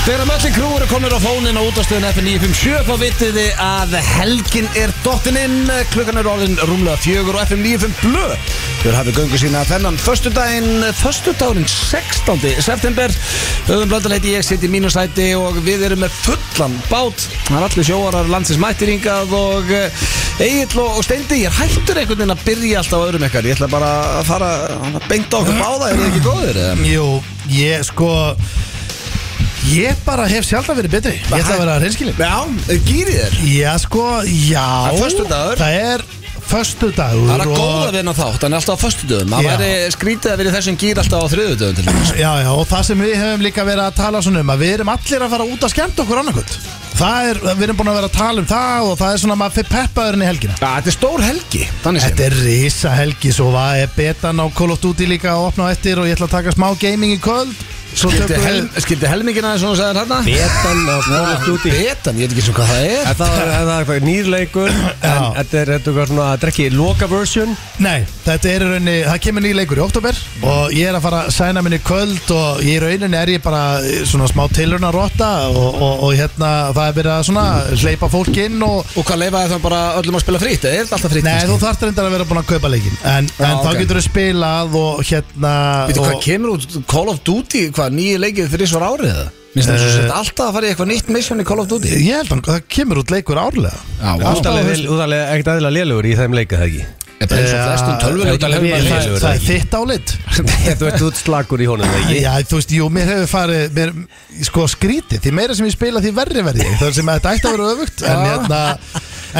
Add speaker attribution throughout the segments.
Speaker 1: Þegar um möllin krú eru komin á fónin á útastöðun FM957 þá vitið þið að helgin er dottin inn klukkan er orðin rúmlega fjögur og FM95 blö Þegar hafið göngu sína þennan föstudaginn, föstudagurinn 16. september Öðum blöndalæti ég sitt í mínu sæti og við erum með fullan bát Það er allir sjóarar landsins mættiringað og Egil og, og Steindi ég er hættur einhvern veginn að byrja alltaf á öðrum ykkar Ég ætla bara að fara að beinta okkur báða, er það ekki góður? eða?
Speaker 2: Jú, ég sko Ég bara hef sjálf að verið betri Ég ætla að vera reynskilin
Speaker 1: Já, gýrið þér
Speaker 2: Já, sko, já
Speaker 1: Það er föstudagur.
Speaker 2: Það er föstudagur
Speaker 1: Það er að
Speaker 2: og-
Speaker 1: góða við hennar þátt, hann er alltaf á föstudöðum Það
Speaker 2: Já.
Speaker 1: væri skrítið að vera í þessum gýr alltaf á þriðudöðum til dæmis
Speaker 2: Já, já, og það sem við hefum líka verið að tala svona um að við erum allir að fara út að skemmta okkur annarkvöld Það er, við erum búin að vera að tala um það og það er svona að maður fyrir peppaðurinn í helgina
Speaker 1: Já, Þetta er stór helgi, þannig
Speaker 2: Þetta
Speaker 1: sem
Speaker 2: er risa helgi, svo var ég betan á Call of Duty líka að opna á eftir og ég ætla að taka smá gaming í kvöld Svo
Speaker 1: Skildi,
Speaker 2: tökum
Speaker 1: hel,
Speaker 2: við
Speaker 1: skildi helmingin aðeins svona sagði hann hérna?
Speaker 3: Betan á Call of Duty
Speaker 1: Betan, ég veit ekki svo hvað það er
Speaker 3: En Það var- en það er eitthvað nýrleikur En
Speaker 2: Já.
Speaker 3: þetta er eitthvað svona að drekki loka version
Speaker 2: Nei, þetta er í rauninni, það kemur nýja leikur í oktober og ég er að fara að sæna minni kvöld og í rauninni er ég bara svona smá tilurna rotta og, og, og hérna það er verið að svona hleypa fólk inn og
Speaker 1: Og hvað leifaði þá bara öllum að spila frýtt, eða er þetta alltaf frýtt?
Speaker 2: Nei, þú þarft reyndar að vera búin að kaupa leikin En, en
Speaker 1: Já,
Speaker 2: þá
Speaker 1: ok.
Speaker 2: getur þú spilað og hérna
Speaker 1: Veitu hvað
Speaker 2: og,
Speaker 1: kemur út Call of Duty, hvað nýju leikið fyrir svar árið það? Minnst
Speaker 3: Eh.
Speaker 1: það uh, alltaf að fara í eitthvað nýtt mission í Call of Duty?
Speaker 2: Ég held að það kemur út leikur árlega
Speaker 1: Já, vá.
Speaker 2: Alltaf á haust-
Speaker 3: Útalega ekkert aðila lélugur í þeim leika það ekki
Speaker 1: Ég bara eins og
Speaker 2: Ja,
Speaker 1: flestum tölvuleikjum
Speaker 3: ég-
Speaker 1: hefur
Speaker 2: Það,
Speaker 1: maður-
Speaker 2: Eh,
Speaker 3: ég-
Speaker 2: það, það er þitt álit
Speaker 3: Þú ert út slagur í honum það ekki
Speaker 2: Já, þú veist, jú, mér hefur farið mér, sko skrítið, því meira sem ég spila því verri verði ég, það sem að þetta ætti að vera öfugt en, hérna,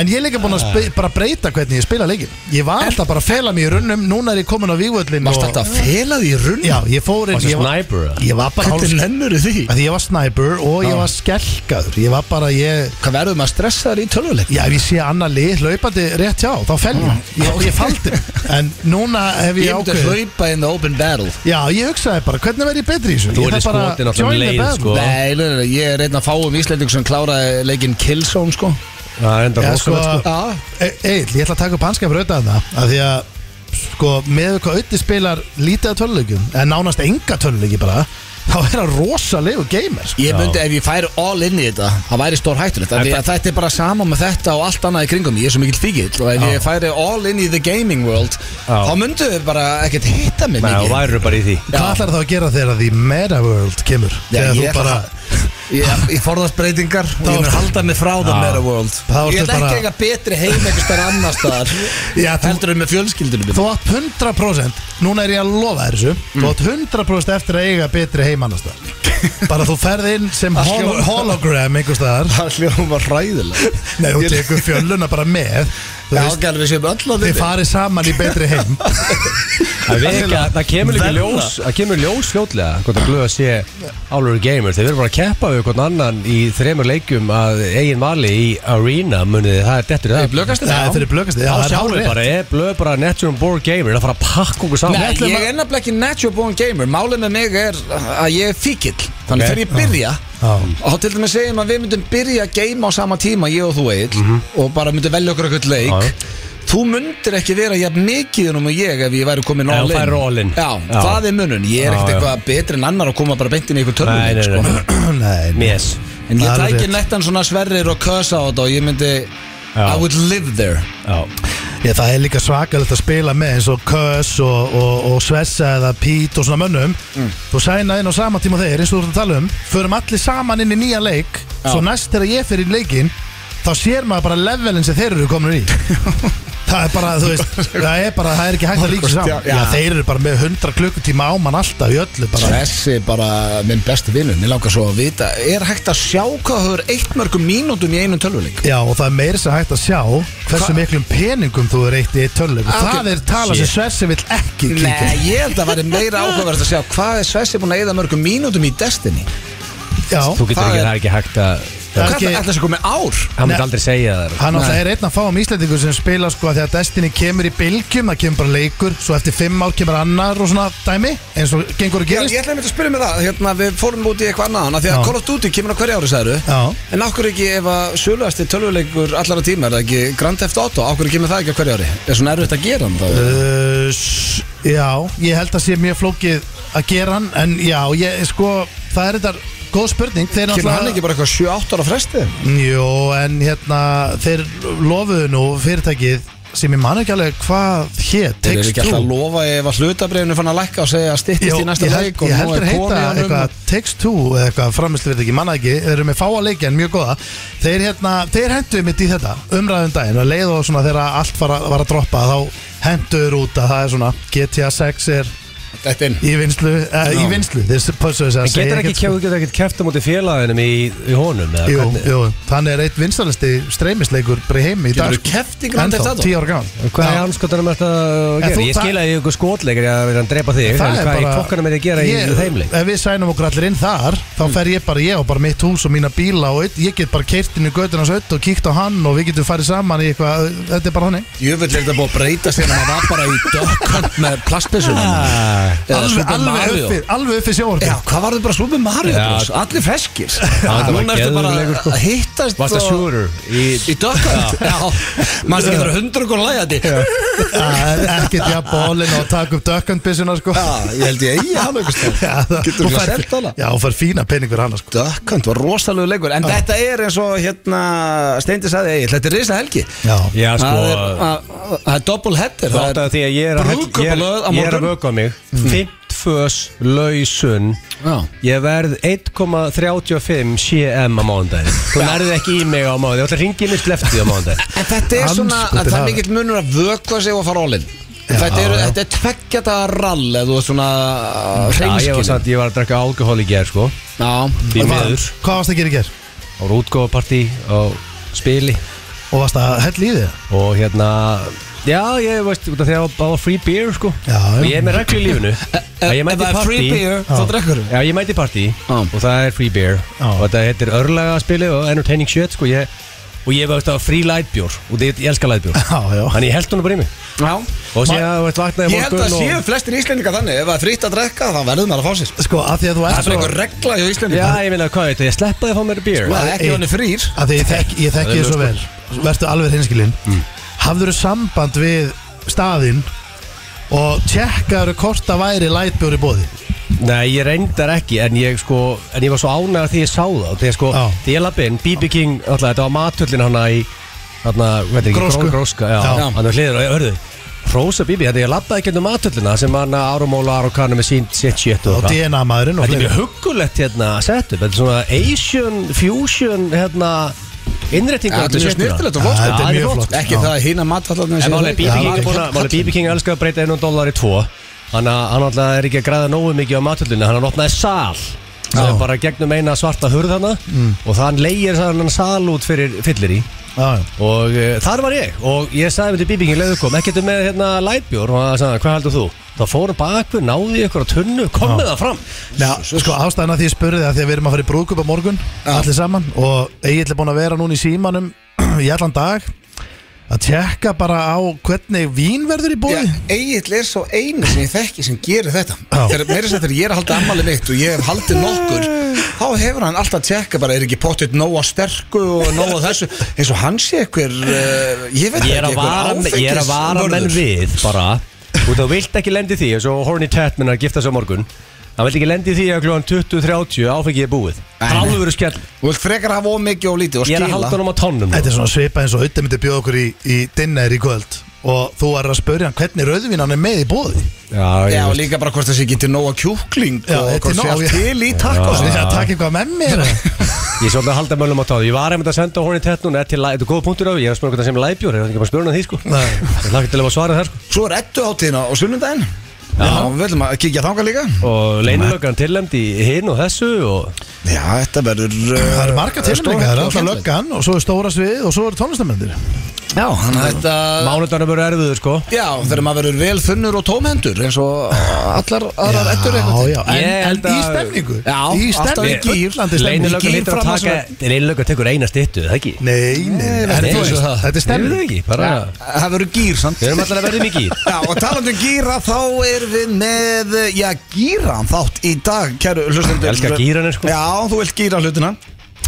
Speaker 2: en ég er líka búin að spe, bara breyta hvernig ég spila leikin ég var alltaf bara að fela mig í runnum, núna er ég komin á vígvöllin
Speaker 1: Varst þetta að fela því í runn?
Speaker 2: Já, ég fór inn
Speaker 3: Varstu
Speaker 2: ég var-
Speaker 3: sniper, eða?
Speaker 2: Ég var bara
Speaker 1: Hvernig
Speaker 2: hálf
Speaker 1: nennur því?
Speaker 2: Því ég var sniper og ég var skelkaður Ég var bara, ég
Speaker 1: Hvað verður maður stressaður í tölvuleik?
Speaker 2: Já, ef ég sé annað lið hlaupandi rétt hjá, þá fell ég Ég- og ég faldi En núna hef
Speaker 1: Ég
Speaker 2: ég
Speaker 1: myndi
Speaker 2: ákveðið
Speaker 1: hlaupa in the open battle
Speaker 3: Sko.
Speaker 2: Já, ég hugsaði bara, hvernig verð ég betri í þessu
Speaker 3: Þú
Speaker 2: Ég
Speaker 3: ert
Speaker 2: þarf bara
Speaker 3: skotin á þeim
Speaker 2: join the
Speaker 3: leið,
Speaker 2: band.
Speaker 3: sko.
Speaker 1: Nei, nei, nei, ég er einn af fáum íslending sem kláraði leikinn Killzone sko
Speaker 3: Það er enda
Speaker 2: Já, sko,
Speaker 3: rosalegt sko
Speaker 1: Já.
Speaker 2: e- Egil, ég ætla að taka upp hanska fyrir auðvitað það að því að, sko, með hvað auðvitað spilar lítið af tölulegjum en nánast enga tölulegji bara þá er það rosalegu gamer sko.
Speaker 1: Ég myndi ef ég færi all inn í þetta það væri stór hættulegt af því að Þetta er bara sama með þetta og allt annað í kringum mig. Ég er svo mikill fíkill og ef ég færi all inn í the gaming world
Speaker 3: Já.
Speaker 1: þá myndu þau bara ekkert hitta mig
Speaker 3: Nei,
Speaker 1: mikið
Speaker 3: þú værið bara í því
Speaker 1: Já.
Speaker 2: Hvað ætlar það að gera þegar því Metaworld kemur?
Speaker 1: Já,
Speaker 2: þegar
Speaker 1: ég
Speaker 2: þú
Speaker 1: ætla
Speaker 2: bara,
Speaker 1: Ég, ég forðast breytingar og
Speaker 2: Þá
Speaker 1: ég mun
Speaker 2: ertu-
Speaker 1: halda mig frá það
Speaker 3: Já.
Speaker 1: meira world
Speaker 2: Þá
Speaker 1: Ég
Speaker 2: ertu
Speaker 1: ætla ekki
Speaker 2: bara-
Speaker 1: að eiga betri heim eitthvað stær annar staðar
Speaker 2: Já, þú-
Speaker 1: heldur þau með fjölskyldunum
Speaker 2: þú átt 100% núna er ég að lofa þér þessu
Speaker 1: Mm.
Speaker 2: þú átt 100% eftir að eiga betri heimannast bara þú ferð inn sem
Speaker 1: Allt
Speaker 2: holo
Speaker 1: hljómar-
Speaker 2: hologram einhver staðar
Speaker 1: Það hljóma hræðilega
Speaker 2: Nei, þú tekur fjölluna bara með þú
Speaker 1: Já,
Speaker 2: veist,
Speaker 1: gælu við séum öll að
Speaker 2: þið farið saman í betri heim
Speaker 3: Það er ekki að- Það kemur líka
Speaker 1: Verða.
Speaker 3: ljós Það kemur ljós fljótlega Hvort að glöða sé Álur gamer Þeir verður bara að keppa við hvort annan Í þremur leikjum Að eigin vali í arena Muniði það er dettur í
Speaker 1: Í
Speaker 3: það
Speaker 1: blökastin?
Speaker 2: það er fyrir blökast
Speaker 3: Já, sjáum við bara Ég blöð bara natural born gamer Það fara að pakka okkur saman
Speaker 1: Nei, ég er nefnilega ekki natural born gamer Málið með mig er að ég er fíkill Þannig
Speaker 3: Ok.
Speaker 1: þegar ég byrja
Speaker 2: Já.
Speaker 1: Og þá til dæmis segjum að við myndum byrja að game á sama tíma Ég og þú Egil Og bara myndum velja okkur eitthvað leik
Speaker 3: Mhm. Já, já.
Speaker 1: Þú myndir ekki vera jafn mikið um og ég ef ég væri komin
Speaker 3: Ef
Speaker 1: all
Speaker 3: þú
Speaker 1: in
Speaker 3: færir all in.
Speaker 1: Já,
Speaker 3: Já.
Speaker 1: það er munun Ég er
Speaker 3: Já,
Speaker 1: ekkert
Speaker 3: já.
Speaker 1: eitthvað betri en annar að koma bara beint inn í eitthvað törnuleik
Speaker 3: Nei, nei,
Speaker 1: sko.
Speaker 3: nei
Speaker 2: Nei, nei.
Speaker 3: Yes
Speaker 1: En ég
Speaker 2: Það er
Speaker 1: tæki
Speaker 2: rétt.
Speaker 1: nettan svona sverrir og kösa á þetta Og ég myndi
Speaker 3: Já.
Speaker 1: I would live there
Speaker 3: Já
Speaker 2: Ég, það er líka svakalegt að spila með eins og Kös og, og, og Svessa eða Pít og svona mönnum
Speaker 1: Mm.
Speaker 2: Þú sæna inn á sama tíma og þeir eins og þú ert að tala um Förum allir saman inn í nýja leik Svo næst þegar ég fyrir í leikin Þá sér maður bara levelin sem þeir eru komin í Það er bara, þú veist Það er bara, það er ekki hægt að líka sér saman
Speaker 1: Já.
Speaker 2: Já, þeir eru bara með 100 klukkutíma á mann alltaf í öllu bara
Speaker 1: Þessi er bara minn besti vinnur Mér langar svo að vita Er hægt að sjá hvað höfur eitt mörgum mínútum í einum tölvuleik?
Speaker 2: Já, og það er meira sem hægt að sjá hversu
Speaker 1: Hva-
Speaker 2: miklum peningum þú er eitt í eitt töluleik og
Speaker 1: Ah, ok.
Speaker 2: það er tala sem Svessi vill ekki kíkja
Speaker 1: Nei, ég held að væri meira áhugaverð að sjá Hvað er Svessi búin að eða mörgum mínútum í Destiny?
Speaker 2: Já,
Speaker 3: Þú getur
Speaker 1: það
Speaker 3: ekki,
Speaker 1: er-
Speaker 3: það er ekki hægt að
Speaker 2: Það
Speaker 1: Það
Speaker 2: er
Speaker 1: er
Speaker 2: ekki-
Speaker 1: alltaf þessi komið ár
Speaker 3: Hann
Speaker 2: Nei.
Speaker 3: myndi aldrei segja það
Speaker 2: Hann
Speaker 1: Nei.
Speaker 2: alltaf er einn af fáum íslendingur sem spila sko að því að Destiny kemur í bylgjum, það kemur bara leikur svo eftir fimm ár kemur annar og svona dæmi eins og gengur og
Speaker 1: Já,
Speaker 2: gerist
Speaker 1: ég ætlaði mér að spyrja mig það, hérna, við fórum út í eitthvað annaðan af Því að
Speaker 2: Já.
Speaker 1: Call of Duty kemur á hverju ári, sagðu
Speaker 2: Já.
Speaker 1: En okkur ekki ef að söluðasti tölvuleikur allara tíma Er það ekki Grand Theft Auto, okkur kemur það ekki á hverju ári Er svona erfitt að gera hann þá?
Speaker 2: uh, s- Já, ég held að sé mjög flókið að gera hann en já, ég sko það er þetta góð spurning Þeir
Speaker 1: Kemur hann ekki bara eitthvað 7-8 ára fresti?
Speaker 2: Jó, en hérna Þeir lofuðu nú fyrirtækið sem ég man ekki alveg hvað hér
Speaker 1: Þeir eru
Speaker 2: Text
Speaker 1: ekki alltaf að
Speaker 2: True
Speaker 1: lofa ef að hlutabriðinu fann að lækka og segja að
Speaker 2: Jó,
Speaker 1: styttist í næsta
Speaker 2: ég held-
Speaker 1: leik og
Speaker 2: Ég
Speaker 1: nú
Speaker 2: heldur
Speaker 1: er
Speaker 2: heita
Speaker 1: komið á honum.
Speaker 2: eitthvað Text 2 eða eitthvað framistu verið ekki, manna ekki Þeir eru með fáa leiki en mjög góða Þeir, hérna, þeir hendur mitt í þetta umræðum daginn og leið og svona þegar allt var að, var að droppa þá hendur út að það er svona GTA 6 er
Speaker 1: Þetta inn
Speaker 2: í vinslu, uh, í vinslu Þeir pössuðu sig að
Speaker 3: En getur ekki,
Speaker 2: ekkert, sko.
Speaker 3: þú getur ekki kæft á móti félaginum í, í honum eða
Speaker 2: Jú,
Speaker 3: hvernig?
Speaker 2: jú, þannig er eitt vinstalasti streymisleikur bara í heimi í dag sko.
Speaker 1: Geturðu keppt í Grand Theft Auto?
Speaker 2: tíu ára gammal
Speaker 3: Hvað er anskotanum þetta að
Speaker 2: En
Speaker 3: gera?
Speaker 2: þú-
Speaker 3: Ég skil að ég ykkur skotleikir að vera að drepa þig en Hvað í fokkanum er ég að gera í þeimleik?
Speaker 2: Ef við sænum okkur allir inn þar þá
Speaker 1: Mm.
Speaker 2: fer ég bara, ég og bara mitt hús og mína bíla og einn- ég get bara keirt inn í göttunars öll og kíkt á hann og við getum farið saman í eitthvað þetta er bara þannig
Speaker 1: Jöfull er þetta búið að breyta sér en maður var bara í dökkant með plastbissunum Eða
Speaker 2: Alveg,
Speaker 1: Super
Speaker 2: alveg,
Speaker 1: Mario
Speaker 2: upp fyrir- alveg upp fyrir
Speaker 1: Já,
Speaker 2: sjóorfið
Speaker 1: hvað var þetta bara Super Mario
Speaker 3: Já.
Speaker 1: bros? Allir feskir
Speaker 3: þetta var
Speaker 1: Núna ertu bara
Speaker 3: geðveikur leikur, sko.
Speaker 1: að hittast
Speaker 3: Varst að
Speaker 1: og-
Speaker 3: sjúrur í
Speaker 1: Í dökkant Já, maður sem getur hundra og lægja þetta
Speaker 2: ekkert já bólin og taka upp dökkandbissuna sko
Speaker 1: Já, ég held ég eigi hann einhvers staðar.
Speaker 2: Já, það-
Speaker 1: Getur
Speaker 2: og
Speaker 1: þú
Speaker 2: fær-
Speaker 1: selt hana?
Speaker 2: Já, og fær fína pening fyrir hann sko
Speaker 1: Dökkant var rosalegu leikur En þetta er eins og hérna Steindi sagði Egil, þetta er risa helgi
Speaker 2: Já,
Speaker 3: Já, sko,
Speaker 1: Það er, að- að- það er double header
Speaker 3: Það áttaði því að ég er að,
Speaker 1: brúðkaup
Speaker 3: ég
Speaker 1: á löð á
Speaker 3: er, ég er
Speaker 1: morgun.
Speaker 3: að
Speaker 1: Mm.
Speaker 3: vöka á mig Fimmtfös lausun
Speaker 1: Já.
Speaker 3: Ég verð 1,35 cm á mánudaginn Þú nærðið ekki í mig á mánudaginn Þú ætlar að ringi mig sleftið á mánudaginn
Speaker 1: En þetta er svona
Speaker 2: Andskotinn
Speaker 1: að það er
Speaker 2: hafi.
Speaker 1: mikill munur að vökva sig og fara all-in Þetta er, þetta er tveggjata rall eða þú er svona
Speaker 3: Já, ég var
Speaker 1: hreinskil
Speaker 3: samt, ég var að drakka alkohol í ger, sko Því
Speaker 1: Já,
Speaker 3: miður
Speaker 2: Hvað varst að gera í ger?
Speaker 3: Á rútgóðpartí, á spili
Speaker 2: Og varst að hella í þig?
Speaker 3: Og hérna Já, ég veist, út af því að það var- það var free beer sko
Speaker 2: Já, já.
Speaker 3: Og ég er með reglu í lífinu að ég
Speaker 1: Ef
Speaker 3: mæti
Speaker 1: það
Speaker 3: í
Speaker 1: er free
Speaker 3: partí
Speaker 1: beer, þá
Speaker 2: Já.
Speaker 1: drekkur
Speaker 3: Já, ég mæti í partí
Speaker 1: Já.
Speaker 3: og það er free beer
Speaker 2: Já.
Speaker 3: Og þetta heitir örlaga og entertaining shit sko ég, Og ég veist að free light bjór Og því, ég elska light bjór
Speaker 2: Já, já
Speaker 3: Þannig ég held hún bara í mig
Speaker 1: Já
Speaker 3: Og síðan, þú veist, vaknaði
Speaker 1: Ég held að
Speaker 3: morgun
Speaker 1: séu
Speaker 3: og
Speaker 1: flestir íslendinga þannig Ef það er fritt að drekka, þá verður maður að fá sér
Speaker 2: Sko, að því að þú
Speaker 1: Það
Speaker 2: ert
Speaker 1: er bara einhver regla hjá
Speaker 3: Já,
Speaker 1: íslendinga
Speaker 3: ég meina, hvað veit, ég sleppaði að fá mér beer
Speaker 1: Það er ekki
Speaker 2: Ey.
Speaker 1: hann er frýr
Speaker 2: að því ég þekki, ég þekki þér svo vel verður alveg hinskilinn mm. hafður samband við staðinn og tjekkaður hvort það væri lightbjór í bóði
Speaker 3: Nei, ég reyndar ekki en ég, sko, en ég var svo ánægð því ég sá það Þegar sko,
Speaker 2: Já.
Speaker 3: því ég lappi inn, BB King alltaf, Þetta var matullin hana í hana, hvað er ekki,
Speaker 2: Grósku.
Speaker 3: Grón- Gróska já,
Speaker 2: Já.
Speaker 3: Hann var hliður og hörðu Rósa BB, þetta ég lappaði ekki undir matullina sem hann eh, Árumóla Arokanum með sínt sitt shit og
Speaker 2: og
Speaker 3: eitthvað.
Speaker 2: DNA maðurinn og
Speaker 3: Þetta er
Speaker 2: fleiri
Speaker 3: mjög huggulegt hérna að setja upp Þetta er svona Asian Fusion hérna innrættingar
Speaker 1: Þetta er mjög snirtilegt og
Speaker 2: Já,
Speaker 1: flott
Speaker 2: þetta
Speaker 3: Já,
Speaker 2: er mjög
Speaker 3: flott.
Speaker 2: flott
Speaker 1: Ekki
Speaker 2: Já.
Speaker 1: það að hýna matfallarnir
Speaker 3: En
Speaker 2: Já,
Speaker 3: málega BB King
Speaker 2: alveg.
Speaker 3: er búin að málega BB King elskar að breyta 1 dólar í 2 Þannig að hann alltaf er ekki að græða nógu mikið á matöldinu Hann opnaði sal sem er bara gegnum eina svarta hurð hana og þann leigir hann sal út fyrir fyllir í
Speaker 2: Já, já.
Speaker 3: og uh, þar var ég og ég sagði með til BB King leiðu kom ekki þetta með hérna lightbjór og hann sagði hvað heldur þú þá fórum bakvið náði ykkur að tunnu komið það fram
Speaker 2: Nei, sko ástæðan að því ég spurði að því að við erum að fara í brúðkup á morgun allir saman og ég er búin að vera núna í símanum í allan dag að tjekka bara á hvernig vín verður í bóði
Speaker 1: Egil er svo einu sem ég þekki sem gerir þetta
Speaker 2: Já.
Speaker 1: Þegar meira sem þegar ég er að halda ammali mitt og ég hef haldið nokkur þá hefur hann alltaf tjekka bara er ekki pottitt nóga sterku og nóga þessu eins og hann sé einhver uh, ég veit
Speaker 3: ég er
Speaker 1: ekki
Speaker 3: að vara,
Speaker 1: einhver
Speaker 3: ég er að vara menn
Speaker 1: áfengisvörður.
Speaker 3: við bara og þú vilt ekki lendi því eins og Horny Tatman að gifta sig á morgun hann vilt ekki lendi því að klúan 20.30 áfengi er búið
Speaker 1: Nei,
Speaker 3: hann
Speaker 1: nei.
Speaker 3: alveg verið skell
Speaker 1: Þú vilt frekar hafa ómikið og lítið og
Speaker 3: ég er að halda
Speaker 1: skila
Speaker 3: hann á tónnum
Speaker 2: Þetta er svona svipað eins og auðvitað myndi bjóða okkur í, í dinner í kvöld og þú er að spurja hann hvernig rauðvínan er með í bóði
Speaker 3: já,
Speaker 1: Já
Speaker 3: ég
Speaker 1: og
Speaker 3: veist.
Speaker 1: líka bara hvort það sé getið nóga kjúkling
Speaker 2: Já,
Speaker 1: og
Speaker 2: þetta er
Speaker 1: hvort sé
Speaker 2: nóg,
Speaker 1: allt
Speaker 2: já.
Speaker 1: til í takk
Speaker 2: Það er að taka eitthvað með mér
Speaker 3: ég er svolítið að halda mönnum á tónnum ég var einmitt að senda Horny Tatman þetta er, la- þetta er góða punktur á því. ég er að spyrja hvernig sem læbjór ég er ekki bara að spyrja hann að því sko
Speaker 2: Nei.
Speaker 3: ég lakka til að svara það sko
Speaker 1: Svo er ettu hátíðina og sunnundaginn Já, við viljum að kíkja þanga líka
Speaker 3: og leinulöggan tillemd í hinn og þessu og
Speaker 1: Já, þetta verður eh,
Speaker 2: Það eru marga tilnæmninga, það er alltaf löggan og svo er stóra svið og svo eru tónlistamöndir
Speaker 1: Já, þannig að þetta
Speaker 3: mánudarnum eru erfiður sko
Speaker 1: Já, þegar maður verður vel þunnur og tómhendur eins og allar aðrar ettur eitthvað
Speaker 2: já, en,
Speaker 3: Ég
Speaker 2: en
Speaker 3: held
Speaker 2: í
Speaker 3: að-
Speaker 2: stemningu
Speaker 1: Já,
Speaker 2: Í
Speaker 1: alltaf í
Speaker 2: stemningu,
Speaker 1: gír.
Speaker 2: bullandi stemningu
Speaker 3: leinulöggan
Speaker 1: gír
Speaker 3: hittar
Speaker 1: fram
Speaker 3: að
Speaker 1: að
Speaker 3: taka leinulöggan tekur eina styttu það ekki
Speaker 2: Nei, nei, nei,
Speaker 1: Nei,
Speaker 2: en
Speaker 1: nei,
Speaker 2: þú veist,
Speaker 1: það-
Speaker 2: þetta er
Speaker 3: Ég veit
Speaker 2: stemning
Speaker 3: ekki, bara
Speaker 1: Það verður gýr, sant?
Speaker 3: Við erum alltaf að verðum í gýr
Speaker 1: Já, og talandi um gýra, þá erum við með, já, gýran þátt í dag, kæru hlustendur
Speaker 3: Ég elska gíranir, sko.
Speaker 1: Já, þú vilt gýra hlutina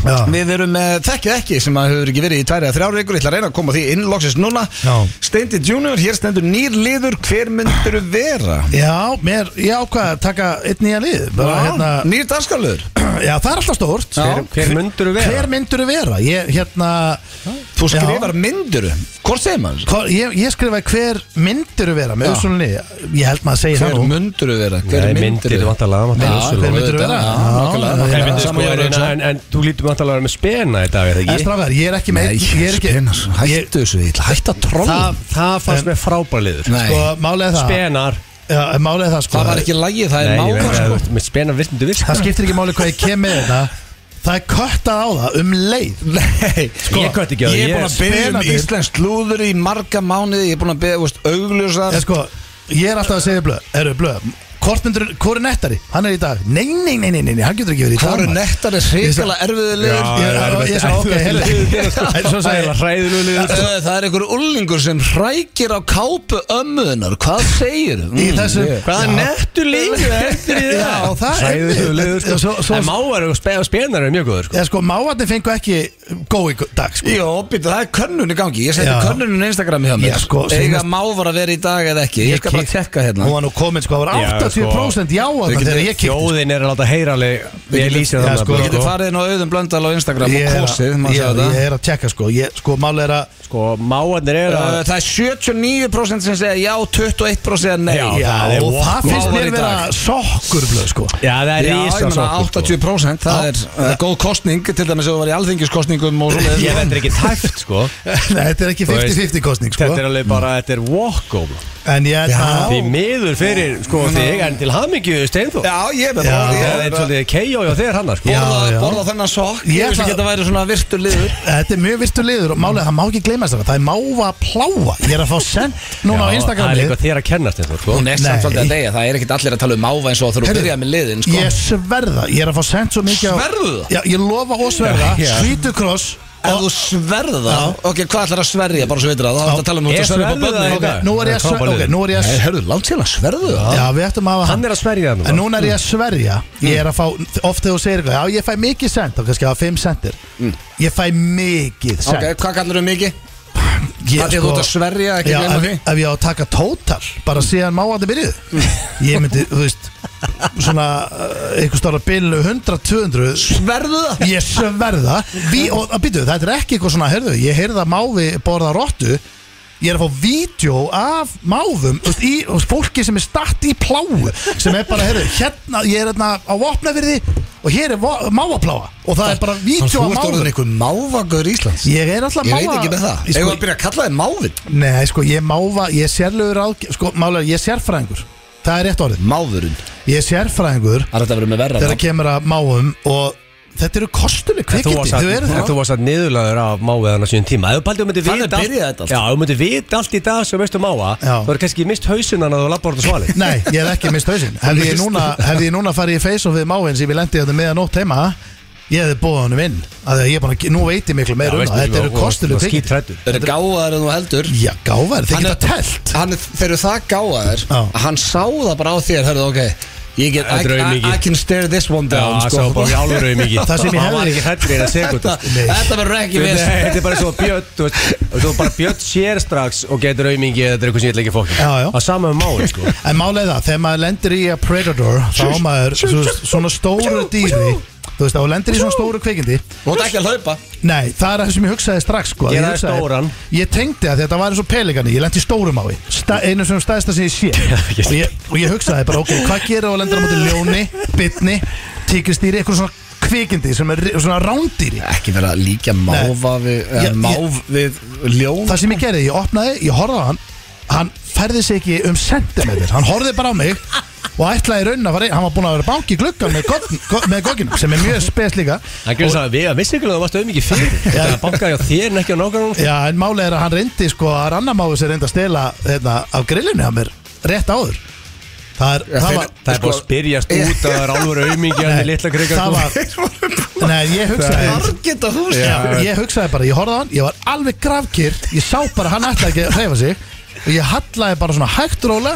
Speaker 2: Já.
Speaker 1: Við erum með þekkið ekki sem að hefur ekki verið í tværi að þrjár vikur Ég ætla að reyna að koma því inn loksins núna
Speaker 2: Já.
Speaker 1: Steindi Junior, hér stendur nýr liður Hver myndur vera?
Speaker 2: Já, mér, ég ákvað að taka einn nýja lið bara,
Speaker 1: Já,
Speaker 2: hérna,
Speaker 1: Nýr danskarlöður
Speaker 2: Já, það er alltaf stórt
Speaker 1: Já.
Speaker 3: Hver, hver myndur þú vera?
Speaker 2: Hver myndur vera? Ég, hérna,
Speaker 1: Þú
Speaker 2: Já.
Speaker 1: skrifar myndur Hvort segir maður?
Speaker 2: hva, ég, ég skrifaði hver myndur vera með
Speaker 1: Já.
Speaker 2: usunni Ég held maður að segja
Speaker 1: Hver
Speaker 2: það nú
Speaker 1: myndur vera?
Speaker 3: Hver myndir þú vantalega
Speaker 1: Já,
Speaker 3: vantalega
Speaker 1: hver
Speaker 2: Hver
Speaker 1: myndur
Speaker 2: myndirðu vera?
Speaker 1: vera?
Speaker 2: Já,
Speaker 1: nákvæmlega.
Speaker 2: já,
Speaker 3: Hver
Speaker 2: já.
Speaker 3: myndir
Speaker 1: Sama
Speaker 3: sko
Speaker 1: ég
Speaker 3: er
Speaker 1: var að
Speaker 3: en,
Speaker 1: hugsa.
Speaker 3: en, en þú lítur vantalega með spena í dag er það
Speaker 2: En
Speaker 3: ekki?
Speaker 2: strafgar, ég er ekki með
Speaker 1: Nei,
Speaker 2: ég er ekki,
Speaker 1: spinar
Speaker 2: ég-
Speaker 1: Hættu þessu, ég ætla að hætta að trolla
Speaker 3: Það, það fannst mér frábæra liður
Speaker 1: Nei,
Speaker 2: Sko, málega það
Speaker 3: Spenar
Speaker 2: Já, málega það, sko
Speaker 1: það var ekki lagið, það
Speaker 3: Nei,
Speaker 1: er
Speaker 3: ég
Speaker 1: mála
Speaker 3: veit
Speaker 1: sko
Speaker 3: að með spenar virkndu virka
Speaker 2: Það skiptir ekki máli hvað ég kem með þetta Það er köttað á það um leið
Speaker 1: Nei,
Speaker 3: Sko, Ég kött ekki á
Speaker 1: ég
Speaker 3: það,
Speaker 1: er búin að
Speaker 3: ég
Speaker 1: beða um
Speaker 2: spenandi.
Speaker 1: íslensk slúður í marga mánuði Ég er búin að beða, veist, augljósar
Speaker 2: Ég, sko, ég er alltaf að segja blöð Eru blöð Hvort myndur, hvort er nettari? Hann er í dag Nei, nei, nei, nei, nei, nei, hann getur ekki verið í dag
Speaker 1: Hvor
Speaker 2: maður.
Speaker 1: nettar er hrikalega erfiðu liður
Speaker 2: Já, ég- ég- ég- ok, heyrðu. En svo sagði ég-
Speaker 3: Hræðinu liður sko.
Speaker 1: Ö, Eh, Það er einhver ullingur sem hrækir á kápu ömmuðunar Hvað Mm, segir?
Speaker 2: Í þessu-
Speaker 3: Hvaða
Speaker 2: Já.
Speaker 3: nettur liður eftir í
Speaker 2: Já,
Speaker 3: það?
Speaker 2: það er-
Speaker 3: Hræðinu
Speaker 1: sko.
Speaker 3: liður sko.
Speaker 2: En svo- svo-
Speaker 3: En mávar og spe- og spenar er mjög góður sko.
Speaker 2: Eða sko, mávarnir fengu ekki góð í dag sko.
Speaker 1: Jó, býttu, það er könnun í gangi Ég seti
Speaker 2: Já.
Speaker 1: könnunum í Instagram hjá
Speaker 2: Já,
Speaker 1: mér
Speaker 2: sko,
Speaker 1: Eiga
Speaker 2: seinast-
Speaker 1: mávar að vera í dag eða ekki Ég skal bara
Speaker 2: kíkti-
Speaker 1: tekka
Speaker 2: Hún
Speaker 1: hérna
Speaker 2: var nú komin, sko, það var
Speaker 3: Já,
Speaker 2: 80% já að
Speaker 1: Við
Speaker 2: það
Speaker 1: getum-
Speaker 2: þegar ég kýtti
Speaker 3: Þjóðin er alltaf heyrali Ég lýsi
Speaker 2: Já,
Speaker 3: það
Speaker 1: Við
Speaker 2: sko,
Speaker 3: nefnilega,
Speaker 1: getum farið inn á auðum blöndal á Instagram
Speaker 2: Ég
Speaker 1: og
Speaker 2: er
Speaker 1: kosið
Speaker 2: að-
Speaker 1: má sjá
Speaker 2: ég-
Speaker 1: þetta.
Speaker 2: ég er að tjekka, sko ég, Sko, málega er að
Speaker 3: Sko, mávarnir er að
Speaker 1: Ö, Uh, Það er 79% sem segja já 21% segja nei
Speaker 3: Já,
Speaker 2: Já,
Speaker 3: það er
Speaker 2: og
Speaker 3: walk-
Speaker 2: það finnst
Speaker 1: mávar
Speaker 2: mér
Speaker 1: í
Speaker 2: vera
Speaker 1: dag.
Speaker 2: sokkur blöð, sko
Speaker 3: Já, það er sko.
Speaker 1: Já, ég
Speaker 3: ísa
Speaker 1: meina 80% Það er uh, góð kostning Til dæmis ef þú var í alþingiskostningum og svoleiðis.
Speaker 3: Ég vendur ekki tæft sko
Speaker 2: Nei, þetta er ekki
Speaker 3: Þú veist,
Speaker 2: 50-50 kostning, sko
Speaker 3: Þetta er alveg bara, þetta er walk-over
Speaker 2: En ég held
Speaker 1: Já.
Speaker 2: að
Speaker 3: Því miður fyrir sko þig En til hamingju Steinþór
Speaker 1: Já, ég með
Speaker 2: Já.
Speaker 1: það
Speaker 3: Það
Speaker 1: ég-
Speaker 3: er svolítið KO hjá þér hannar sko
Speaker 2: Já.
Speaker 1: borða, borða þennan sokk Ég
Speaker 2: Ég
Speaker 1: veist
Speaker 2: ætla-
Speaker 1: ekki að þetta væri svona virtur liður
Speaker 2: Þetta er mjög virtu liður og málega það má ekki gleyma þess að það er máva pláa Ég er að fá send núna á
Speaker 3: Það er
Speaker 2: Instagramið
Speaker 3: líka þér að kenna Steinþór sko
Speaker 1: Hún er samt
Speaker 2: Nei.
Speaker 1: svolítið að deyja Það er ekkit allir að tala um máva eins og þegar þú
Speaker 2: Heyrðu,
Speaker 1: byrja með liðin sko.
Speaker 2: Ég sverða, ég er að fá send svo mikið á
Speaker 1: Sverðu það?
Speaker 2: Já, ég lofa og sverða,
Speaker 3: Já.
Speaker 2: svítukross
Speaker 1: Ef þú sverða það Ok, hvað ætlar að sverja bara svo veitur það Þá ætlar að tala um þú
Speaker 3: Ég
Speaker 1: ert að sverja upp á
Speaker 3: sverðu það í
Speaker 1: börnum
Speaker 3: dag.
Speaker 2: Nú er ég að
Speaker 3: Það er frábær
Speaker 2: sverða, ok,
Speaker 3: liður.
Speaker 2: nú er ég að
Speaker 1: Nei,
Speaker 2: sverða
Speaker 1: hörðu, langt síðan að sverðu það
Speaker 2: Já, við ættum að hafa
Speaker 3: Hann er að sverja Mm. það
Speaker 2: En
Speaker 3: nú
Speaker 2: núna er ég að sverja Ég er að fá, oft þegar þú segir eitthvað Já, ég fæ mikið send, þá kannski að hafa 5 sendir
Speaker 3: Mm.
Speaker 2: Ég fæ mikið
Speaker 1: Ok,
Speaker 2: send
Speaker 1: hvað kallar þú mikið?
Speaker 2: Ég, sko-
Speaker 1: Það er þú ert að sverja ekki
Speaker 2: Já,
Speaker 1: gleyma
Speaker 2: ef,
Speaker 1: því
Speaker 2: ef ég á að taka tótal bara síðan máandi byrjuð ég myndi, þú veist svona, uh, einhver stára bilu 100-200
Speaker 1: Sverðu það
Speaker 2: ég sverða Ví, og að býtu, þetta er ekki eitthvað svona, heyrðu ég heyrði að mávi borða rottu ég er að fá vídeo af máðum þú veist, í, þú veist, fólki sem er statt í pláu sem er bara, heyrðu, hérna ég er hérna á vopnafyrði og hér er vo- mávapláa og það er bara vídeo af máðum
Speaker 1: einhver mávagur Íslands
Speaker 2: ég er alltaf
Speaker 1: Ég
Speaker 2: máva
Speaker 1: veit ekki með það
Speaker 2: Ég
Speaker 1: Ég
Speaker 2: sko-
Speaker 1: var að byrja að kalla þið mávin
Speaker 2: Nei, sko, ég máva, ég er sérlegur ágjör, sko, málega, ég er sérfræðingur. Það er rétt orðið.
Speaker 1: Mávurinn
Speaker 2: Ég er sérfræðingur
Speaker 1: Það er þetta að vera með verra
Speaker 2: þegar kemur að máum og þetta eru kostuleg
Speaker 3: Þú
Speaker 2: kvikindi,
Speaker 3: varst
Speaker 2: þau
Speaker 3: að-
Speaker 2: eru
Speaker 3: en
Speaker 2: það.
Speaker 3: þú varst að niðurlaður af máiðan á síðan tíma Ef þú um paldið myndi
Speaker 1: Þannig
Speaker 3: vita
Speaker 1: byrjaði þetta allt.
Speaker 3: Já, þú myndi vita allt í dag sem veistu um máa
Speaker 2: Já.
Speaker 3: Þú er kannski mist hausunan að þú labbar út á svali
Speaker 2: Nei, ég er ekki mist hausinn. Hefði ég núna, hefði ég núna farið í face-off við máin sem ég lendi þetta meðan nótt heima, ég hefði bóðið honum inn. Af því að ég er búin að, nú veit ég miklu meira um það. Þetta eru kostuleg kvikindi.
Speaker 3: kvikind
Speaker 1: Þeir eru gáðar en þú heldur
Speaker 2: Já, gáfar, þið
Speaker 1: Hann
Speaker 2: geta
Speaker 1: er-
Speaker 2: telt.
Speaker 1: hann, er- Þeir eru það gáðar
Speaker 2: Já.
Speaker 1: að Hann sá það bara á þér Hörðu, ok Ég get
Speaker 3: Þetta er
Speaker 1: I, I,
Speaker 3: aumingi.
Speaker 1: I can stare this one down sko.
Speaker 3: Já, sá bara í álurau mikið
Speaker 2: sko. Það sem ég
Speaker 3: Hann var
Speaker 2: hefði-
Speaker 3: ekki hættur eina sekund
Speaker 1: Þetta, þetta verður ekki
Speaker 3: Nei,
Speaker 1: verið
Speaker 3: Þetta er bara svo bjött Þú veist, þú veist, bara bjött sér strax og getur aumingi eða þetta er eitthvað sem ég vil ekki fókja
Speaker 2: Já, já.
Speaker 3: Það sama með máli sko
Speaker 2: En málega það, þegar maður lendir í að Predator, þá á maður svo- svona stóru dýri, þú veist, þá lendir í svona stóru kvikindi,
Speaker 1: Þú ert ekki að hlaupa
Speaker 2: Nei, það er það sem ég hugsaði strax sko.
Speaker 3: Gera
Speaker 2: Ég hugsaði-
Speaker 3: stóran.
Speaker 2: Ég tengdi að þetta var eins og pelikani Ég lendi í stórum á því Sta, Einu sem stæðsta sem ég sé
Speaker 3: Ég-
Speaker 2: og, ég, og ég hugsaði bara, ok, hvað gerir þú að lenda á móti ljóni, bitni, tíkristýri Eitthvað svona kvikindi sem er ri- svona rándýri
Speaker 1: Ekki verið að líka máva við,
Speaker 2: Já,
Speaker 1: ja,
Speaker 2: ég-
Speaker 1: máv við ljón
Speaker 2: Það sem ég gerði, ég opnaði, ég horfði á hann Hann færði sig ekki um sentimeter Hann horfði bara á mig Og ætlaði í raunin að fara inn Hann var búin að vera banki í gluggan með, gogn- go- með goginum Sem er mjög spes líka
Speaker 3: Það gerði það að við að vissi ekki að það varst aumingi fyrir Það bankaði á þér en ekki á nákvæmum
Speaker 2: Já, en málið er að hann reyndi sko að rannamáðu sér reyndi að stela hérna, af grillinu að mér rétt áður Það er, það
Speaker 1: þeir-
Speaker 2: var,
Speaker 3: Það er bara að spyrjast út að það er alveg aumingi en litla krikar
Speaker 2: það var Nei, ég hugsaði
Speaker 1: Target að hús
Speaker 2: Já, Ég hugsaði bara, ég horfði á hann, ég var alveg grafkýr Ég sá bara að hann ætlaði ekki að hreyfa sig Og ég hallaði bara svona hægt róla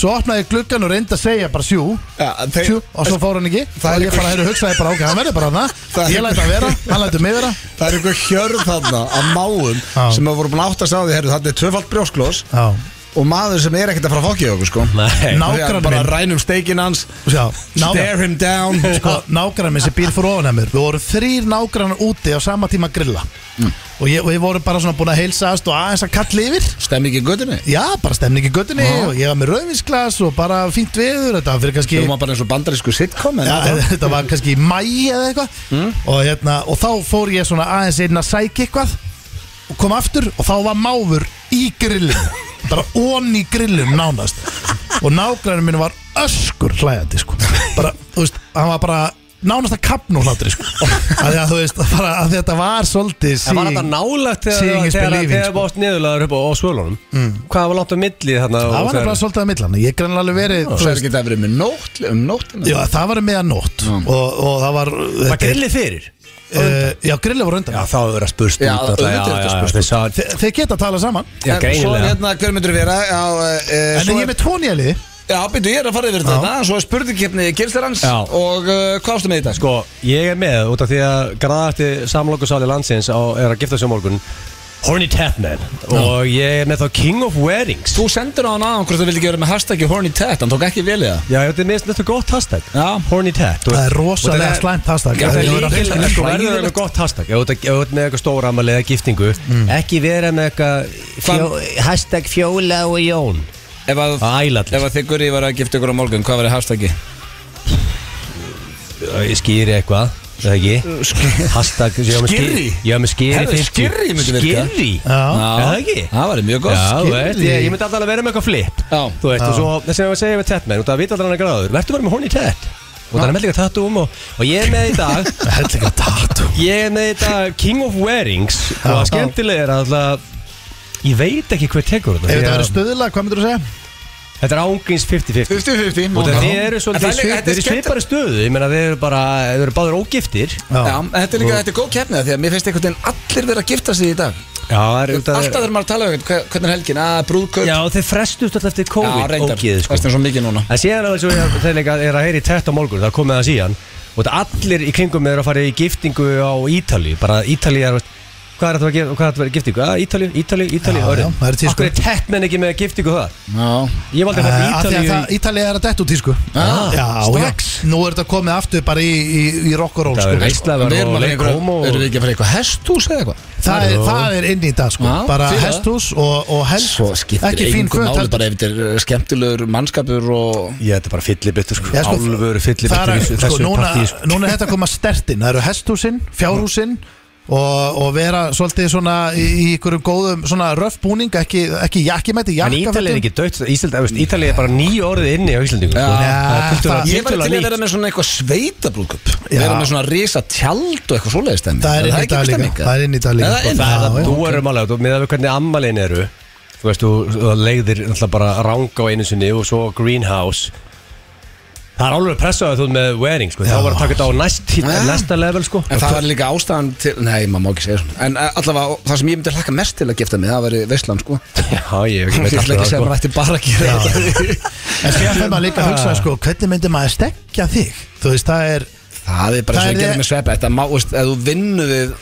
Speaker 2: Svo opnaði ég gluggan og reyndi að segja bara sjú
Speaker 1: Já, þeir-
Speaker 2: Sjú, og svo fór hann ekki
Speaker 1: Það er
Speaker 2: og ég bara, heyrðu, hugsaði bara, ok, hann verður bara
Speaker 1: Það
Speaker 2: hann
Speaker 1: er-
Speaker 2: ég læt að vera, hann lætur mig vera
Speaker 1: Það er einhver hjörð þarna af máum
Speaker 2: Já.
Speaker 1: sem að voru búin að átt að sagði, herru, þarna er tvöfald brjósklós
Speaker 2: Já,
Speaker 1: og maður sem er ekkert að fara að fokkja okkur, sko
Speaker 3: Nei.
Speaker 2: Ná-
Speaker 1: Þegar
Speaker 2: Nágrann
Speaker 1: bara
Speaker 2: minn.
Speaker 1: rænum steikinn hans
Speaker 2: já,
Speaker 1: Stare him down
Speaker 2: sko, nágrann minn sem býr fyrir ofan að mér við vorum þrýr nágrannar úti á sama tíma að grilla og ég, við vorum bara svona búin að heilsaðast og aðeins að kalla yfir
Speaker 1: Stemmi ekki í göttinni
Speaker 2: já, bara stemning í göttunni og ég var með rauðvinsglas og bara fínt viður þetta var fyrir kannski
Speaker 1: Þú maður bara eins og bandarísku sitcom en
Speaker 2: Já,
Speaker 1: það-
Speaker 2: þetta var kannski í mæi eða eitthvað
Speaker 3: Mm.
Speaker 2: og, hérna, og þá fór ég svona aðeins einn að sækja eitthvað og kom aftur og þá var máfur í grillin bara ón í grillin nánast og nágrænum minn var öskur hlægandi sko. bara, þú veist, hann var bara nánast að kapna úr hlátri sko. að, að, þú veist, bara, að þetta var svolítið
Speaker 3: Það var
Speaker 2: seeing-
Speaker 3: þetta nálægt
Speaker 2: seeing
Speaker 3: þegar
Speaker 2: is
Speaker 3: þegar-
Speaker 2: believing,
Speaker 3: þegar það
Speaker 2: sko.
Speaker 3: bótt niðurlaður upp á, á svölunum Hvað var langt á milli þarna og
Speaker 2: það var
Speaker 3: þegar-
Speaker 2: nefnilega svolítið að millan ég grannlega alveg verið
Speaker 1: Svo
Speaker 2: þú
Speaker 1: er
Speaker 2: veist,
Speaker 1: ekki það verið með nótt um nóttina
Speaker 2: já, það var meðan nótt og, og það var,
Speaker 3: Var grillið fyrir?
Speaker 2: uh, já grillið var undan
Speaker 3: Já, þá hefur það spurst
Speaker 1: Já,
Speaker 3: út
Speaker 1: auðvitað er þetta spurst
Speaker 3: spurst
Speaker 2: Þe, þeir geta að tala saman
Speaker 3: Já,
Speaker 1: En Svo er
Speaker 3: greinilega
Speaker 1: hérna, hver myndur vera á, e,
Speaker 2: En ég er með tvo nýja liði
Speaker 1: Já, byrju, ég er að fara yfir þetta Svo er spurningkeppni Kirsterans
Speaker 3: Já.
Speaker 1: Og uh, hvað ástu með í dag?
Speaker 3: Sko, ég er með út af því að graðarti samlokusali landsins á, er að gifta sig á morgun Horny Tapman og ég er með þá King of Weddings
Speaker 1: Þú sendur á hann aðan hvort það vildi ekki vera með hashtaggi Horny Tet Hann tók ekki vel í það
Speaker 3: Já, þetta er mest þetta gott hashtag
Speaker 1: Já.
Speaker 3: Horny Tat
Speaker 2: Það er rosalega slæmt hashtag
Speaker 1: Já,
Speaker 2: Það
Speaker 3: Það
Speaker 2: er
Speaker 3: er
Speaker 2: verið að
Speaker 3: líkilega,
Speaker 2: hlusta.
Speaker 3: sko, verður það með gott hashtag Ef þú ert að- ef þú ert með eitthvað stóra amali eða giftingu Ekki vera með eitthvað fjó- Hashtag fjóla og jón
Speaker 1: Ef að,
Speaker 3: Að æla allir.
Speaker 1: ef að þið gurri var að gifta ykkur á morgun Hvað var í hashtaggi?
Speaker 3: Ég skýri eitthvað Það ekki Hashtag ég var með
Speaker 1: Skýri?
Speaker 3: Ég var með skýri
Speaker 1: Herðu,
Speaker 3: 50.
Speaker 1: skýri myndi virka.
Speaker 3: Skýri
Speaker 2: Já.
Speaker 3: Er það ekki?
Speaker 1: Það var mjög gott
Speaker 3: Já, þú
Speaker 1: Skýr-
Speaker 3: veist, ég, ég myndi alltaf alveg vera með eitthvað flip
Speaker 1: Já.
Speaker 3: Þú veist, og svo, það sem ég var að segja við Tatman og það vita allir hann að gráður, verður bara með horn í Tat og það er með líka tattum og, og ég er með í dag
Speaker 2: Hellinga tatu
Speaker 3: ég er með í dag King of Wearings og það
Speaker 2: Já.
Speaker 3: skemmtilega er að alltaf ég veit ekki hver tekur
Speaker 2: Ef
Speaker 3: þetta
Speaker 2: þetta
Speaker 3: því að
Speaker 2: verið stöðla, hvað myndur þú segja?
Speaker 3: þetta er ángins 50-50
Speaker 1: 50-50
Speaker 3: og
Speaker 1: Já.
Speaker 3: það eru
Speaker 1: En það er
Speaker 3: svolítið í
Speaker 1: líka- þetta er
Speaker 3: svip- þeir eru í
Speaker 1: skemmtilegt.
Speaker 3: svipari stöðu ég meina þeir eru bara, þeir eru báður ógiftir já,
Speaker 1: Já, þetta er líka, þetta er góð keppnið því að mér finnst einhvern veginn allir verið að gifta sig í dag
Speaker 3: það er út af-
Speaker 1: Alltaf þegar maður tala um eitthvað, hvernig er helgin, að brúðkaup
Speaker 3: já, þeir frestust alltaf eftir COVID
Speaker 1: reyndar,
Speaker 3: ógeðið, sko.
Speaker 1: það er svo mikið núna
Speaker 3: En síðan að þessu ég þegar líka er að heyri tett á morgun, það komið það síðan og þetta allir í kringum eru að fara í giftingu á Ítali, bara Ítali er veist, hvað er þetta að gera, hvað er þetta að vera í giftingu? Ah, Ítali, Ítali, Ítali,
Speaker 2: Já, já, það er sko. tísku.
Speaker 3: Akkur er tett menn ekki með giftingu það?
Speaker 1: Já,
Speaker 3: Ég
Speaker 2: Eh,
Speaker 3: valdi að fara í Ítali
Speaker 2: Ítalið er að detta út í sko
Speaker 1: Ah,
Speaker 2: Já, já
Speaker 1: strax.
Speaker 2: Nú er þetta komið aftur bara í, í, í rock'n'roll
Speaker 3: Það
Speaker 2: sko
Speaker 3: verður veist. Ísland var
Speaker 1: Við erum
Speaker 3: og
Speaker 1: að fara í
Speaker 3: Lake
Speaker 1: einhverja-
Speaker 3: Como og-
Speaker 1: Erum við ekki að fara í eitthvað hesthús eða eitthvað?
Speaker 2: Það er, það er inn í dag sko
Speaker 1: Já,
Speaker 2: Bara
Speaker 1: fyrir það.
Speaker 2: hesthús og, og helst
Speaker 1: Svo skiptir
Speaker 2: Ekki fín
Speaker 1: einhver
Speaker 2: föt
Speaker 1: máli
Speaker 2: heldur.
Speaker 1: bara ef þetta er eh, skemmtilegur mannskapur og
Speaker 3: Já, þetta er bara fyllibittur sko,
Speaker 2: Já, sko,
Speaker 3: alvöru
Speaker 2: það
Speaker 3: fyllibittur
Speaker 2: er-
Speaker 3: í þessu,
Speaker 2: sko,
Speaker 3: þessu
Speaker 2: núna,
Speaker 3: partí sko.
Speaker 2: núna er þetta að koma stertin Það eru hesthúsin, fjárhúsin Og, og vera svolítið svona í, í ykkurum góðum svona röf búning ekki, ekki jakkimætti,
Speaker 3: En Ítali er
Speaker 2: jakkafötum
Speaker 3: ekki dött, Ítali er bara nýju orðið inni á Íslandingu sko.
Speaker 1: Já.
Speaker 3: Það er
Speaker 2: það-
Speaker 1: Ég var til að
Speaker 3: tiltölulega
Speaker 1: vera
Speaker 3: nýtt.
Speaker 1: með svona eitthvað sveitabrúðkaup
Speaker 2: Já.
Speaker 1: Vera með svona risa tjald og eitthvað svoleiðist
Speaker 2: Það er inn í dag líka. Það er inn í dag líka.
Speaker 1: Það er inn í
Speaker 2: Það er
Speaker 1: dag
Speaker 2: það.
Speaker 1: líka
Speaker 3: Nú erum alveg, um þú meðan við hvernig ammalin eru Þú veist, þú- þú leiðir náttúrulega bara ranga á einu sinni og svo greenhouse Það er alveg pressað að þú ert með wearing, sko Þá
Speaker 2: Já.
Speaker 3: var að taka þetta á næst,
Speaker 1: Já.
Speaker 3: næsta level, sko
Speaker 1: En það var líka ástæðan til, nei maður má ekki segja svona En eh, allavega það sem ég myndi hlaka mest til að gifta mig Það væri Vestland sko
Speaker 3: Já, ég
Speaker 1: Ég ætla ekki
Speaker 3: veit
Speaker 1: að
Speaker 3: alltaf
Speaker 1: segja að
Speaker 3: það,
Speaker 1: maður ætti bara að gera þetta
Speaker 2: En síðan fyrir maður líka að
Speaker 3: Ah.
Speaker 2: hugsa sko, hvernig myndir maður stekja þig? Þú veist, það er
Speaker 1: Það er bara svo
Speaker 2: Það er
Speaker 1: að gera
Speaker 2: þið-
Speaker 1: með sveppa Þetta má, veist, ef þú vinnu við eh,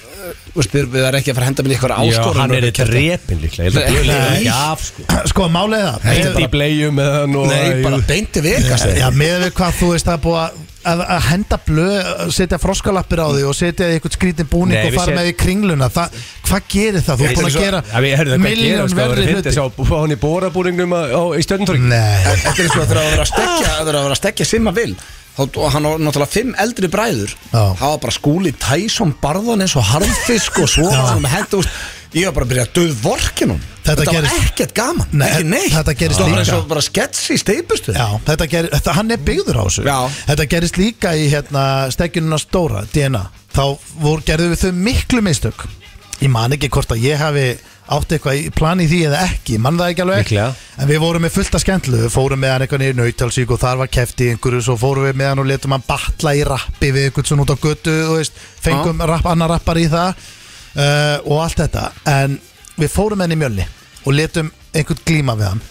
Speaker 1: Veist, við, við erum ekki að fara að henda með eitthvað
Speaker 3: sko Já,
Speaker 1: áskorun
Speaker 3: hann er eitt repin líklega Ég held að
Speaker 1: Nei.
Speaker 3: Björn líður ekki af, sko
Speaker 2: sko málið er það
Speaker 3: Eitt í
Speaker 2: með,
Speaker 3: bleiðu með hann og
Speaker 1: Nei, bara beinti vegast
Speaker 2: Já, með við hvað þú veist það er búið að- að, að henda blöð, að setja froskalappir á þig og setja eitthvað skrítin búning
Speaker 3: Nei,
Speaker 2: og
Speaker 3: við
Speaker 2: fara
Speaker 3: set-
Speaker 2: með í kringluna Þa, hvað gerir það? Þú er búin að gera miljón verri
Speaker 3: hluti
Speaker 2: hluti
Speaker 3: Það er hann í bórabúringnum á- á- í stjörnutorgi
Speaker 2: Nei,
Speaker 1: Þetta er eins og það er að vera að stekja Það er að vera að stekja simma vil og hann á náttúrulega fimm eldri bræður
Speaker 2: Já.
Speaker 1: hafa bara skúli Tyson barðan eins og harðfisk og svo hann með hendur úst ég var bara að byrja að döð vorkinum
Speaker 2: Þetta gerist-
Speaker 1: var ekkert gaman,
Speaker 2: Nei,
Speaker 1: ekki neitt
Speaker 2: þetta gerist
Speaker 1: það var eins
Speaker 2: líka.
Speaker 1: og bara sketsi í steipustu
Speaker 2: já, þetta gerir, þetta, hann er byggður á þessu
Speaker 1: Já.
Speaker 2: Þetta gerist líka í hérna, stekjununa stóra, DNA Þá vor, gerðum við þau miklu mistök Ég man ekki hvort að ég hafi átt eitthvað í plani í því eða ekki, ég man það ekki alveg
Speaker 3: Líklega.
Speaker 2: En við vorum með fullt að skemmtlu, við fórum með hann eitthvað niður nautalsík og þar var kefti einhverju Svo fórum við með hann og letum hann batla í rappi við einhvern svona út á götu, þú veist Fengum rapp, annar rappar í það eh, uh, og allt þetta En við fórum með hann í mjölni og letum einhvern glíma við hann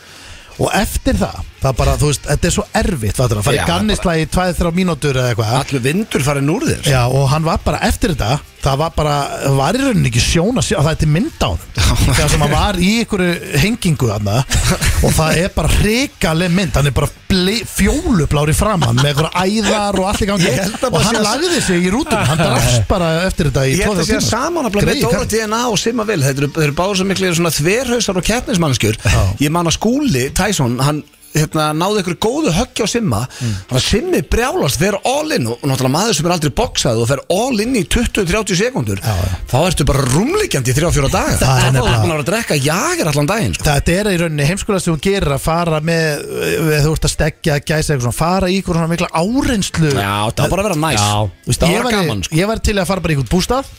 Speaker 2: og eftir það, það er bara, þú veist, þetta er svo erfitt fattur, það fari
Speaker 1: Já,
Speaker 2: gannisla í 2-3 mínútur eða eitthvað
Speaker 1: Allur vindur farin úr þér
Speaker 2: Já, og hann var bara eftir þetta það var bara, það var í rauninni ekki sjón að sjá, það er til mynd á honum þegar sem hann var í einhverju hengingu þarna og það er bara hrikaleg mynd hann er bara ble, fjólublári framann með einhverja æðar og allt í gangi
Speaker 1: Ég held að bara
Speaker 2: og hann
Speaker 1: sé að-
Speaker 2: lagði sig í rútun hann drafst bara eftir þetta í
Speaker 1: Ég held að sé að saman að blá með Dóra DNA og Simma Vil Þeir eru, þeir eru báður svo miklu svona þverhausar og keppnismannskjur Ég man að skúli Tyson, hann hérna, náði ykkur góðu höggja á Simma
Speaker 2: Mm.
Speaker 1: Þannig að Simmi brjálast, fer all in og náttúrulega maður sem er aldrei boxað og fer all in í 20-30 sekundur
Speaker 2: Já, já.
Speaker 1: þá ertu bara rúmliggjandi í 3-4 daga
Speaker 2: Það er
Speaker 1: þá
Speaker 2: nefnilega-
Speaker 1: búin að vera að drekka jager allan daginn sko.
Speaker 2: Þetta er í rauninni heimskulega sem hún gerir að fara með, við þú ert að stekja gæsa eitthvað svona, fara í eitthvað svona mikla áreynslu
Speaker 1: Já, það var bara að vera næs
Speaker 2: Þú veist,
Speaker 1: Það
Speaker 2: ég
Speaker 1: var
Speaker 2: væri-
Speaker 1: gaman sko.
Speaker 2: Ég var til að fara bara í einhvern bústað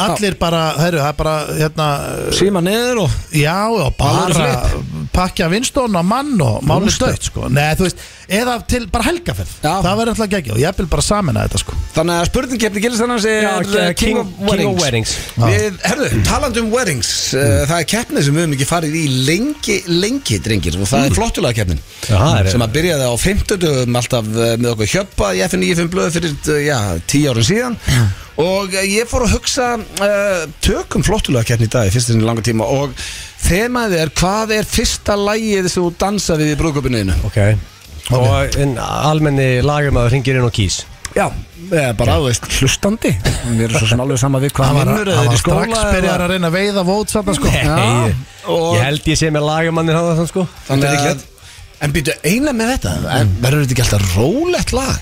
Speaker 2: Allir bara, herru, það er bara hérna,
Speaker 1: Simma niður og
Speaker 2: já, já,
Speaker 1: Alveg
Speaker 2: bara
Speaker 1: flip.
Speaker 2: pakja vinstón og mann og máli
Speaker 1: Rústa.
Speaker 2: stöðt, sko Nei, þú veist, eða til bara helgaferð
Speaker 1: Já.
Speaker 2: Það verður alltaf geggjað og ég vil bara samina þetta, sko
Speaker 1: Þannig að spurningkeppni gilist þannig er
Speaker 3: Já,
Speaker 1: uh, King,
Speaker 3: King-
Speaker 1: of
Speaker 3: King of
Speaker 1: Weddings,
Speaker 3: Weddings.
Speaker 1: Við, herðu, talandi um weddings uh,
Speaker 3: Mm.
Speaker 1: Það er keppni sem við höfum ekki farið í lengi, lengi, drengir Og það er flottulega keppnin
Speaker 3: Mm. Já, það er-
Speaker 1: Sem að byrjaði á 50 Alltaf uh, með okkur hjöppa í FN95 blöð Fyrir, uh, já, 10 árum síðan Og uh, ég fór að hugsa uh, Tökum flottulega keppni í dag í Fyrst sinni í langa tíma Og þemaðið er, hvað er fyrsta lægið sem þú dansa við í brúðköpunniðinu?
Speaker 3: Ok Og en, almenni lagumæður hringir inn og kýs
Speaker 1: Já, eh, bara, þú veist, hlustandi Við erum svo sem alveg sama við hvað
Speaker 2: Hann var,
Speaker 1: vinnur eða
Speaker 2: hann
Speaker 1: er í
Speaker 2: var
Speaker 1: skóla
Speaker 2: strax
Speaker 1: eða-
Speaker 2: byrjar að reyna að veiða vót saman, sko
Speaker 1: Nei.
Speaker 3: Já,
Speaker 1: Já, og-
Speaker 3: Ég held ég sé með lagumannir hann þann sko
Speaker 1: Þannig að En býtu eina með þetta
Speaker 2: Mm.
Speaker 1: en Verður þetta ekki alltaf rólegt lag?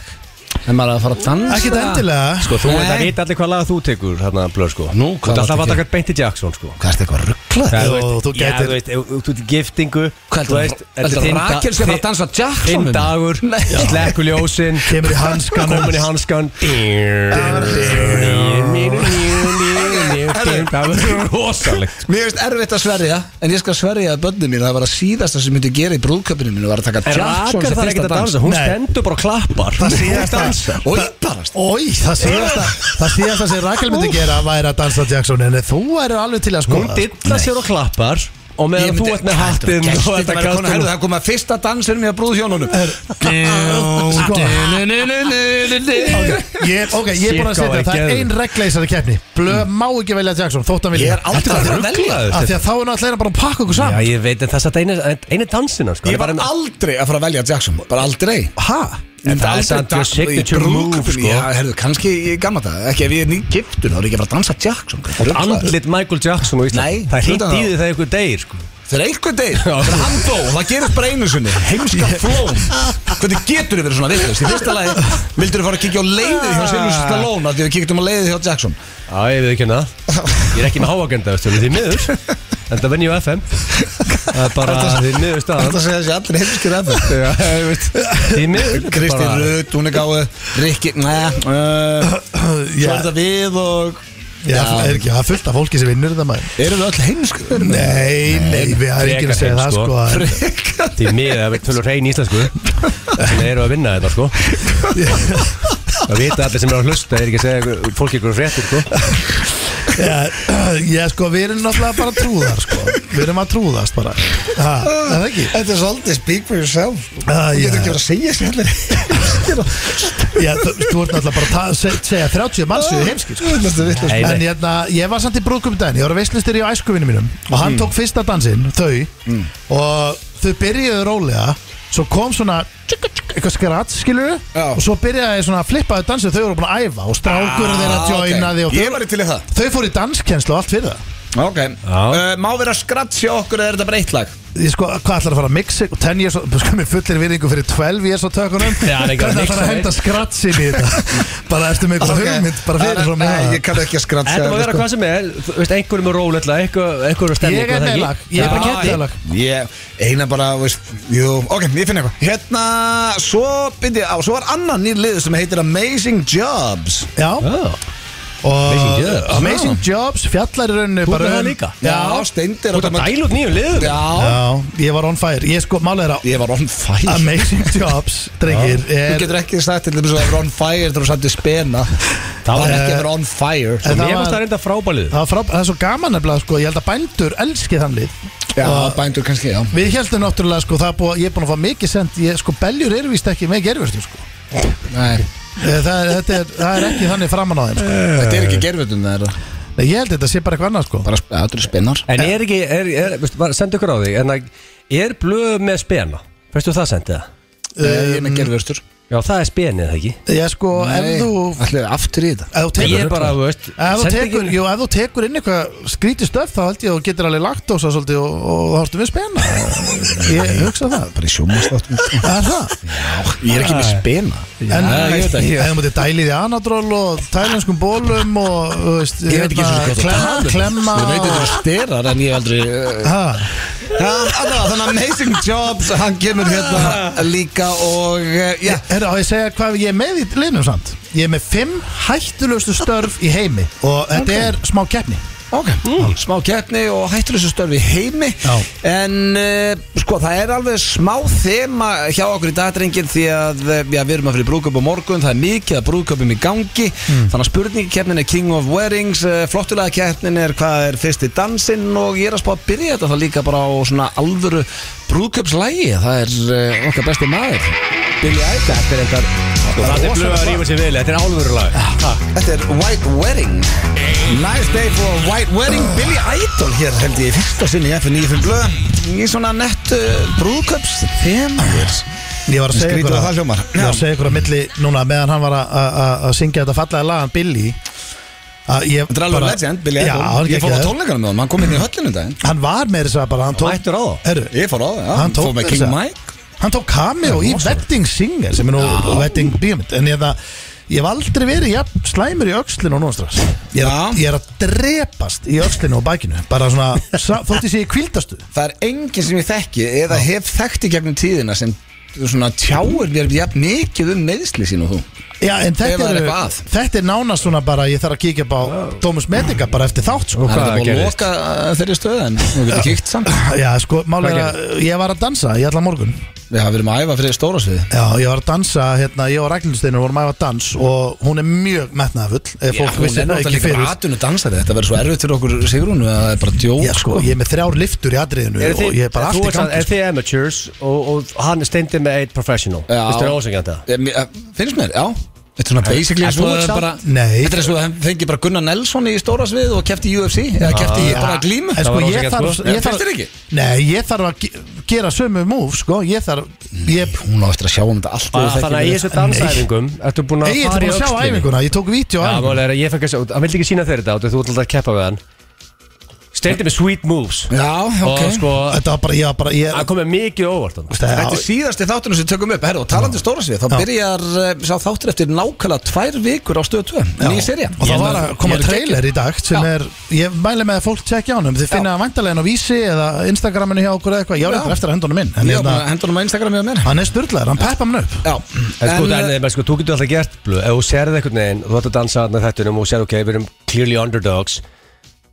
Speaker 1: En maður að fara að dansa
Speaker 2: Ekki þetta endilega
Speaker 3: Sko þú
Speaker 1: Nei.
Speaker 3: veit að vita allir hvað laga þú tekur hérna blöð sko
Speaker 1: Nú,
Speaker 3: Þú
Speaker 1: hvað
Speaker 3: ert
Speaker 1: varstu
Speaker 3: alltaf að
Speaker 1: að
Speaker 3: taka Beinti Jackson sko
Speaker 1: Hvað er þetta eitthvað rugglað?
Speaker 2: Jú,
Speaker 3: veist-
Speaker 2: þú
Speaker 3: Já,
Speaker 2: gætir-
Speaker 3: þú veist, ef- ef þú ert í giftingu
Speaker 1: Hvað
Speaker 3: þú
Speaker 1: er
Speaker 3: veist,
Speaker 1: þetta? Þetta
Speaker 3: er
Speaker 1: er
Speaker 3: þinn da-
Speaker 1: Rakel sem var að
Speaker 3: þinn-
Speaker 1: dansa Jackson
Speaker 3: Þinn
Speaker 1: með mér?
Speaker 3: dagur,
Speaker 1: Nei.
Speaker 3: slekku ljósin
Speaker 2: Kemur í hanskanum.
Speaker 3: Komin í hanskan Það var rosalegt
Speaker 1: Mér finnst erfitt að sverja En ég skal sverja að bönni mín að Það var að síðasta sem myndi gera í brúðköpinu mínu Var að taka
Speaker 3: En
Speaker 1: Jackson
Speaker 3: Rakel
Speaker 1: sem
Speaker 3: þarf ekki
Speaker 1: fyrsta
Speaker 3: að
Speaker 1: dans
Speaker 3: dansa, hún
Speaker 2: Nei.
Speaker 3: stendur bara og klappar
Speaker 2: Það sé
Speaker 3: Hún
Speaker 2: ég það.
Speaker 3: dansar.
Speaker 1: Og íbarast
Speaker 2: Ói, það síðasta Það síðasta sem Rakel myndi gera væri að dansa Jackson En þú er alveg til að sko
Speaker 3: Hún dilla sér og klappar Og meðan þú ert með hattinn og þetta
Speaker 1: kastur
Speaker 3: kastur
Speaker 1: Það er komið að fyrsta dansinum í að brúðhjónunum
Speaker 2: Sko.
Speaker 1: Ég
Speaker 2: Ég, ok, ég er búin að setja
Speaker 3: Sicko er
Speaker 2: það er
Speaker 3: geðveikur.
Speaker 2: ein regla í Mm. þessari keppni Blöð má ekki velja Jackson, þótt hann vilja
Speaker 1: er aldrei að fara að velja
Speaker 3: ruglaður.
Speaker 2: Af því að þá er náttúrulega bara að pakka okkur
Speaker 3: Já
Speaker 2: saman
Speaker 3: ég veit en það satt einu, einu dansina sko.
Speaker 1: Ég var
Speaker 3: með-
Speaker 1: aldrei að fara að velja Jackson Bara aldrei
Speaker 2: Hæ?
Speaker 3: En það er
Speaker 1: aldrei
Speaker 3: samt your
Speaker 1: dans-
Speaker 3: signature
Speaker 1: í brúðkaupinu,
Speaker 3: move, sko.
Speaker 1: Já, herðu, kannski ég gamma það Ekki ef ég er ný giftun, þá er ég ekki að fara að dansa Jackson hvað er ruglaður?
Speaker 3: Andlit Michael Jackson
Speaker 1: Nei,
Speaker 3: og Ísland Það
Speaker 1: hluta
Speaker 3: hindi í
Speaker 1: það.
Speaker 3: því þegar ykkur degir sko.
Speaker 1: Þegar einhver deyr, þegar hann dó, það gerist bara einu sinni Heimska flóm Hvernig getur þið verið svona villust? Í fyrsta lagi vildur þið fara að kíkja á leiðið hjá Silvus Stallone af Því við kíktum á leiðið hjá Jackson
Speaker 3: Já ég veit ekki hérna Ég er ekki með háagenda veistu, Því miður En það venn ég á FM Það er bara því miður staðan
Speaker 1: Þetta segja þessi allir heimskir eftir
Speaker 3: Já, ég veit. Því miður þetta er
Speaker 1: Kristi
Speaker 3: bara-
Speaker 1: Rut, hún er gáð Rikki, næja uh,
Speaker 3: Eh,
Speaker 1: Svo er
Speaker 2: Já,
Speaker 1: þetta við og
Speaker 2: já, er ekki, það er fullt af fólki sem vinnur þetta maður
Speaker 1: Eru við öll heimskur?
Speaker 2: Nei, nei, við erum ekki að
Speaker 3: frekar
Speaker 2: segja
Speaker 3: hrein,
Speaker 2: það
Speaker 3: sko.
Speaker 2: sko en-
Speaker 3: Því miður það er tölur hrein íslensku Þannig eru að vinna þetta sko Það vita allir sem eru að hlusta Er ekki að segja ykkur- fólki ykkur fréttur sko
Speaker 2: Já, já, sko, við erum náttúrulega bara trúðar sko Við erum að trúðast bara Ha, er það ekki?
Speaker 1: Þetta er svolítið speak for yourself sko.
Speaker 2: Ah,
Speaker 1: Þú
Speaker 2: já.
Speaker 1: getur ekki verið að segja sér allir heimskir og-
Speaker 2: Já, þú, þú ert náttúrulega bara að ta- se- segja 30 manns við heimskir sko
Speaker 1: Þú veist það vitlaust.
Speaker 3: Nei,
Speaker 2: En
Speaker 3: nei.
Speaker 2: hérna, ég var samt í brúðkum daginn Ég var að veislistir í æskuvinni mínum Og hann tók fyrsta dansinn, þau Og þau byrjuðu rólega Svo kom svona tjúk, tjúk, Eitthvað skratt, skilur
Speaker 1: Já.
Speaker 2: Og svo byrjaði svona að flippa þau dansið Þau voru búin að æfa og strákur þeirra
Speaker 1: Ah, ok.
Speaker 2: joinaði og
Speaker 1: Ég var í til í það
Speaker 2: Þau fóru í danskjenslu og allt fyrir það
Speaker 1: Ok uh, Má vera skratt sjá okkur eða er þetta breytt lag?
Speaker 2: Ég sko, hvað ætlar að fara að mixa og 10 years, sko, mér fullir virðingu fyrir 12 years á tökunum
Speaker 3: Já, það er ekki að
Speaker 2: Hvernig
Speaker 3: mixa
Speaker 2: ætlar að
Speaker 3: neitt.
Speaker 2: henda skrattsin í þetta Bara eftir með eitthvað
Speaker 1: Ok.
Speaker 2: hugmynd, bara fyrir svo með
Speaker 1: Nei,
Speaker 2: það.
Speaker 1: Ég kann ekki að skratt
Speaker 3: Þetta má vera hvað sem er, þú veist, einhverjum er rólega, einhverjum er
Speaker 2: sko.
Speaker 3: stemning
Speaker 2: Ég er
Speaker 3: það
Speaker 2: með
Speaker 3: ekki?
Speaker 2: lag, ég er bara
Speaker 1: Já,
Speaker 2: kettið
Speaker 1: ég-
Speaker 2: lag
Speaker 1: Ég, eina bara, veist, jú, ok, ég finn eitthvað Hérna, svo byndi ég á, svo var annan nýr lið sem heitir Amazing Jobs
Speaker 2: Já,
Speaker 3: Já. Amazing
Speaker 2: Amazing
Speaker 3: Jobs.
Speaker 2: Jobs, Amazing Jobs fjallar í rauninu
Speaker 3: Þú ert
Speaker 2: bara
Speaker 3: með það
Speaker 2: um-
Speaker 3: líka?
Speaker 2: Já,
Speaker 1: steindir
Speaker 3: Þú ert að dæla út nýjum liðum
Speaker 1: Já,
Speaker 2: já, ég var on fire Ég sko, málega er að
Speaker 1: ég var on fire
Speaker 2: Amazing Jobs, drengir
Speaker 1: Þú
Speaker 2: er,
Speaker 1: getur ekki sagt til þess að það er on fire þegar þú sattu spena Það var ekki að vera on fire
Speaker 2: En
Speaker 3: Mér
Speaker 2: það
Speaker 3: finnst
Speaker 2: var-
Speaker 3: það reynda frábælið
Speaker 2: það, var frá, það er svo gaman nefnilega sko, Ég held að bændur elski þann lið
Speaker 4: Já,
Speaker 2: Og-
Speaker 4: bændur kannski, já
Speaker 2: Við heldum náttúrulega sko, það er búið, að- ég er búin að fá mikið sent ég, sko, beljur eru víst ekki með gerfurtum sko.
Speaker 4: Nei,
Speaker 2: Eh, það, er, þetta er, það er ekki þannig framan á þeim sko.
Speaker 4: þetta er
Speaker 1: Eh,
Speaker 4: ekki gerfutun það er
Speaker 2: Nei, Ég held að þetta sé bara eitthvað annað sko.
Speaker 4: bara, ja, þetta er spinnar
Speaker 1: Eh,
Speaker 3: En er ekki, er, er, veist, bara sendu ykkur á því En að- er blöð með spena? Fyrstu það sendið það?
Speaker 4: Nei, Ég er með gerfutur
Speaker 3: Já, það er spenið, það ekki?
Speaker 2: Ég sko, ef þú
Speaker 4: Allir aftur í þetta
Speaker 2: ef þú tekur,
Speaker 3: Ég er bara, þú veist,
Speaker 2: ef þú
Speaker 3: sendi
Speaker 2: tekur,
Speaker 3: ekki-
Speaker 2: jú, ef þú tekur inn eitthvað skrítið stöf þá held ég að þú getur alveg lagt ósa svolítið og, og þá ertu við spenna ég hugsa það
Speaker 4: Bara í sjómastátt
Speaker 1: sko.
Speaker 2: Það er það
Speaker 4: Ég er ekki með spina
Speaker 2: En
Speaker 3: ég veit ekki.
Speaker 2: ef þú mútið dælið í anadról og tælenskum bólum og þú veist,
Speaker 4: Ég veit ekki eins og
Speaker 2: hérna,
Speaker 4: hvað
Speaker 2: klemma, klemma
Speaker 4: um Ég veit þetta er styrar en ég hef aldrei uh,
Speaker 2: Ha,
Speaker 1: Já, allavega, þannig að Amazing Jobs, hann kemur hérna líka og eh, já,
Speaker 2: Herra, á ég að segja hvað ég er með í liðnum samt Ég er með fimm hættulegustu störf í heimi Og þetta er smá keppni
Speaker 1: ok,
Speaker 3: Mm.
Speaker 1: smá keppni og hættulegstu störf í heimi
Speaker 2: Já.
Speaker 1: En uh, sko, það er alveg smá þema hjá okkur í dagdrengin Því að eh, já, við erum að fyrir brúköp á morgun, það er mikið að brúköpum í gangi
Speaker 3: Mm.
Speaker 1: Þannig að spurningkeppnin er King of Wearings, uh, flottulega keppnin er hvað er fyrsti dansinn Og ég er að spá að byrja þetta það líka bara á svona alvöru brúköpslægi Það er uh, okkar besti maður, Billy Idol
Speaker 3: Þetta er einhver Það er blöð að rífa sér vel, þetta er álverulag
Speaker 1: Þetta er White Wedding Nice day for a White Wedding Billy Idol hér held ég í fyrsta sinni í FN95 blöð Í svona nett uh, brúköps þemaður
Speaker 2: Ég var að segja
Speaker 1: Skrítið
Speaker 2: ykkur
Speaker 1: að
Speaker 2: að
Speaker 1: það hljómar
Speaker 2: Ég var að segja ykkur að milli núna meðan hann var að- að að- að syngja þetta fallega lagan Billy Þetta
Speaker 1: Þetta er alveg legend, Billy
Speaker 2: Já, hann
Speaker 1: Idol
Speaker 2: er
Speaker 1: Ég fór á
Speaker 2: geggjaður.
Speaker 1: tónleikana með honum, hann kom inn í höllinu daginn
Speaker 2: Hann var með þess að bara Hann tók,
Speaker 3: Mættur á það
Speaker 2: heru,
Speaker 1: Ég fór á það, já,
Speaker 2: Hann tók
Speaker 1: fór með
Speaker 2: þessa.
Speaker 1: King Mike
Speaker 2: hann tók cameo í Wedding Singer Sem er nú Wedding Bíomind En ég, það, ég hef aldrei verið jafn, slæmur í öxlinu núna strax ég er, að,
Speaker 1: Já.
Speaker 2: ég er að drepast í öxlinu og bækinu Bara svona, sa- þótt ég sé í kvildastu
Speaker 1: Það er enginn sem ég þekki eða hef þekkti gegnum tíðina sem svona tjáir mér jafn mikið um meðsli sín og þú
Speaker 2: Já, en
Speaker 1: Ef
Speaker 2: þetta
Speaker 1: það er
Speaker 2: er,
Speaker 1: eitthvað að.
Speaker 2: þetta er nánast svona bara Ég þarf að kíkja upp á Dómus Medica bara eftir þátt sko.
Speaker 3: Og
Speaker 1: Það
Speaker 3: hvað
Speaker 1: er þetta búið að
Speaker 3: gerðist?
Speaker 1: loka uh, þeirri stöð en þú getur kíkt samt
Speaker 2: Já, sko, málega
Speaker 3: Hvað
Speaker 2: að ég var að dansa í allan morgun
Speaker 1: Við hafa verið að æfa fyrir stóra sviði
Speaker 2: Já, ég var að dansa, hérna, ég og Ragnhildur Steinar vorum að æfa dans og hún er mjög metnaðafull ef fólk vissi það ekki fyrir
Speaker 1: atvinnu dansari Þetta verður svo erfitt fyrir okkur Sigrúnu að það er bara djók
Speaker 2: Já, sko, ég er með þrjár liftur í atriðinu
Speaker 3: Er
Speaker 2: og
Speaker 3: þið,
Speaker 2: ég er bara allt
Speaker 3: þú
Speaker 2: í
Speaker 3: ert sann-
Speaker 2: gangi
Speaker 3: er
Speaker 2: sko.
Speaker 3: þið amateurs og, og hann stendir með eitt professional
Speaker 1: Já.
Speaker 3: Vistu það ósengjandi það?
Speaker 1: Ég- mér- eh, Finnst mér, já Þetta er svona basically
Speaker 3: En
Speaker 1: eins og
Speaker 3: þú
Speaker 1: það
Speaker 3: ert
Speaker 1: er bara
Speaker 2: samt- Nei.
Speaker 1: Þetta er eins og það fengi bara Gunnar Nelson í stóra svið og kefti í UFC eða kefti í
Speaker 2: Já,
Speaker 1: bara glímu
Speaker 2: En
Speaker 3: Það
Speaker 2: sko,
Speaker 3: var
Speaker 2: ég
Speaker 3: ósanngjarnt,
Speaker 2: þarf ég
Speaker 3: sko.
Speaker 1: En
Speaker 2: þarf-
Speaker 1: finnst þér ekki?
Speaker 2: Nei, ég þarf að ge- gera sömu múf, sko Ég þarf, ég
Speaker 1: Hún á eftir að sjá um þetta allt
Speaker 3: Bara Þannig að í þessu dansæfingum Ertu búin að
Speaker 2: Nei, ég ætla búin
Speaker 3: fara í
Speaker 2: að sjá
Speaker 3: öxlinni?
Speaker 2: æfinguna, ég tók vídeo
Speaker 3: Mm. Já,
Speaker 2: æfinguna
Speaker 3: málega er að ég fekk að sjá Hann vildi ekki sína þeir þetta áttu, Þú ætlaði að keppa við hann Stendir með sweet moves
Speaker 1: Já, ok
Speaker 3: Og sko,
Speaker 2: Þetta var bara, ég var bara, ég
Speaker 3: hann kom með mikið óvart hann.
Speaker 2: Þetta
Speaker 1: Þetta er síðasti þáttunum sem við tökum upp Herru, og talandi um stóra svið Þá
Speaker 2: Já.
Speaker 1: byrjar eh, sá þáttur eftir nákvæmlega tvær vikur á stöðu 2
Speaker 2: Já.
Speaker 1: Ný serja
Speaker 2: Og það var að koma trailer í dag sem
Speaker 1: Já.
Speaker 2: er, ég mæli með að fólk tjekkja á hann þið finna það væntalegin á vísi eða Instagraminu hjá okkur eða eitthvað, ég á
Speaker 1: Já.
Speaker 2: reyndar eftir að hendunum minn en
Speaker 1: Ég
Speaker 2: hérna,
Speaker 1: var hendur um að Instagram með mér
Speaker 2: hann er styrlaður, hann peppa hann upp
Speaker 1: Já
Speaker 3: En sko,
Speaker 1: En, eh,
Speaker 3: en,
Speaker 2: eh,
Speaker 3: en, sko, þú getur alltaf gert blöð Ef þú serði einhvern veginn, þú ætti að dansa þarna í þættunum og serði, ok, við erum clearly underdogs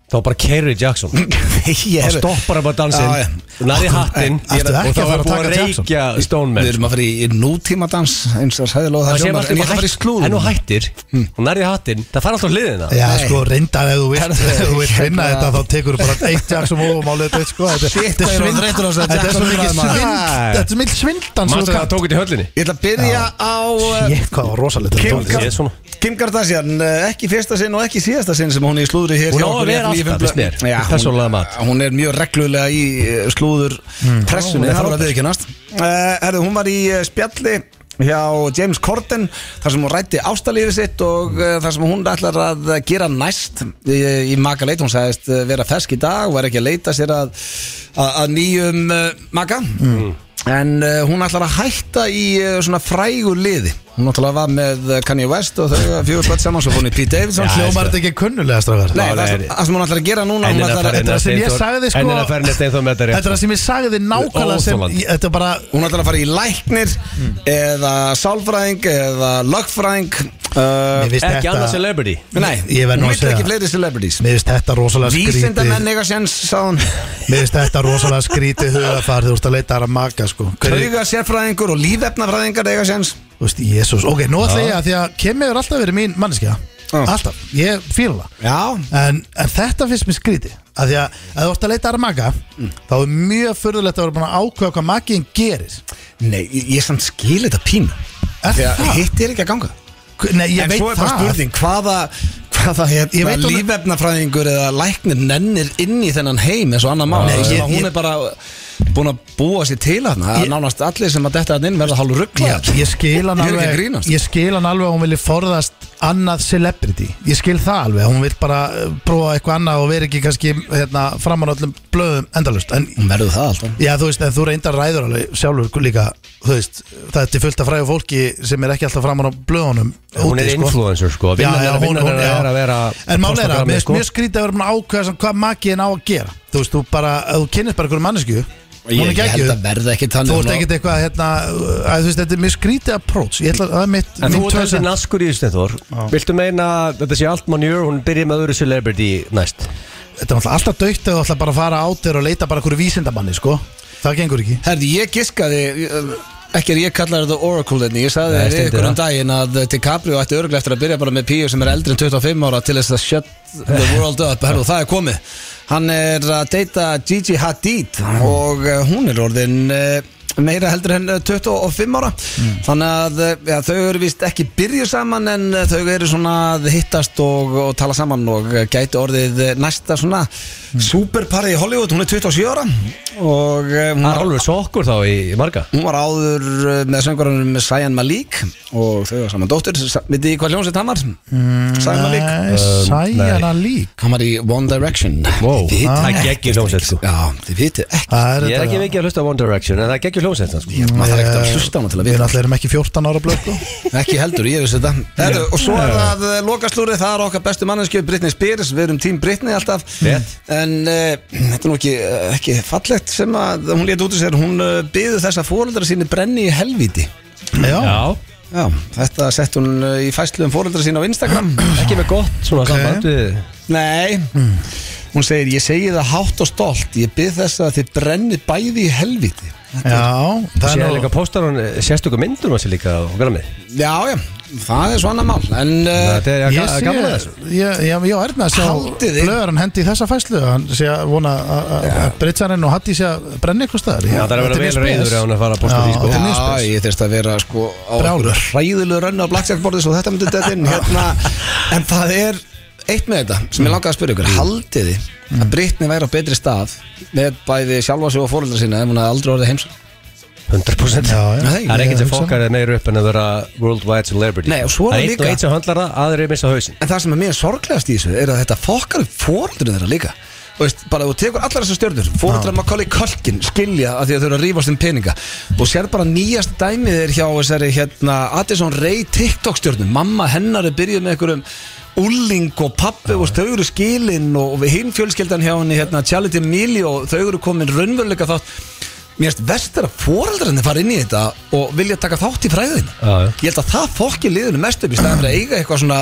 Speaker 3: Þá bara Kerry Jackson
Speaker 1: Ég
Speaker 3: Þá
Speaker 1: er
Speaker 3: stoppar hann bara
Speaker 1: Já, já.
Speaker 3: dansinn Nari hattinn
Speaker 2: Ertu
Speaker 3: ég-
Speaker 2: ekki
Speaker 3: Og þá
Speaker 2: að fara að
Speaker 3: er búið að
Speaker 2: taka Jackson?
Speaker 3: reykja Stone Man
Speaker 1: Við erum að fara í, í nútíma dans eins og sæðilega það
Speaker 3: Það sé
Speaker 1: hljómar en ég ætla að
Speaker 3: bara
Speaker 1: fara í slúður
Speaker 3: En þú hættir, og nærði hattinn Það fara alltaf á hliðina
Speaker 2: Hmm. Já, sko, reyndar ef þú vilt,
Speaker 1: Herðu,
Speaker 2: ef þú vilt finna
Speaker 1: hérna-
Speaker 2: þetta þá tekur þú bara eitt jakk sem ofum álið þetta, sko Þetta er-
Speaker 1: Shit,
Speaker 2: þetta
Speaker 1: hvað ég er orðinn
Speaker 2: er svind-
Speaker 1: þreyttur á þessu
Speaker 2: þetta er svo
Speaker 1: Jackson
Speaker 2: mikið
Speaker 1: umræðum,
Speaker 2: svind
Speaker 3: maður.
Speaker 2: Þetta er svo mikið svindan
Speaker 3: Manstu hvað það tók þetta í höllinni?
Speaker 1: Ég ætla að byrja á uh,
Speaker 2: Shit, hvað það var rosalegt þetta
Speaker 1: Kim,
Speaker 2: tónlist.
Speaker 1: Kar
Speaker 3: Ég er svona.
Speaker 1: Kim Kardashian uh, ekki fyrsta sinn og ekki síðasta sinn sem hún er í slúðri hér
Speaker 3: Hún
Speaker 1: hjá
Speaker 3: á að
Speaker 1: okkur í
Speaker 3: vera
Speaker 1: FNÍ
Speaker 3: alltaf,
Speaker 1: fimm blöð.
Speaker 3: finnst mér,
Speaker 1: Já,
Speaker 3: í
Speaker 1: hún-
Speaker 3: persónulega mat.
Speaker 1: Hún er mjög reglulega í uh, slúður pressunni,
Speaker 3: Já, hún er
Speaker 1: það var
Speaker 3: frábær.
Speaker 1: að viðkennast uh, Herðu, hún var í uh, spjalli hjá James Corden þar sem hún rætti ástalífið sitt og uh, þar sem hún ætlar að gera næst í, í maka leit, hún sagðist uh, vera fersk í dag og er ekki að leita sér að, að, að nýjum uh, maka
Speaker 3: Mm.
Speaker 1: En uh, hún ætlar að hætta í uh, svona frægur liði Hún náttúrulega var með uh, Kanye West og þau eiga fjögur blætt saman Svo fór hún í Pete Davidson
Speaker 3: Já,
Speaker 2: Hljómar þetta ekki kunnulega strafgar
Speaker 1: Nei,
Speaker 3: Já,
Speaker 1: það er
Speaker 3: nei.
Speaker 1: það sem hún ætlar að gera núna
Speaker 3: En
Speaker 1: Hún
Speaker 3: er
Speaker 1: ætlar að,
Speaker 3: að
Speaker 2: Þetta er það sem ég
Speaker 3: Steinþór-
Speaker 2: sagði sko
Speaker 3: en er að fara henni Steinþór með þetta rétt. sko.
Speaker 2: Þetta er það sem ég sagði nákvæmlega sem
Speaker 3: Óþolandi.
Speaker 2: Þetta er bara
Speaker 1: hún ætlar að fara í læknir Eða sálfræðing Eða lögfræðing
Speaker 2: Mér
Speaker 1: uh,
Speaker 2: finnst
Speaker 3: Ekki
Speaker 2: þetta-
Speaker 3: annað celebrity
Speaker 1: Nei,
Speaker 2: Ég verð
Speaker 1: hún
Speaker 2: nú að
Speaker 1: vill
Speaker 2: segja
Speaker 1: ekki
Speaker 2: það.
Speaker 1: fleiri celebrities
Speaker 2: Mér finnst þetta rosalega skrítið
Speaker 1: Vísindamenn eiga séns, sagði hún
Speaker 2: Mér finnst þetta rosalega skrítið hugafar Þú ert að leita þar að maka sko Hver,
Speaker 1: Hauga sérfræðingur og lífefnafræðingar eiga séns
Speaker 2: Þú veist, jésús Ok, nú ætla ég að því að Kim
Speaker 1: Ah.
Speaker 2: hefur alltaf verið mín manneskja
Speaker 1: Já.
Speaker 2: Alltaf, ég fíla það
Speaker 1: Já,
Speaker 2: en, en þetta finnst mér skrítið að því að ef þú ert að leita að maga
Speaker 1: Mm.
Speaker 2: þá er mjög furðulegt að vera búin að ákveða hvað magiðin gerir
Speaker 1: Nei, ég, ég samt skil þetta pínu
Speaker 2: Er
Speaker 1: Þegar
Speaker 2: það?
Speaker 1: hitt er ekki að ganga
Speaker 2: K- Nei, ég
Speaker 1: En
Speaker 2: veit
Speaker 1: svo er bara
Speaker 2: það
Speaker 1: spurning Hvaða, hvaða
Speaker 2: Ég
Speaker 1: hérna,
Speaker 2: veit hún-
Speaker 1: lífefnafræðingur eða læknir nennir inn í þennan heim eins og annar mál
Speaker 2: Nei,
Speaker 1: Nei,
Speaker 2: ég-
Speaker 1: Hún
Speaker 2: ég-
Speaker 1: er bara búin að búa sér til hann
Speaker 2: Ég-
Speaker 1: Nánast allir sem að detta hann inn verða hálf ruggla
Speaker 2: ég, ég skil hann
Speaker 1: Ég er ekki að
Speaker 2: alveg
Speaker 1: grínast.
Speaker 2: Ég skil hann alveg að hún vilji forðast annað celebrity Ég skil það alveg Hún vil bara eh, prófa eitthvað annað og vera ekki kannski hérna, framan á öllum blöðum endalust En
Speaker 1: Verður það alltaf
Speaker 2: Já, þú veist, en þú reyndar ræður alveg sjálfur líka, þú veist, það er til fullt af fræðu fólki sem er ekki alltaf framan á blöðunum
Speaker 3: Hún
Speaker 2: úti,
Speaker 3: er influencer sko
Speaker 2: Já,
Speaker 3: Vinnan
Speaker 2: já,
Speaker 3: er-
Speaker 2: hún,
Speaker 3: vinnan
Speaker 2: hún,
Speaker 3: er
Speaker 2: já.
Speaker 3: að vera
Speaker 2: En máli er að,
Speaker 3: Instagramið,
Speaker 2: mér
Speaker 3: sko.
Speaker 2: mjög skrítið að vera búin að ákveða sem hvað magiðin á að gera Þú veist, þú bara, ef þú kynnist bara einhverjum mannesku Hún
Speaker 1: Ég, ég
Speaker 2: er
Speaker 1: held
Speaker 2: geggjuð
Speaker 1: að verða ekki þannig
Speaker 2: Þú ert
Speaker 1: hún á-
Speaker 2: ekkert eitthvað, hérna, að, þú veist, þetta er mjög skrítið approach Ég ætla að það er mitt,
Speaker 3: En þú
Speaker 2: mitt
Speaker 3: ert þessi
Speaker 2: tölsa
Speaker 3: naskur í þessu Þór Viltu meina að þetta sé allt manjur Hún byrja með öðru celebrity næst
Speaker 2: Þetta er náttúrulega alltaf dögt eða þú ætla bara að fara át þér og leita bara hverju vísindamanni, sko Það gengur ekki
Speaker 1: Herði, ég giskaði eh, ekki er ég kallar þetta Oracle þenni, ég sagði
Speaker 3: Nei,
Speaker 1: þér
Speaker 3: stendur
Speaker 1: ykkur um
Speaker 3: það.
Speaker 1: daginn að DiCaprio ætti örglega eftir að byrja bara með píu sem er eldri en 25 ára til þess að shut the world up, herru, það er komið hann er að deyta Gigi Hadid og eh, hún er orðin eh, meira heldur en eh, 25 ára
Speaker 3: Mm.
Speaker 1: þannig að eh, ja, þau eru vist ekki byrjuð saman en eh, þau eru svona að hittast og, og tala saman og eh, gæti orðið eh, næsta svona
Speaker 3: Mm.
Speaker 1: superpari í Hollywood, hún er 27 ára og eh, hún
Speaker 3: Það
Speaker 2: Ah.
Speaker 1: er
Speaker 3: er alveg sokkur þá í í marga
Speaker 1: Hún var áður uh, með söngurunum Sajan Malik og þau var saman dóttur, Sa- vitið þið hvað hljómsveit hann var? Mm, Sajan Malik
Speaker 2: Nei,
Speaker 3: Um,
Speaker 2: Sæjana
Speaker 3: nei.
Speaker 2: lík
Speaker 1: Hann var í One Direction
Speaker 3: Wow,
Speaker 1: Þið vitið
Speaker 3: það
Speaker 1: ekkert,
Speaker 3: geggir hljómsveit sko
Speaker 1: Já, þið vitið ekki
Speaker 2: Það
Speaker 3: Ég er
Speaker 2: þetta-
Speaker 3: ekki mikið að hlusta á One Direction En það geggir hljómsveit sko.
Speaker 1: maður þarf ekkert að
Speaker 2: Ég-
Speaker 1: hlusta á hana til að
Speaker 2: Við
Speaker 1: vita.
Speaker 2: náttúrulega erum ekki 14 ára blöð sko.
Speaker 1: Ekki heldur, ég vissi þetta Heru, Og svo er það eh, lokaslúrið, það er okkar bestu manneskju Brittany Spears, við erum tím Brittany alltaf
Speaker 3: Rétt.
Speaker 1: En uh, þetta er nú ekki, eh, ekki fallegt sem að hún lét út í sér Hún uh, byðu þess að fóreldra síni brenni í helvíti
Speaker 2: Já,
Speaker 3: Já,
Speaker 1: Já, þetta sett hún eh, í fæslu um fóreldra sína á Instagram
Speaker 3: ekki með gott svona samband við
Speaker 1: Nei Hún segir, ég segi það hátt og stolt Ég byrð þess að þið brenni bæði í helviti
Speaker 2: já það
Speaker 3: Sér
Speaker 2: er
Speaker 3: líka
Speaker 2: nú
Speaker 3: póstar hún sérstökum myndur hans um líka á græmið
Speaker 1: Já, já, það er svona mál En uh,
Speaker 3: Þetta er
Speaker 2: Eh, Ég
Speaker 3: ga-
Speaker 2: sé,
Speaker 3: gaman að þessu
Speaker 2: ég, ég, ég er með að sjá
Speaker 1: Haldið þið?
Speaker 2: blöðarinn hendi í þessa fæslu hann sé að vona að- að- að Britsarinn og Hatti sé að brenna eitthvað staðar
Speaker 3: Já, það er að vera vel reyður ef hann er að fara að posta
Speaker 2: Já,
Speaker 3: því sko
Speaker 2: þetta er mjög
Speaker 1: Já, ég þyrst að vera sko á
Speaker 2: Brjálur.
Speaker 1: ræðilegu rönnu á blackjackborði svo þetta myndi þetta inn hérna, En það er eitt með þetta sem ég langaði að spyrja ykkur Haldið þið að Brittany væri á betri stað með bæði sjálfa sig og fóreldra sína ef hún hafði aldrei orðið heimsum
Speaker 3: 100%
Speaker 2: Já, já.
Speaker 3: Það er ekkert sem
Speaker 2: Ég hugsa.
Speaker 3: fokkar er meira upp en að vera worldwide celebrity
Speaker 1: Nei, og svo er
Speaker 3: Það
Speaker 1: það
Speaker 3: einn
Speaker 1: líka-
Speaker 3: og einn sem höndlar það, aðri missa hausinn
Speaker 1: En það sem er mér sorglegast í þessu er að þetta fokkar upp fóröldurinn þeirra líka Þú veist, bara þú tekur allar þessar stjörnur fóröldra Macaulay Culkin skilja að því að þau eru að rífast um peninga og sér bara nýjast dæmið er hjá þessari hérna Addison Ray TikTok stjörnum mamma hennar er byrjuð með einhverjum Ulling og pappi og þau eru skilin og við hinn fjölskeldan hjá henni hérna Charlotte Emilio og þau eru komin raunveruleika þátt Mér finnst vest er að fóreldrarnir fara inn í þetta og vilja taka þátt í fræðin
Speaker 3: Já, já.
Speaker 1: Ég held að það fokki liðinu mest upp í staðan fyrir að eiga eitthvað svona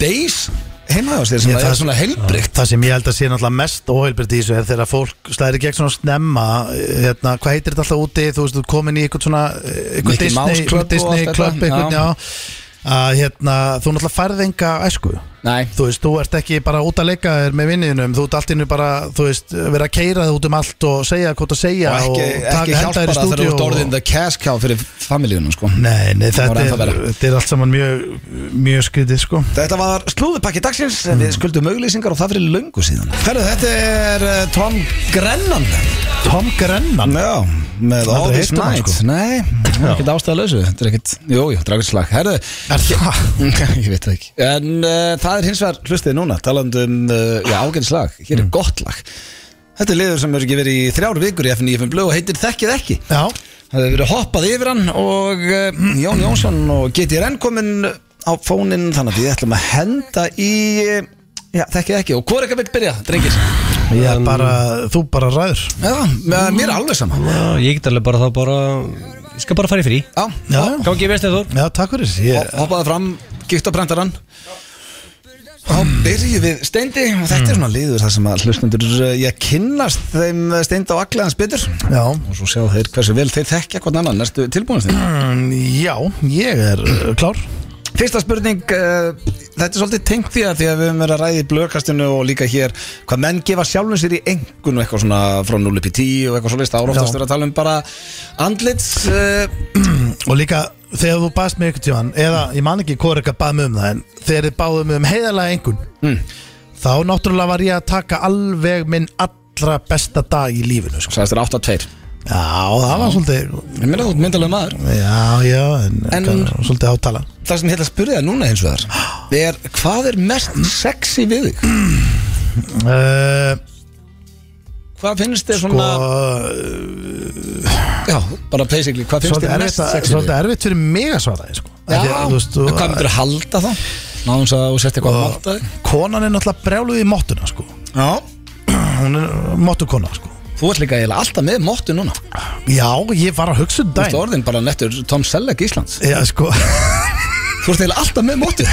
Speaker 1: base heima á sér sem
Speaker 2: Ég,
Speaker 1: það er svona helbrikt
Speaker 2: Það sem ég held að sé náttúrulega mest óheilbryrt í þessu er þegar fólk slæðir gegn svona snemma hérna, hvað heitir þetta alltaf úti þú veist, þú ert komin í eitthvað svona eh, eitthvað
Speaker 1: Mickey Mouse
Speaker 2: Disney,
Speaker 1: Club og
Speaker 2: Disney
Speaker 1: allt
Speaker 2: Club
Speaker 1: þetta,
Speaker 2: eitthvað,
Speaker 1: já.
Speaker 2: já, að hérna, þú náttúrulega færð enga æsku
Speaker 1: Nei,
Speaker 2: þú veist, þú ert ekki bara út að leika þér með vinninum, þú ert allt innu bara þú veist, vera að keira þig út um allt og segja hvað þú segja
Speaker 1: og ekki, ekki
Speaker 2: henda
Speaker 1: hjálpar
Speaker 2: þér í
Speaker 1: að það eru
Speaker 2: stúdíu
Speaker 1: út orðin
Speaker 2: og-
Speaker 1: the cash cow fyrir familíunum sko
Speaker 2: Nei, nei,
Speaker 1: Það
Speaker 2: þetta
Speaker 1: voru ennþá
Speaker 2: er,
Speaker 1: verra.
Speaker 2: þetta er allt saman mjög mjög skrítið, sko
Speaker 1: Þetta var slúðupakki dagsins en við skuldum auglýsingar og það fyrir löngu síðan Mm. Herru, þetta er eh, Tom Grennan
Speaker 2: Tom Grennan
Speaker 1: Já, með All
Speaker 2: aldrei
Speaker 1: This
Speaker 2: heyrt um hann,
Speaker 1: Night Nei, sko. það er ekkert ástæða lausu Þetta er ekkert, jú, jú, dragut slag Herru,
Speaker 2: Er það?
Speaker 1: ég veit það ekki En uh, það er hins vegar, hlustið núna Talandi um, uh, já, ágætt slag Hér er gott lag Þetta er liður sem hefur ekki verið í þrjár vikur í FNF Blue og heitir Þekkið ekki
Speaker 2: Já,
Speaker 1: Það hefur verið hoppað yfir hann og uh, Jón Jónsson og GTRN komin á fóninn Þannig að við ætlum að henda í uh, Já, þekkið ekki Og hvort ekki vill byrja, drengir
Speaker 2: ég er bara, þú bara ræður
Speaker 1: Já, með- mér er alveg sama
Speaker 3: Já, ah, Ég get alveg bara þá bara Ég skal bara fara í frí
Speaker 1: Já,
Speaker 2: Já,
Speaker 3: Gangi í vestið Þór
Speaker 2: já takk fyrir ég,
Speaker 1: Ho- hoppaði fram, gitt á brendarann þá byrjum við steindi og þetta er svona liður þar sem að hlustundur ég kynnast þeim steinda og allaðans betur
Speaker 2: Já,
Speaker 1: og svo sjá þeir hversu vel þeir þekkja hvort annan næstu tilbúinast þeim
Speaker 2: Mm, já, ég er uh, klár
Speaker 1: fyrsta spurning uh, þetta er svolítið tengt því að því að við höfum verið að ræði í blökastinu og líka hér hvað menn gefa sjálfum sér í engun og eitthvað svona frá 0 upp í 10 og eitthvað svo list
Speaker 2: Já.
Speaker 1: áróftast verið að tala um bara andlits uh,
Speaker 2: Og líka þegar þú baðst mig eitthvað tíman Eða ég man ekki hvort eitthvað bað mig um það En þegar þið báðu mig um heiðalega engun
Speaker 1: Mm.
Speaker 2: Þá náttúrulega var ég að taka alveg minn allra besta dag í lífinu sko.
Speaker 1: sagðist þér 8-2
Speaker 2: Já, það var svolítið
Speaker 1: ég meina þú ert myndalega maður
Speaker 2: Já, já, en,
Speaker 1: En-
Speaker 2: en svolítið átala
Speaker 1: það sem ég hefði að spyrja það núna eins og þar er hvað er mest sexy við þig
Speaker 2: uh,
Speaker 1: hvað finnst þér
Speaker 2: Sko,
Speaker 1: svona já bara basically hvað finnst
Speaker 2: svolítið
Speaker 1: þér
Speaker 2: erfitt,
Speaker 1: mest
Speaker 2: að-
Speaker 1: sexy við
Speaker 2: svolítið
Speaker 1: þig
Speaker 2: erfitt fyrir mig að svara því, sko.
Speaker 1: já
Speaker 2: Af því að, þú veist,
Speaker 1: en
Speaker 2: þú-
Speaker 1: hvað myndir að halda þá náðum að þú sett eitthvað að
Speaker 2: Og-
Speaker 1: malta þig
Speaker 2: Konan er náttúrulega brjáluð í mottuna sko.
Speaker 1: já
Speaker 2: Hún er mottukona sko.
Speaker 1: þú ert líka eiginlega alltaf með móttu núna
Speaker 2: Já, ég var að hugsa um
Speaker 1: Þú ert
Speaker 2: dæn
Speaker 1: orðin bara nettur Tom Selleck Íslands
Speaker 2: Já, sko
Speaker 1: Þú ert eiginlega alltaf með mótið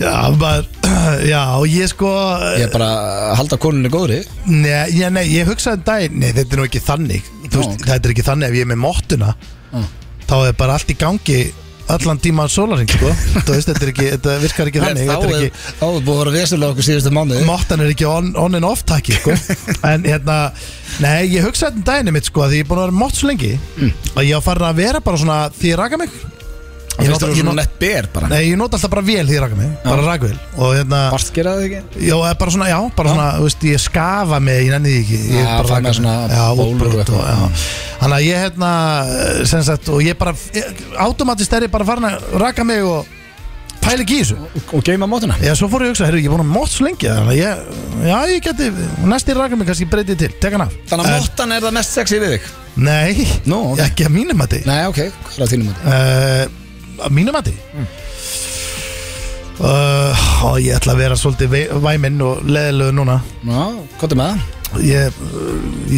Speaker 2: Já, maður, já, og ég sko
Speaker 1: Ég er bara að halda konunni góðri
Speaker 2: Nei, já, nei, ég hugsaði um daginn Nei, þetta er nú ekki þannig Þú veist,
Speaker 1: ok.
Speaker 2: Þetta er ekki þannig ef ég er með mottuna Þá er bara allt í gangi Allan tíman sólarinn, sko Þú veist, þetta, er ekki, þetta virkar ekki
Speaker 1: En
Speaker 2: þannig
Speaker 1: Þá
Speaker 2: Þetta
Speaker 1: er
Speaker 2: er ekki,
Speaker 1: þá er búið að vera vesurlega okkur síðustu mánuði
Speaker 2: Mottan er ekki on, on and off takki sko. En hérna Nei, ég hugsaði um daginu mitt sko að Því ég er búin að vera mott svo lengi
Speaker 1: Mm.
Speaker 2: Að ég var farin að vera bara svona því ég raka mig
Speaker 1: Það
Speaker 2: ég
Speaker 1: finnst
Speaker 2: nota-
Speaker 1: þú
Speaker 2: ég
Speaker 1: svona
Speaker 2: nota-
Speaker 1: nett ber bara
Speaker 2: Nei, ég nota alltaf bara vel því ég raka mig Bara rakvél Og hérna
Speaker 1: Barskeraði ekki
Speaker 2: Já, eða bara svona, já, bara svona, þú veist, ég skafa mig, ég nenni því ekki Ég
Speaker 1: Já, fara
Speaker 2: bara raka
Speaker 1: með
Speaker 2: mig.
Speaker 1: svona
Speaker 2: Já,
Speaker 1: bólur og
Speaker 2: útbrot og,
Speaker 1: eitthvað.
Speaker 2: já Þannig að ég hérna, sem sagt, og ég bara ég- Automatist er ég bara farin að raka mig og pæla ekki í þessu
Speaker 1: Og geima mótuna
Speaker 2: Já, svo fór ég að hugsa, herru, ég er búin að mótt svo lengi Þannig að ég, já, ég geti, næst ég raka mig kannski breytið til, tek hann af
Speaker 1: Þannig að
Speaker 2: En-
Speaker 1: móttan er það mest sexy við þig
Speaker 2: Nei,
Speaker 1: Nú, ok.
Speaker 2: ekki að mínum að þið
Speaker 1: Nei, ok, hvað er það þínum móti?
Speaker 2: Eh, Að mínum að þið Eh, Ó, ég ætla að vera svolítið vei- væminn og leðilegu núna
Speaker 1: Ná, hvað er með það?
Speaker 2: Ég,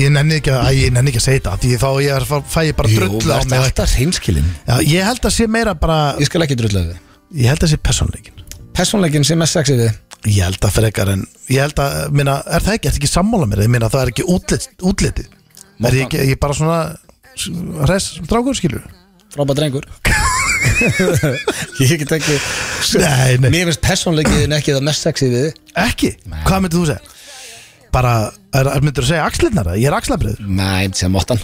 Speaker 2: ég nenni ekki að, æ, ég nenni ekki að segja þetta Því þá ég er, fæ ég bara
Speaker 1: Jú,
Speaker 2: drull á
Speaker 1: verður
Speaker 2: mig
Speaker 1: alltaf hreinskilin
Speaker 2: Já, Ég held að sé meira bara
Speaker 1: Ég skal ekki drulla við þig.
Speaker 2: Ég held að sé persónleikin
Speaker 1: Persónleikinn sem mest sexy við þig.
Speaker 2: Ég held að frekar en Ég held að, minna, er það ekki, er það ekki sammála mér Ég minna, það er ekki útlit, útlitið Er ég, ekki, ég er bara svona s- Hress, drákur skilur
Speaker 1: Frábær drengur Ég get ekki
Speaker 2: Nei, nei,
Speaker 1: Mér finnst persónleikin ekki það mest sexy við þig.
Speaker 2: ekki Hvað myndir þú segja? Bara, er, er, myndir þú segja axlirnar? Ég er axlabriður
Speaker 1: Nei, sem móttan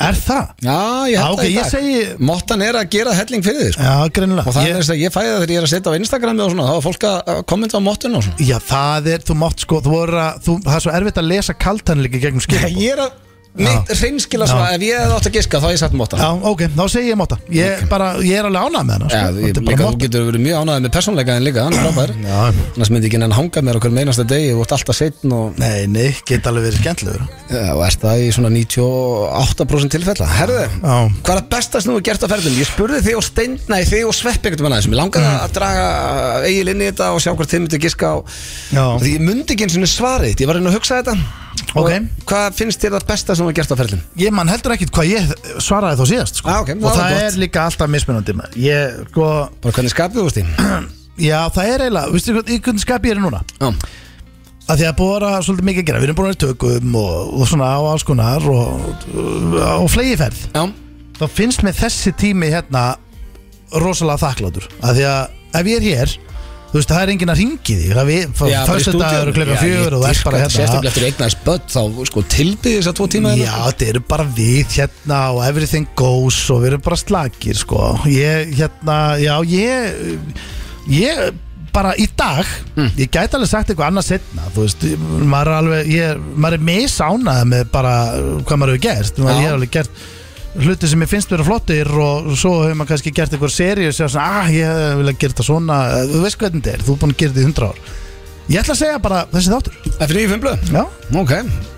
Speaker 2: Er það?
Speaker 1: Já, ég
Speaker 2: Já,
Speaker 1: held
Speaker 2: Ah, ok,
Speaker 1: það í
Speaker 2: ég
Speaker 1: dag
Speaker 2: segi-
Speaker 1: Mottan er að gera helling fyrir þig sko.
Speaker 2: Já, greinilega
Speaker 1: Og það
Speaker 2: Ég-
Speaker 1: er þess að ég fæði það þegar ég er að setja á Instagrami og svona Þá var fólk að að kommenta á mottun og svona
Speaker 2: Já, það er, þú mátt sko, þú voru að, þú, það er svo erfitt að lesa kaltanleiki gegnum skilabóð.
Speaker 1: Ég er að mitt hreinskila
Speaker 2: Já.
Speaker 1: svona Ef ég hefði átt að giska þá hefði ég sett mottan
Speaker 2: Já, ok, þá segi ég móta. Ég bara, ég er alveg ánað með hana, sko.
Speaker 1: Já, ég,
Speaker 2: Þetta er
Speaker 1: líka
Speaker 2: bara
Speaker 1: þú
Speaker 2: móta.
Speaker 1: getur verið mjög ánæðið með persónleika en líka, hann er frábær
Speaker 2: Já,
Speaker 1: Annars myndi ég ekki enn hanga mér okkur meinasta degi Þú ert alltaf setn og,
Speaker 2: nei, nei, geta alveg verið skemmtlegur.
Speaker 1: ja, og ert það í svona 98% tilfella Herðu,
Speaker 2: Já.
Speaker 1: hvað er að besta sem þú hefur gert á ferðum? Ég spurði þig og steind, nei þig og svepp einhvern veginn aðeins Mér langaði
Speaker 2: Mm.
Speaker 1: að draga eigil inn í þetta og sjá hvort þið myndi giska á
Speaker 2: Já,
Speaker 1: Því ég myndi ekki eins og svarið þitt, ég var einn að hugsa þetta Og
Speaker 2: Ok.
Speaker 1: Hvað finnst þér það besta sem þú er gert á ferlum?
Speaker 2: ég man heldur ekkit hvað ég svaraði þá síðast, sko.
Speaker 1: Já, Ah, ok,
Speaker 2: Og
Speaker 1: það
Speaker 2: það
Speaker 1: var gott.
Speaker 2: er líka alltaf mismunandi með. Ég, sko,
Speaker 1: Bara hvernig skapið þú veist því?
Speaker 2: já, það er eiginlega, veistu hvað, í hvernig skap ég er núna?
Speaker 1: Já,
Speaker 2: að því að búið að vera svolítið mikið að gera, við erum búin að vera í tökum og, og svona á alls konar og, og flegiferð
Speaker 1: já,
Speaker 2: þá finnst mér þessi tími hérna rosalega þakklátur af því að ef ég er hér þú veist það er enginn að ringi því það við,
Speaker 1: já bara í
Speaker 2: fyrstu dagur
Speaker 1: stúdíóinu.
Speaker 2: og klukkan
Speaker 1: Já, ég
Speaker 2: fjögur og það er
Speaker 1: dýrka
Speaker 2: bara
Speaker 1: þetta, Sérstaklega
Speaker 2: hérna
Speaker 1: eftir eignaðis börn þá sko tilbyði þess að tvo tíma hérna?
Speaker 2: Já, þetta eru bara við hérna og everything goes og við erum bara slagir sko Ég, hérna, já, ég ég bara í dag ég gæti alveg sagt eitthvað annað setna þú veist, maður er alveg ég, maður er misánað með bara hvað maður hefur gert,
Speaker 1: Já.
Speaker 2: maður ég hef alveg gert hluti sem ég finnst vera flottir og svo hefur maður kannski gert eitthvað seríu sem svona, ah, ég hefði viljað gera þetta svona þú veist hvernig þetta er, þú er búin að gera þetta í 100 ár ég ætla að segja bara þessi þáttur
Speaker 1: Eftir nýju fimmlu?
Speaker 2: já,
Speaker 1: Ok,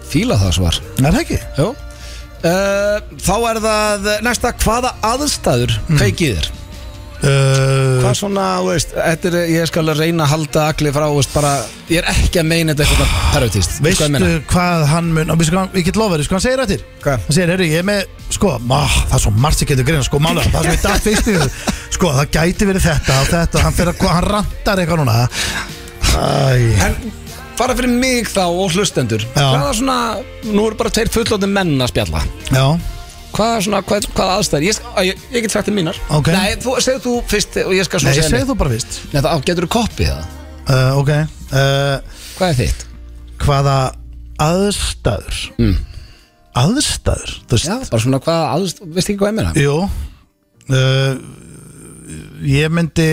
Speaker 1: fíla það svar
Speaker 2: er það ekki?
Speaker 1: Jó uh, Þá er það næsta, hvaða aðstæður
Speaker 2: Mm.
Speaker 1: kveikið þér?
Speaker 2: Uh,
Speaker 1: Hvað svona, þú veist, þetta er, ég skal reyna að halda allir frá, þú veist, bara Ég er ekki að meina þetta eitthvað pervertist Þú
Speaker 2: Veistu
Speaker 1: veist hvað ég meina?
Speaker 2: hvað hann mun og veistu hvað hann- Ég get lofa þér, veistu hvað hann segir eftir
Speaker 1: Hvað?
Speaker 2: Hann segir, heyrðu, ég er með Sko, má, það er svo margt sem getur greina Sko, málega, það sem ég datt fyrst í þessu Sko, það gæti verið þetta og þetta Hann, fyrir, að- hann rantar eitthvað núna Æ,
Speaker 1: En bara fyrir mig þá og hlustendur
Speaker 2: Já.
Speaker 1: Hvaða svona, nú eru bara tveir fullóttir menn að spjalla
Speaker 2: já
Speaker 1: hvað, er svona, hvað, hvað aðstæður ég, sk- á, ég, ég get sagt þér mínar
Speaker 2: Ok.
Speaker 1: Nei, þú, segðu þú fyrst og ég skal
Speaker 2: Nei,
Speaker 1: svo
Speaker 2: ég segi
Speaker 1: segja
Speaker 2: þú bara vist
Speaker 1: Nei, það á, getur þú koppið það
Speaker 2: uh, Ok uh,
Speaker 1: Hvað er þitt?
Speaker 2: Hvaða aðstæður mm. Aðstæður Þú veist
Speaker 1: Já, bara svona hvað aðstæður, veist ekki hvað ég meina
Speaker 2: Jú uh, Ég myndi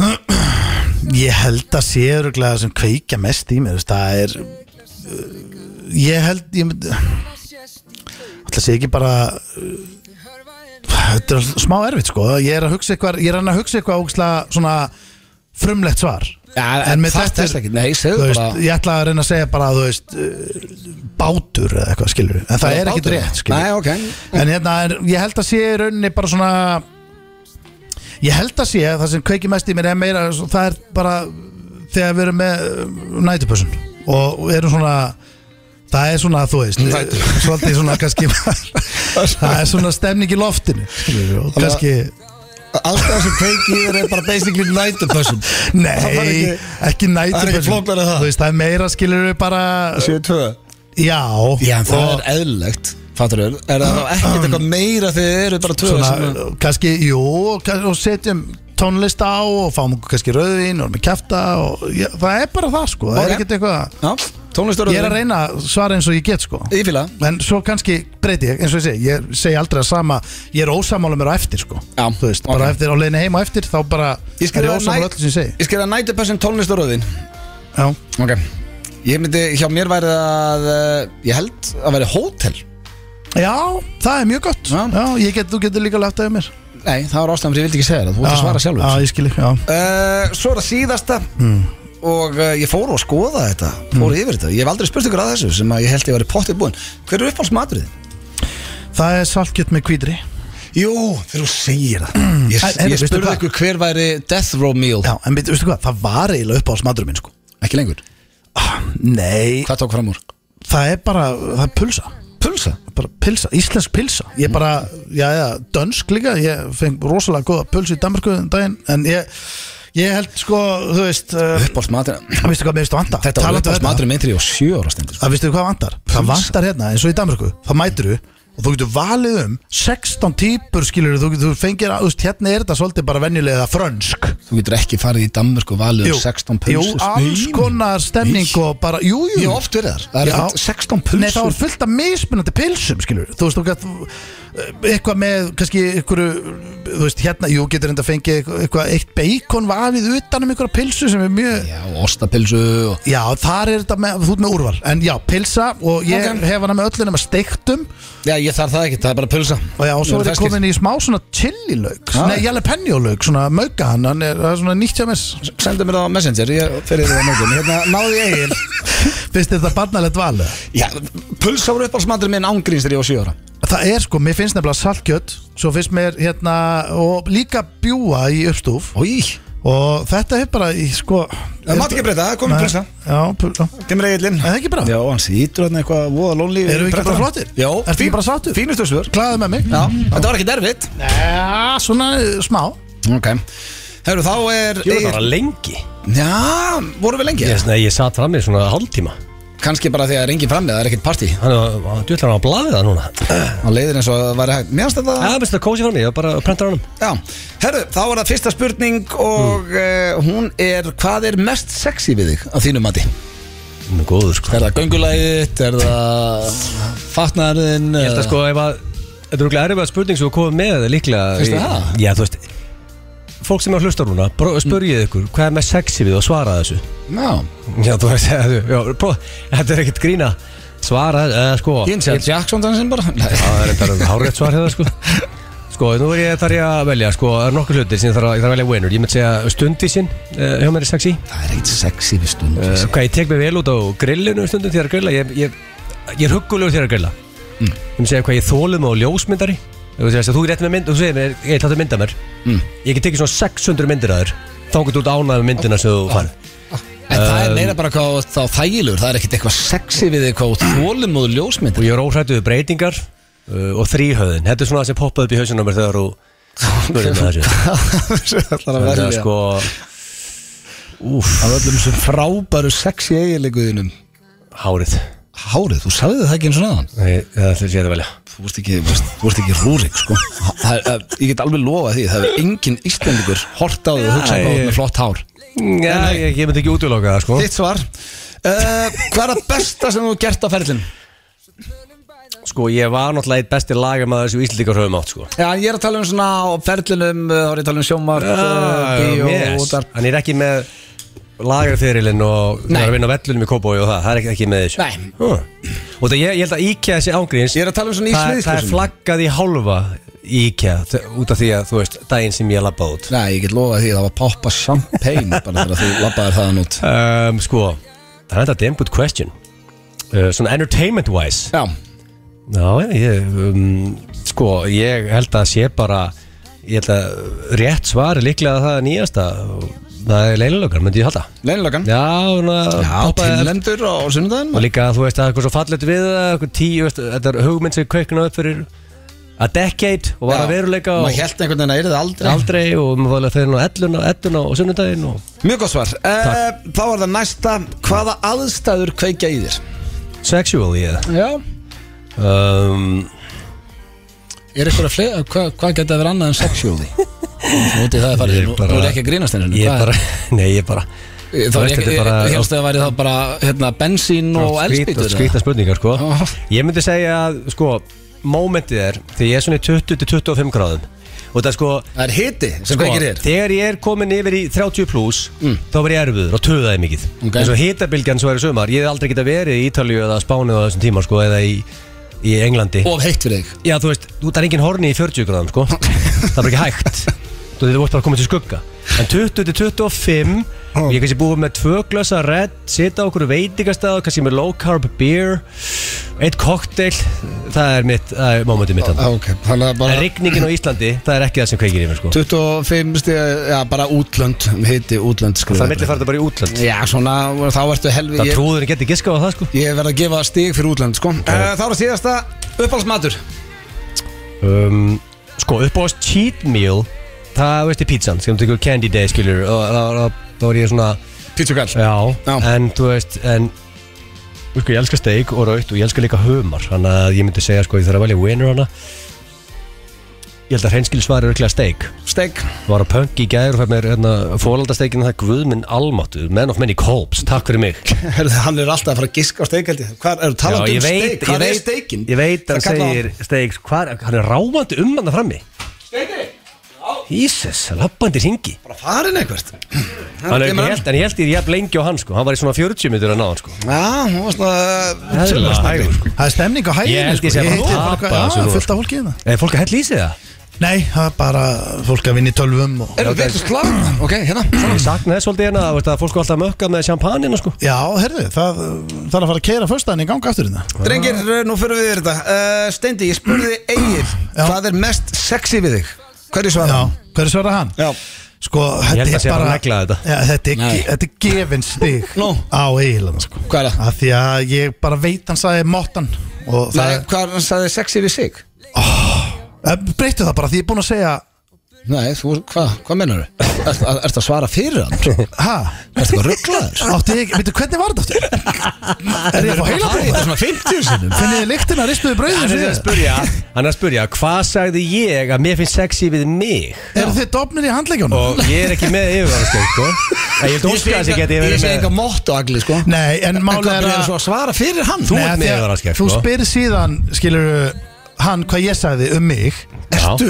Speaker 2: eh, Ég held að sé öruglega sem kveikja mest í mér þú veist, Það er uh, Ég held ég myndi, Ætla sé ekki bara uh, Þetta er smá erfitt sko Ég er að hugsa eitthvað Ég er að reyna að hugsa eitthvað ógeðslega svona frumlegt svar
Speaker 1: Já,
Speaker 2: En með
Speaker 1: það
Speaker 2: þetta er-
Speaker 1: þess ekki, nei, segðu
Speaker 2: Þú
Speaker 1: bara
Speaker 2: veist, ég ætla að reyna að segja bara þú veist, uh, bátur eða eitthvað skilur en það, er ekkit
Speaker 1: bátur.
Speaker 2: rétt skilur
Speaker 1: Nei, ok
Speaker 2: En hérna, er, ég held að sé í rauninni bara svona Ég held að sé að það sem kveikir mest í mér er meira Það er bara þegar við erum með uh, nætupössun Og við erum svona Það er svona, þú veist Svolítið svona kannski Það er svona stemning í loftinu skilurðu, Og kannski
Speaker 1: Aðstæður sem kveikið er bara basically night person það var
Speaker 2: Nei,
Speaker 1: ekki-
Speaker 2: ekki
Speaker 1: það er ekki
Speaker 2: nætupössun
Speaker 1: flóknara en það.
Speaker 2: veist, það er meira skilur við bara
Speaker 1: 72
Speaker 2: Já,
Speaker 1: Já, en það
Speaker 2: og
Speaker 1: er eðlilegt Fattur við, er það þá ekkert eitthvað meira þegar þið eru bara tvö
Speaker 2: svona, eh,
Speaker 1: sem-
Speaker 2: kannski, jú, kann- og setjum tónlist á og fáum okkur kannski rauðvín og með kæfta og ég, það er bara það sko, það
Speaker 1: Ok.
Speaker 2: er ekkert eitthvað
Speaker 1: Já, tónlistur
Speaker 2: ég er að reyna að svara eins og ég get sko
Speaker 1: Ég fíla það.
Speaker 2: en svo kannski breyti ég, eins og ég segi, ég segi aldrei að sama ég er ósamála mér á eftir sko
Speaker 1: Já,
Speaker 2: þú veist,
Speaker 1: ok.
Speaker 2: bara eftir á leiðinu heim á eftir þá bara
Speaker 1: Ég
Speaker 2: er ég
Speaker 1: skrifaði
Speaker 2: ósamála
Speaker 1: night-
Speaker 2: öllu sem ég segi
Speaker 1: Ég skrifa night person tónlist og röðin
Speaker 2: já,
Speaker 1: Ok Ég myndi, hjá mér væri það eh, Ég held að væri hótel
Speaker 2: já það er mjög gott
Speaker 1: Já.
Speaker 2: já. ég get, þú getur líka lagt af mér
Speaker 1: Nei, það var ástæðan fyrir ég vildi ekki segja það Þú ert að
Speaker 2: Já,
Speaker 1: svara sjálfur
Speaker 2: já, ég skilji, já
Speaker 1: uh, Svo er það síðasta Og uh, ég fór og skoða þetta Fór yfir þetta Ég hef aldrei spurt ykkur að þessu Sem að ég held ég væri pottið búinn Hver er uppáhalds matrið?
Speaker 2: það er salkjött með hvítri
Speaker 1: Jú, þegar þú segir það Hmm, Ég,
Speaker 2: En- en
Speaker 1: ég
Speaker 2: veistu
Speaker 1: spurði
Speaker 2: hvað?
Speaker 1: ykkur hver væri death row meal
Speaker 2: já, en veitu, veistu hvað, það var eiginlega upp á smadrum minn sko Ah,
Speaker 1: Ekki lengur
Speaker 2: nei,
Speaker 1: Hvað tók fram úr?
Speaker 2: það er bara, það er pulsa
Speaker 1: Pulsa
Speaker 2: bara pilsa, íslensk pilsa ég bara, já já, dönsk líka ég feng rosalega góða pulsu í Danmarku um daginn, en ég, ég held sko, þú veist uh,
Speaker 1: Uppáhalds matrið
Speaker 2: veistu hvað mér veist að vanta
Speaker 1: Þetta var
Speaker 2: Talandi um
Speaker 1: uppáhalds matrið minn þegar ég var sjö ára stendur
Speaker 2: að veistu hvað vantar, það vantar hérna eins og í Danmarku, það mætur þú og þú getur valið um 16 típur skilur þú, getur- þú fengir, að- þú veist, hérna er þetta svolítið bara venjulega frönsk
Speaker 1: Þú getur ekki farið í Danmörk og valið um 16
Speaker 2: jú,
Speaker 1: pulsur
Speaker 2: alls konar stemning og bara, jú, jú
Speaker 1: Ég hef oft verið þar Það er
Speaker 2: Já.
Speaker 1: ekkert 16
Speaker 2: Nei, það var
Speaker 1: pulsur
Speaker 2: fullt af mismunandi pilsum, skilur Þú veist, þú gætt eh, eitthvað með, kannski, einhverju þú veist, hérna, jú, getur enda að fengi eitthvað, eitt beikon vafið utan um einhverja pilsu sem er mjög
Speaker 1: Já, og ostapilsu og
Speaker 2: Já, þar er þetta með, þú ert með úrval En já, pilsa og ég
Speaker 1: Ok.
Speaker 2: hef hana með öllu nema steiktum
Speaker 1: Já, ég þarf það ekki, það er bara pulsa
Speaker 2: Og já, og svo
Speaker 1: Eru
Speaker 2: er þetta
Speaker 1: ferskir?
Speaker 2: komin í smá svona chili-lauk
Speaker 1: Já.
Speaker 2: Nei, jalapeno-lauk, svona mauka hann Hann er, það er svona nýtt hjá mér
Speaker 1: Sendu mér það á Messenger, ég fer yfir það á morgun Hérna, náðu ég eigin
Speaker 2: Finnst þér þetta barnalegt val? eða?
Speaker 1: Já, pulsa voru uppáhaldsmatur minn ángríns þegar ég var 7 ára
Speaker 2: Það er sko, mér finnst nefnilega saltkjöt Svo finnst mér, hérna, og líka bjúa í uppstúf
Speaker 1: Í,
Speaker 2: og þetta er bara í sko Eh,
Speaker 1: það mátt ekki breyta, það er komin pulsa
Speaker 2: já, pulsa
Speaker 1: Kemur eigin
Speaker 2: Er það ekki bra?
Speaker 1: Já, hann sýtur þarna eitthvað voða lónlí
Speaker 2: Erum við ekki bara flottir?
Speaker 1: Já,
Speaker 2: Ertu ekki bara sáttur?
Speaker 1: Fínustu svör
Speaker 2: Klaðið með mig
Speaker 1: Já, þetta var ekki derfitt
Speaker 2: Já, svona eh, smá
Speaker 1: Ok Herru, þá er
Speaker 3: Ég var bara lengi
Speaker 1: Já, vorum við lengi
Speaker 3: Ég, nei, ég satt fram í svona hálftíma
Speaker 1: Kanski bara þegar enginn fram með, það er ekkert partí
Speaker 3: Þannig að djúlega hann á blaðið það núna
Speaker 1: Hann leiðir eins og það væri hægt Mér finnst þetta
Speaker 3: Það er best að kósi fram í, ég var bara að prenta hann
Speaker 1: Já, herru, þá er það fyrsta spurning og uh, hún er hvað er mest sexy við þig á þínu mati?
Speaker 3: Hún er góður sko
Speaker 1: Er það göngulæðið, er það Eh, fatnaðarinn?
Speaker 3: Ég held að sko ef að Þetta er okkur erfið að spurning sem við komum með líklega
Speaker 1: Finnst þér
Speaker 3: í-
Speaker 1: það?
Speaker 3: Já, þú veist Fólk sem er að hlusta núna, bró- spyrjið ykkur hvað er með sexi við og svara þessu
Speaker 1: Já,
Speaker 3: Já, þú veist, já, pró, þetta er ekkert grína Svara, eða sko
Speaker 1: ég sé að Jackson dansinn bara Nei,
Speaker 3: Já, það er þetta hárétt svar hérna sko Sko, nú er ég þarf ég að velja sko, það er nokkuð hlutir sem ég þarf, að- ég þarf að velja winner Ég myndi segja stundvísin, uh, hjá mér er sexy uh,
Speaker 1: Það er ekkert sexy við stund
Speaker 3: Hvað ég tek mig vel út á grillinu stundum þegar að grilla Ég, ég, ég er huggulegur þegar að grilla
Speaker 1: Mm.
Speaker 3: Ég myndi segja hvað ég þólum á ljósmyndari Þú veist, þú er rétt með mynd, þú segir mér, ég ætla að mynda mér
Speaker 1: Mm.
Speaker 3: Ég get tekið svona 600 myndir að þér Þá getur þú ánað með myndina sem þú
Speaker 1: Ah.
Speaker 3: farið
Speaker 1: En það er meira bara hvað þú ert þá þægilegur Það er ekkert eitthvað sexy við þig hvað þú þólum og
Speaker 3: Og
Speaker 1: ljósmyndir
Speaker 3: ég er óhrættuð breytingar uh, og þríhöðin Þetta er svona það sem poppaði upp í hausinn á mér þegar þú spurði með þessu
Speaker 1: Það er
Speaker 3: Þannig að
Speaker 1: sko
Speaker 3: sko Úf,
Speaker 1: Af öllum þessum frábæru sexy eiginleikuðinum
Speaker 3: hárið
Speaker 1: hárið, þú sagði það ekki eins og náðan
Speaker 3: Nei, það ætlum ég að velja
Speaker 1: Þú vorst ekki, þú vorst- þú vorst ekki rúrik sko það, það, Ég get alveg lofa því, það er engin Íslandingur hort á því og hugsað hvað þú ert með flott hár
Speaker 3: Já, ég, ég myndi ekki útiloka það, sko
Speaker 1: Þitt svar uh, Hvað er það besta sem þú hefur gert á ferlinu?
Speaker 3: Sko, ég var náttúrulega eitt besti lagamæður sem Íslandíkar höfum átt, sko
Speaker 1: Já, ég er að tala um svona á ferlinum, eh, þá er ég að tala um sjómar, bíó,
Speaker 3: Ah, yes.
Speaker 1: útar
Speaker 3: Hann er ekki með lagarfyrirlinn og það er að vinna á vellunum í Kópói og það, það er ekki, ekki með þessu
Speaker 1: Nei.
Speaker 3: huh. Og það ég, ég held að IKEA þessi ángríns
Speaker 1: Ég er að tala um svona í
Speaker 3: það, er- það er
Speaker 1: sviðsljósinu.
Speaker 3: flaggað í hálfa í IKEA þ- út af því að þú veist, daginn sem ég labba út
Speaker 1: Nei, ég get lofað því að það var poppa champagne bara þegar þú labbaðir þaðan út
Speaker 3: um, Sko, það er þetta damn good question uh, Svona entertainment wise
Speaker 1: Já,
Speaker 3: Já, ég, um, sko, ég held að sé bara Ég held að rétt svar er líklega það nýjasta Það er leililökar, myndi ég halda
Speaker 1: leinlagan
Speaker 3: Já, svona, poppaði eftir-
Speaker 1: tilnendur á sunnudaginn
Speaker 3: Og líka þú veist að það er eitthvað svo fallet við það, eitthvað tíu, veist, þetta er hugmynd sem kveikna upp fyrir a decade og var að veruleika og
Speaker 1: Maður held einhvern veginn að yrði aldrei
Speaker 3: aldrei og maður var alveg fyrir nú elluna, elluna og sunnudaginn og
Speaker 1: Mjög gott svar uh, Þá er það næsta Hvaða aðstæður kveikja í þér?
Speaker 3: sexual í það.
Speaker 1: Já
Speaker 3: Um,
Speaker 1: Er eitthvað að flega, hvað hva geta að vera annað en sexually? Nú til það er farið,
Speaker 3: Ég
Speaker 1: nú,
Speaker 3: bara-
Speaker 1: nú er ég ekki að grínast henni
Speaker 3: ég bara, nei ég bara,
Speaker 1: Þá er
Speaker 3: þú
Speaker 1: ég
Speaker 3: veist, þetta
Speaker 1: ekki,
Speaker 3: er bara-
Speaker 1: hérstu að væri þá bara hérna, bensín og
Speaker 3: skrýta,
Speaker 1: eldspýtur
Speaker 3: skrýta spurningar sko.
Speaker 1: Já.
Speaker 3: Ég myndi segja að sko, mómentið er því ég er svona í 20-25 gráðum og það er sko,
Speaker 1: Það er hiti sem
Speaker 3: Sko,
Speaker 1: kveikir í þér
Speaker 3: Þegar ég er komin yfir í 30 pluss Þá var ég erfiður og töðaði mikið
Speaker 1: Ok.
Speaker 3: En svo hitabilgjan svo er í sumar Ég hef aldrei geta verið í Ítalíu eða Spáni á þessum tíma sko, Eða í, í Englandi
Speaker 1: Of heitt fyrir þig
Speaker 3: Já þú veist, þú það er engin horni í 40 gráðum sko. Það er bara ekki hægt Þú veist, þú vart bara komin til skugga En 20-25
Speaker 1: Oh.
Speaker 3: Ég er kannski búið með tvö glösa redd Sita á okkur veitingastað Kannski með low carb beer Eitt cocktail Það er mitt, það er momentið mitt þarna.
Speaker 1: Ah, Ok, þannig að
Speaker 3: En rigningin á Íslandi, það er ekki það sem kveikir í mér sko
Speaker 1: 25 stíð, já bara útlönd um Hiti útlönd
Speaker 3: Það
Speaker 1: skrifa
Speaker 3: er milli farið bara í útlönd
Speaker 1: Já svona, þá ertu helvi
Speaker 3: Það
Speaker 1: Ég,
Speaker 3: trúður geti giska á það sko
Speaker 1: ég verð að gefa stíg fyrir útlönd sko. uh, Þá er það síðasta uppáhaldsmatur
Speaker 3: um, Sko upp á cheat meal Það veist ég pítsan sem tekur candy day skilur og það var- þá var ég svona
Speaker 1: Pítsugall
Speaker 3: Já,
Speaker 1: Já.
Speaker 3: en þú veist en Sko ég elska steik og raut og ég elska líka humar Þannig að ég myndi segja sko ég þarf að velja winner hana Ég held að hreinskilsvar er örugglega steik
Speaker 1: Steg
Speaker 3: Var á punk í gæður og fær mér hérna, fólaldasteikin það guð minn almáttu Men of many colbs, takk fyrir mig
Speaker 1: Hann er alltaf að fara að giska á steg Hvað er
Speaker 3: Já,
Speaker 1: talað
Speaker 3: ég
Speaker 1: um
Speaker 3: veit,
Speaker 1: steg?
Speaker 3: ég
Speaker 1: Hvað er
Speaker 3: veit,
Speaker 1: stegin?
Speaker 3: ég veit að segir Stegs, hvað, hann er rámandi um hann frammi Steigi Ísus, lappandi ringi
Speaker 1: Bara farin eitthvað
Speaker 3: Hann er ekki held, en ég held ég jafn lengi á hann sko Hann var í svona 40 minnur að ná hann sko
Speaker 1: Já, hún var svona
Speaker 3: Eðlilega hægur, sko.
Speaker 2: Það er stemning á hæginni
Speaker 3: Ég held ég sé bara
Speaker 2: hitti
Speaker 3: að
Speaker 2: bara eitthvað-
Speaker 3: tapa þessu
Speaker 2: Já,
Speaker 3: nú,
Speaker 2: fullt af fólki hérna
Speaker 3: Er Eh, fólk að hella í sig það?
Speaker 2: Nei, það er bara fólk að vinna í tölvum og...
Speaker 1: Erum við eitthvað slag? Ok, hérna
Speaker 3: Ég sakna þess svolítið hérna þú veist, að fólk var alltaf að mökka með sjampanina sko
Speaker 2: Já, herðu, það það er að fara að keira föstaðin í ganga aftur hérna
Speaker 1: Drengir, eh, nú fyrir við yfir þetta uh, Steindi, ég spurði Egil
Speaker 2: Já.
Speaker 1: Hvað er mest sexy við þig? Hverju svarar
Speaker 2: Já,
Speaker 1: hann?
Speaker 2: hverju svarar hann?
Speaker 1: Já.
Speaker 2: Sko,
Speaker 3: held
Speaker 2: þetta
Speaker 3: að sé
Speaker 2: er
Speaker 3: að
Speaker 2: bara
Speaker 3: hann neglaði þetta.
Speaker 2: Já, þetta, er,
Speaker 1: Nei.
Speaker 2: ge- þetta er gefin stig
Speaker 1: Nú.
Speaker 2: á eiginlega sko.
Speaker 1: Hvað er það?
Speaker 2: Af Því að ég bara veit hann sagði mottan og það,
Speaker 1: Nei, hvað er hann sagði sexy við sig?
Speaker 2: Eh, breyttu það bara því ég er búinn að segja
Speaker 1: Nei, þú, hvað, hvað mennar þau? Ertu að- ertu að svara fyrir hann?
Speaker 2: ha,
Speaker 1: Ertu að rugglaður?
Speaker 2: átti ég, veitu hvernig var þetta aftur? er ég að fá heila
Speaker 1: Það er þetta svona 50 sinum
Speaker 2: finnið þið lyktina, ristuðu brauðið
Speaker 3: Hann er að
Speaker 2: sér
Speaker 3: spurja, hann er að spurja Hvað sagði ég að mér finnst sexy við mig?
Speaker 2: eru þið dofnir í handleikjónum?
Speaker 3: Og ég er ekki með yfir sko En Ég held að óska þess að geti
Speaker 1: Ég
Speaker 3: verið
Speaker 1: segi
Speaker 3: með
Speaker 1: enga mótt og agli, sko
Speaker 2: nei, en
Speaker 1: En hvað
Speaker 2: málega er
Speaker 1: er
Speaker 2: að
Speaker 1: svo að svara fyrir hann?
Speaker 3: Þú ert
Speaker 2: Nei,
Speaker 3: með
Speaker 2: því að
Speaker 3: yfir sko
Speaker 2: þú spyrir síðan, skilur hann hvað ég sagði um mig
Speaker 3: Já.
Speaker 1: Ertu,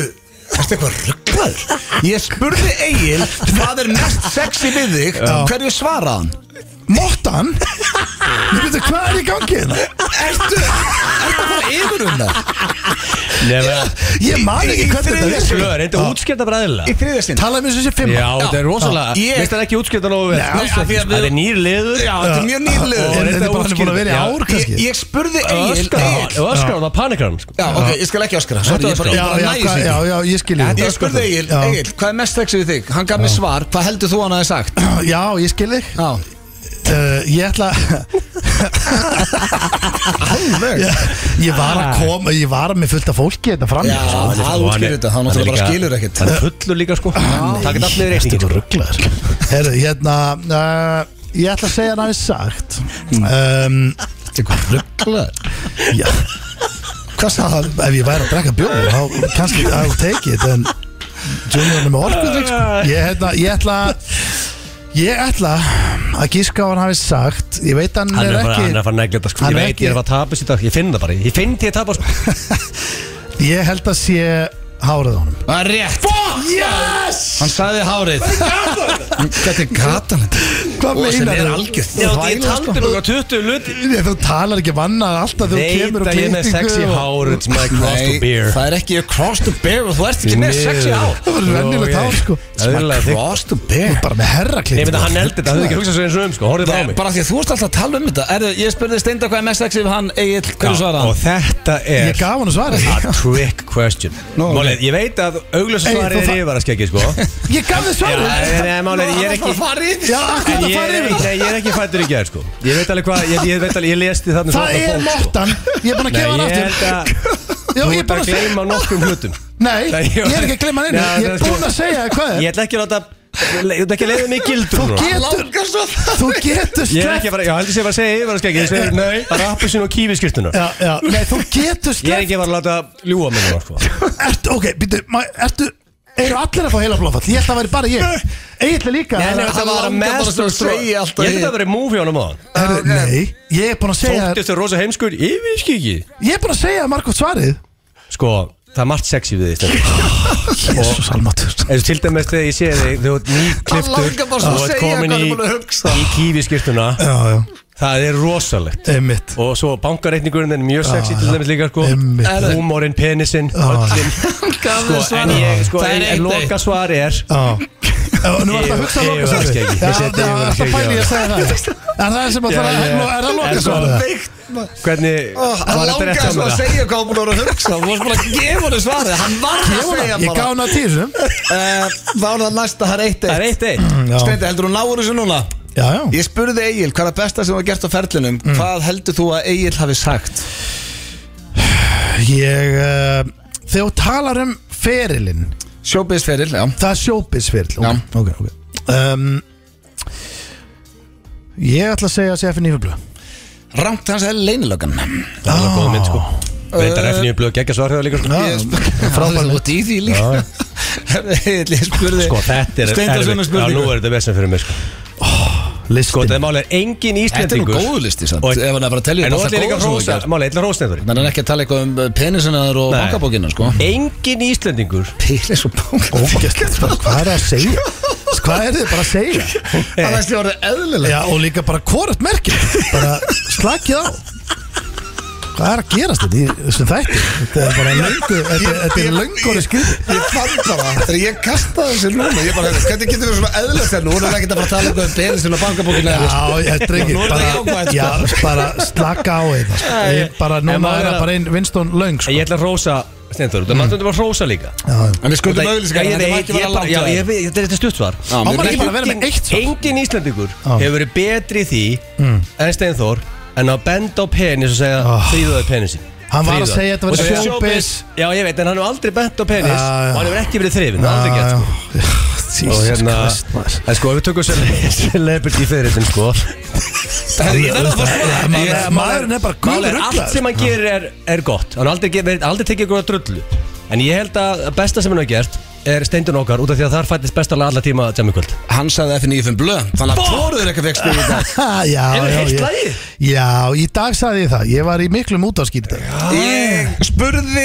Speaker 1: ertu eitthvað rugglaður? Ég spurði Egil Hvað er mest sexy við þig? Hverju svara hann?
Speaker 2: mottan? ég veitu hvað er í gangi hérna?
Speaker 1: Ertu, ertu að fara yfir um það?
Speaker 3: Nei, men-
Speaker 2: ég man ekki
Speaker 1: Í- í
Speaker 2: hvernig
Speaker 1: þriðja
Speaker 2: þetta
Speaker 3: Slör, reyndu að útskipta bara eðlilega
Speaker 1: Í þriðja sinn
Speaker 2: talaði mér sem sé fimm
Speaker 3: Já, þetta er rosalega
Speaker 1: Já, ég-
Speaker 3: Veist það ekki útskipta nógu vel
Speaker 2: Nei, alls
Speaker 3: Nei, af því að við- Það er nýr liður
Speaker 1: Já, þetta er mjög nýðlega
Speaker 3: Og
Speaker 2: En
Speaker 3: reyndu
Speaker 2: þetta
Speaker 3: að
Speaker 2: er bara hann er búin
Speaker 3: útskýra-
Speaker 2: að vera í
Speaker 3: Já,
Speaker 2: ár
Speaker 1: ég,
Speaker 2: kannski
Speaker 1: ég spurði Egil Egil-
Speaker 3: Öskar hann að panikar hann sko.
Speaker 1: Já, ok, ég skal ekki öskra Sorry,
Speaker 3: Hættu
Speaker 1: ég bara,
Speaker 3: að
Speaker 1: ég
Speaker 2: já,
Speaker 1: bara
Speaker 2: já,
Speaker 1: næ
Speaker 2: hvað-
Speaker 1: þessu
Speaker 2: já,
Speaker 1: ekki.
Speaker 2: já, ég skil ég.
Speaker 1: Ég spurði Egil,
Speaker 2: Já.
Speaker 1: Egil, hvað er mest sexy við þig? Hann gaf mér svar, hvað heldur þú hann aðeins sagt?
Speaker 2: já, ég skil þig
Speaker 1: Já,
Speaker 2: Uh, ég ætla
Speaker 1: alveg Já,
Speaker 2: Ég var að koma, ég var með fullt af fólki Þetta fram
Speaker 1: Ah. Já,
Speaker 2: sko.
Speaker 1: það
Speaker 3: Og hann
Speaker 1: útskýrir
Speaker 3: er-
Speaker 1: þetta, hann
Speaker 3: hann er
Speaker 1: náttúrulega bara
Speaker 3: líka-
Speaker 1: skilur ekkert.
Speaker 3: Hann er fullur líka sko Það geta allir
Speaker 2: Ertu
Speaker 3: reyningin
Speaker 2: eitthvað rugglaður eh,
Speaker 1: Hmm.
Speaker 2: Herru, hérna uh, Ég ætla að segja hann aðeins sagt um,
Speaker 1: Þetta er hvað rugglaður
Speaker 2: Já Hvað sagði hann? Ef ég væri að drekka bjóður þá kannski I'll take it en Junior er með orkudrykk sko. ég, hérna, ég ætla Ég ætla að gíska á hann hafi sagt Ég veit hann,
Speaker 3: Hann er,
Speaker 2: er,
Speaker 3: bara, hann er að
Speaker 2: ekki
Speaker 3: fara að negla þetta sko
Speaker 2: Hann
Speaker 3: Ég
Speaker 2: er
Speaker 3: veit,
Speaker 2: ekki-
Speaker 3: ég er að fara að tapa sér dag Ég finn það bara, ég finn því að tapa sko
Speaker 2: Ég held að sé hárið á honum
Speaker 1: Það er rétt Fuck yes Hann sagði hárið Mm, Þetta er gatan
Speaker 2: Hvað
Speaker 1: Og sem
Speaker 2: meinar
Speaker 1: er
Speaker 2: þú?
Speaker 1: algjörð
Speaker 3: Já,
Speaker 2: þvæla,
Speaker 3: ég
Speaker 2: sko.
Speaker 3: taldi núna 20 luti
Speaker 2: Ég- Þú talar ekki vanna alltaf þegar þú
Speaker 3: Veit
Speaker 2: kemur og
Speaker 3: að ég er með sexy hár It's my cross to beer
Speaker 1: það er ekki across the bear og þú ert ekki með
Speaker 3: Miður.
Speaker 1: sexy á
Speaker 2: Það var
Speaker 3: Ó, ég-
Speaker 2: rennilegt hár sko
Speaker 3: Það er alveg þig
Speaker 1: Across the bear
Speaker 2: Bara með herraklipp
Speaker 3: Ég veit að hann eldi þetta, það hefði ekki hugsað sér eins og um sko Horfið á mig
Speaker 1: Bara því að þú ert alltaf að tala um þetta er, Ég spurði Steinda hvað er með sexy við hann Egil, hverju svaraði
Speaker 3: Og
Speaker 1: hann?
Speaker 3: þetta
Speaker 2: Ég
Speaker 3: er
Speaker 2: gaf hann svarið
Speaker 3: A trick question
Speaker 1: Nú, ok.
Speaker 3: Málið, ég veit að auglösa
Speaker 2: Ey, þú
Speaker 3: svarið er
Speaker 2: fa-
Speaker 3: yfir að skeggi sko Já,
Speaker 2: Ég gaf þið svarið
Speaker 3: en- en málið, ég er ekki
Speaker 2: Já, akkur
Speaker 3: En
Speaker 2: þetta
Speaker 3: ég,
Speaker 2: farið
Speaker 3: er
Speaker 2: yfir
Speaker 3: ekki- nei, ég er ekki fættur í gerð sko Ég veit alveg hvað, ég, ég veit alveg, ég lesti
Speaker 2: Það
Speaker 3: þarna svarta
Speaker 2: er
Speaker 3: bók, sko.
Speaker 2: mottan, ég er búin að
Speaker 3: Nei,
Speaker 2: gefa hann
Speaker 3: ég held
Speaker 2: aftur
Speaker 3: að
Speaker 2: Já,
Speaker 3: Þú
Speaker 2: ég er búin
Speaker 3: ert að
Speaker 2: að segja
Speaker 3: gleyma nokkrum hlutum
Speaker 2: Nei,
Speaker 3: Nei,
Speaker 2: ég er ekki að gleyma hann einu
Speaker 3: Nei,
Speaker 2: Ég er
Speaker 3: það er
Speaker 2: búin að segja þér hvað
Speaker 3: Ég
Speaker 2: er
Speaker 3: ætla ekki að láta Ég ætla ekki að leiða mig í gildur núna.
Speaker 2: Getur, þú getur
Speaker 3: Ég er
Speaker 2: sleppt
Speaker 3: ekki að fara, já, heldur sé bara að segja yfir að skeggi Ég segir, nei, bara appisinn og kífi skýrtuna
Speaker 2: Já, já, nei, þú getur
Speaker 3: Ég er
Speaker 2: sleppt
Speaker 3: ekki að fara að láta ljúa mig núna sko
Speaker 2: Ertu, ok, býttu, ma- ertu Eru allir að fá heila blóðfall? Ég ætla að væri bara ég Egil er líka
Speaker 3: Nei, nei, þetta var að
Speaker 1: langar bara
Speaker 3: mestur
Speaker 1: að segja alltaf
Speaker 3: Ég held að
Speaker 1: í-
Speaker 3: það verið múfi á hann á maður
Speaker 2: Herru, Nei, ég er búin að segja
Speaker 3: Þóttist er rosa heimskur, ég veist ekki
Speaker 2: Ég er búin að segja margótt svarið
Speaker 3: Sko, það er margt sexy við þitt
Speaker 2: Jésús almatur
Speaker 3: eins og til dæmis þegar ég sé þig þú ert ný kliftur
Speaker 1: langar bara svo að segja
Speaker 3: komin
Speaker 1: hvað hann
Speaker 3: í,
Speaker 1: er búin að hugsa.
Speaker 3: í kífi skýrtuna
Speaker 2: Já, já,
Speaker 3: það er rosalegt
Speaker 2: einmitt
Speaker 3: og svo bankareikningurinn er mjög sexy
Speaker 2: Já,
Speaker 3: til
Speaker 1: Ah,
Speaker 2: já.
Speaker 3: dæmis líka sko
Speaker 2: Einmitt.
Speaker 3: húmorinn, penisinn,
Speaker 2: Já.
Speaker 3: öllin
Speaker 1: Gaf þér
Speaker 3: sko, en
Speaker 1: svarið.
Speaker 3: ég, sko,
Speaker 1: Það Ah. er
Speaker 3: en, en
Speaker 1: eitt eitt.
Speaker 3: loka svar er
Speaker 2: Já, Já, nú er það að hugsa að
Speaker 3: Ég- ég
Speaker 2: loka
Speaker 3: var
Speaker 2: svarið
Speaker 3: ekki ekki.
Speaker 2: Já,
Speaker 3: Ég seti-
Speaker 2: það
Speaker 3: ég var
Speaker 2: er
Speaker 3: ekki
Speaker 2: alltaf
Speaker 3: ekki.
Speaker 2: pæli ég að segja það Er það sem að
Speaker 3: Já,
Speaker 2: það
Speaker 3: já.
Speaker 2: er að
Speaker 3: En
Speaker 2: loka
Speaker 3: sko,
Speaker 2: svarið?
Speaker 3: hvernig
Speaker 1: Ah, Hann
Speaker 3: var þetta
Speaker 1: langaði
Speaker 3: rétt hjá
Speaker 1: svo
Speaker 3: mér
Speaker 1: að
Speaker 3: það?
Speaker 1: segja hvað hann búin að vera að hugsa Þú varst bara að gefa hann svarið Hann var að segja
Speaker 2: Ég gaf
Speaker 1: bara
Speaker 2: hann að tísum
Speaker 1: Eh, Þá er það næsta, það er eitt
Speaker 3: það er
Speaker 1: eitt
Speaker 3: eitt eitt
Speaker 1: Steindi, heldur hún náur þessu núna?
Speaker 2: Já, já
Speaker 1: Ég spurði Egil, hvað er það besta sem var gert á ferlinum?
Speaker 3: Mm.
Speaker 1: Hvað heldur þú að Egil hafi sagt?
Speaker 2: Ég, uh, þegar þú talar um ferilinn
Speaker 1: Sjóbiðsferil, já
Speaker 2: Það er sjóbisferill
Speaker 1: Já.
Speaker 2: Ok, ok, ok um, Ég ætla að segja að segja fyrir nýfublu
Speaker 1: Rangt hans er leynilögan
Speaker 3: það var góð mynd sko
Speaker 1: Ah.
Speaker 3: Reyndar F9 blöð geggja svar hefur líka sko
Speaker 2: Ah,
Speaker 1: Frábæl Þú ert í því líka Herðu, Egill, ég spurði
Speaker 3: Sko þetta er
Speaker 1: Steindar svona
Speaker 3: erfitt. Já, nú
Speaker 1: spurningu
Speaker 3: er þetta vesna fyrir mig sko Sko
Speaker 2: Listin
Speaker 3: þetta er málið er engin
Speaker 1: Þetta er nú
Speaker 3: Íslendingur
Speaker 1: góðu listi samt
Speaker 3: Og-
Speaker 1: Ef hann er bara að telja upp
Speaker 3: En nú
Speaker 1: allt það
Speaker 3: ætlum ég líka að
Speaker 1: góða sem
Speaker 3: rósa
Speaker 1: þú
Speaker 3: Máli, ég ætlum að rósa nefndur
Speaker 1: Þannig er ekki að tala eitthvað um penisinaður og
Speaker 3: Nei.
Speaker 1: bankabókina sko
Speaker 3: Engin Íslendingur
Speaker 1: Penis og bankabókina
Speaker 2: Hvað er það að segja? Hvað er þið bara að segja?
Speaker 1: Það er stjórnir eðlilega
Speaker 2: Já, og líka bara hvort merkir Bara slakið á Hvað er að gerast þetta í þessum þætti? Þetta er bara löngu, þetta er- þetta er löngu orðið skriði
Speaker 1: Ég fann bara, þegar ég kastaði þessu núna Ég bara, hvernig getur við svona eðlilegt þegar nú Nú er ekki að fara að tala eitthvað um penisinn og bankabókina
Speaker 2: Já, ég drengi
Speaker 1: Nú er það jákvætt,
Speaker 2: bara,
Speaker 1: sko.
Speaker 2: já, bara slaka á þetta sko. Ég bara,
Speaker 3: En
Speaker 2: núna er
Speaker 3: maður er að-
Speaker 2: það bara einn vinstón löng sko.
Speaker 3: Ég ætla að rósa nefndur Það máttum þetta bara rósa líka
Speaker 2: Já, já.
Speaker 1: En við skuldum
Speaker 3: Ég
Speaker 1: auðlýsingar
Speaker 3: ég veit, ég bara Já, ég veit, þetta er stutt svar
Speaker 1: Já, mér
Speaker 2: Hann var ekki
Speaker 1: finnst-
Speaker 2: bara að vera með eitt svar.
Speaker 3: Engin Íslendingur
Speaker 2: Já. Mm.
Speaker 3: hefur verið betri í því En Steinþór En að benda á penis og segja
Speaker 2: Ah.
Speaker 3: Þrýðuðu penisin
Speaker 2: Hann var að segja þetta var showbiz.
Speaker 3: Já ég veit, en hann hefur aldrei bent á
Speaker 2: Já,
Speaker 3: penis
Speaker 2: já.
Speaker 3: Og hann hefur ekki verið þrifin Það er aldrei gert sko
Speaker 2: Jesus
Speaker 3: og hérna
Speaker 2: Christ, maður.
Speaker 3: en sko ef við tökum cele- celebrity fyrirtin sko
Speaker 2: Já, maður- Maðurinn er bara sko.
Speaker 3: Mál er
Speaker 2: guður
Speaker 3: allt sem hann gerir er, er gott hann aldrei, ge- verið- aldrei tekið ykkur að drullu en ég held að besta sem hann hafa gert er steindun okkar út af því að þar fættist besta lag alla tíma jammikvöld
Speaker 1: Hann sagði F95 blöð Þannig að tóruður eitthvað fekk spil í dag
Speaker 2: Ha, já,
Speaker 3: Hefur
Speaker 2: já,
Speaker 3: heyrt
Speaker 2: ég-
Speaker 3: lagið?
Speaker 2: Já, í dag sagði ég það Ég var í miklum útafskýr í dag
Speaker 1: Ég spurði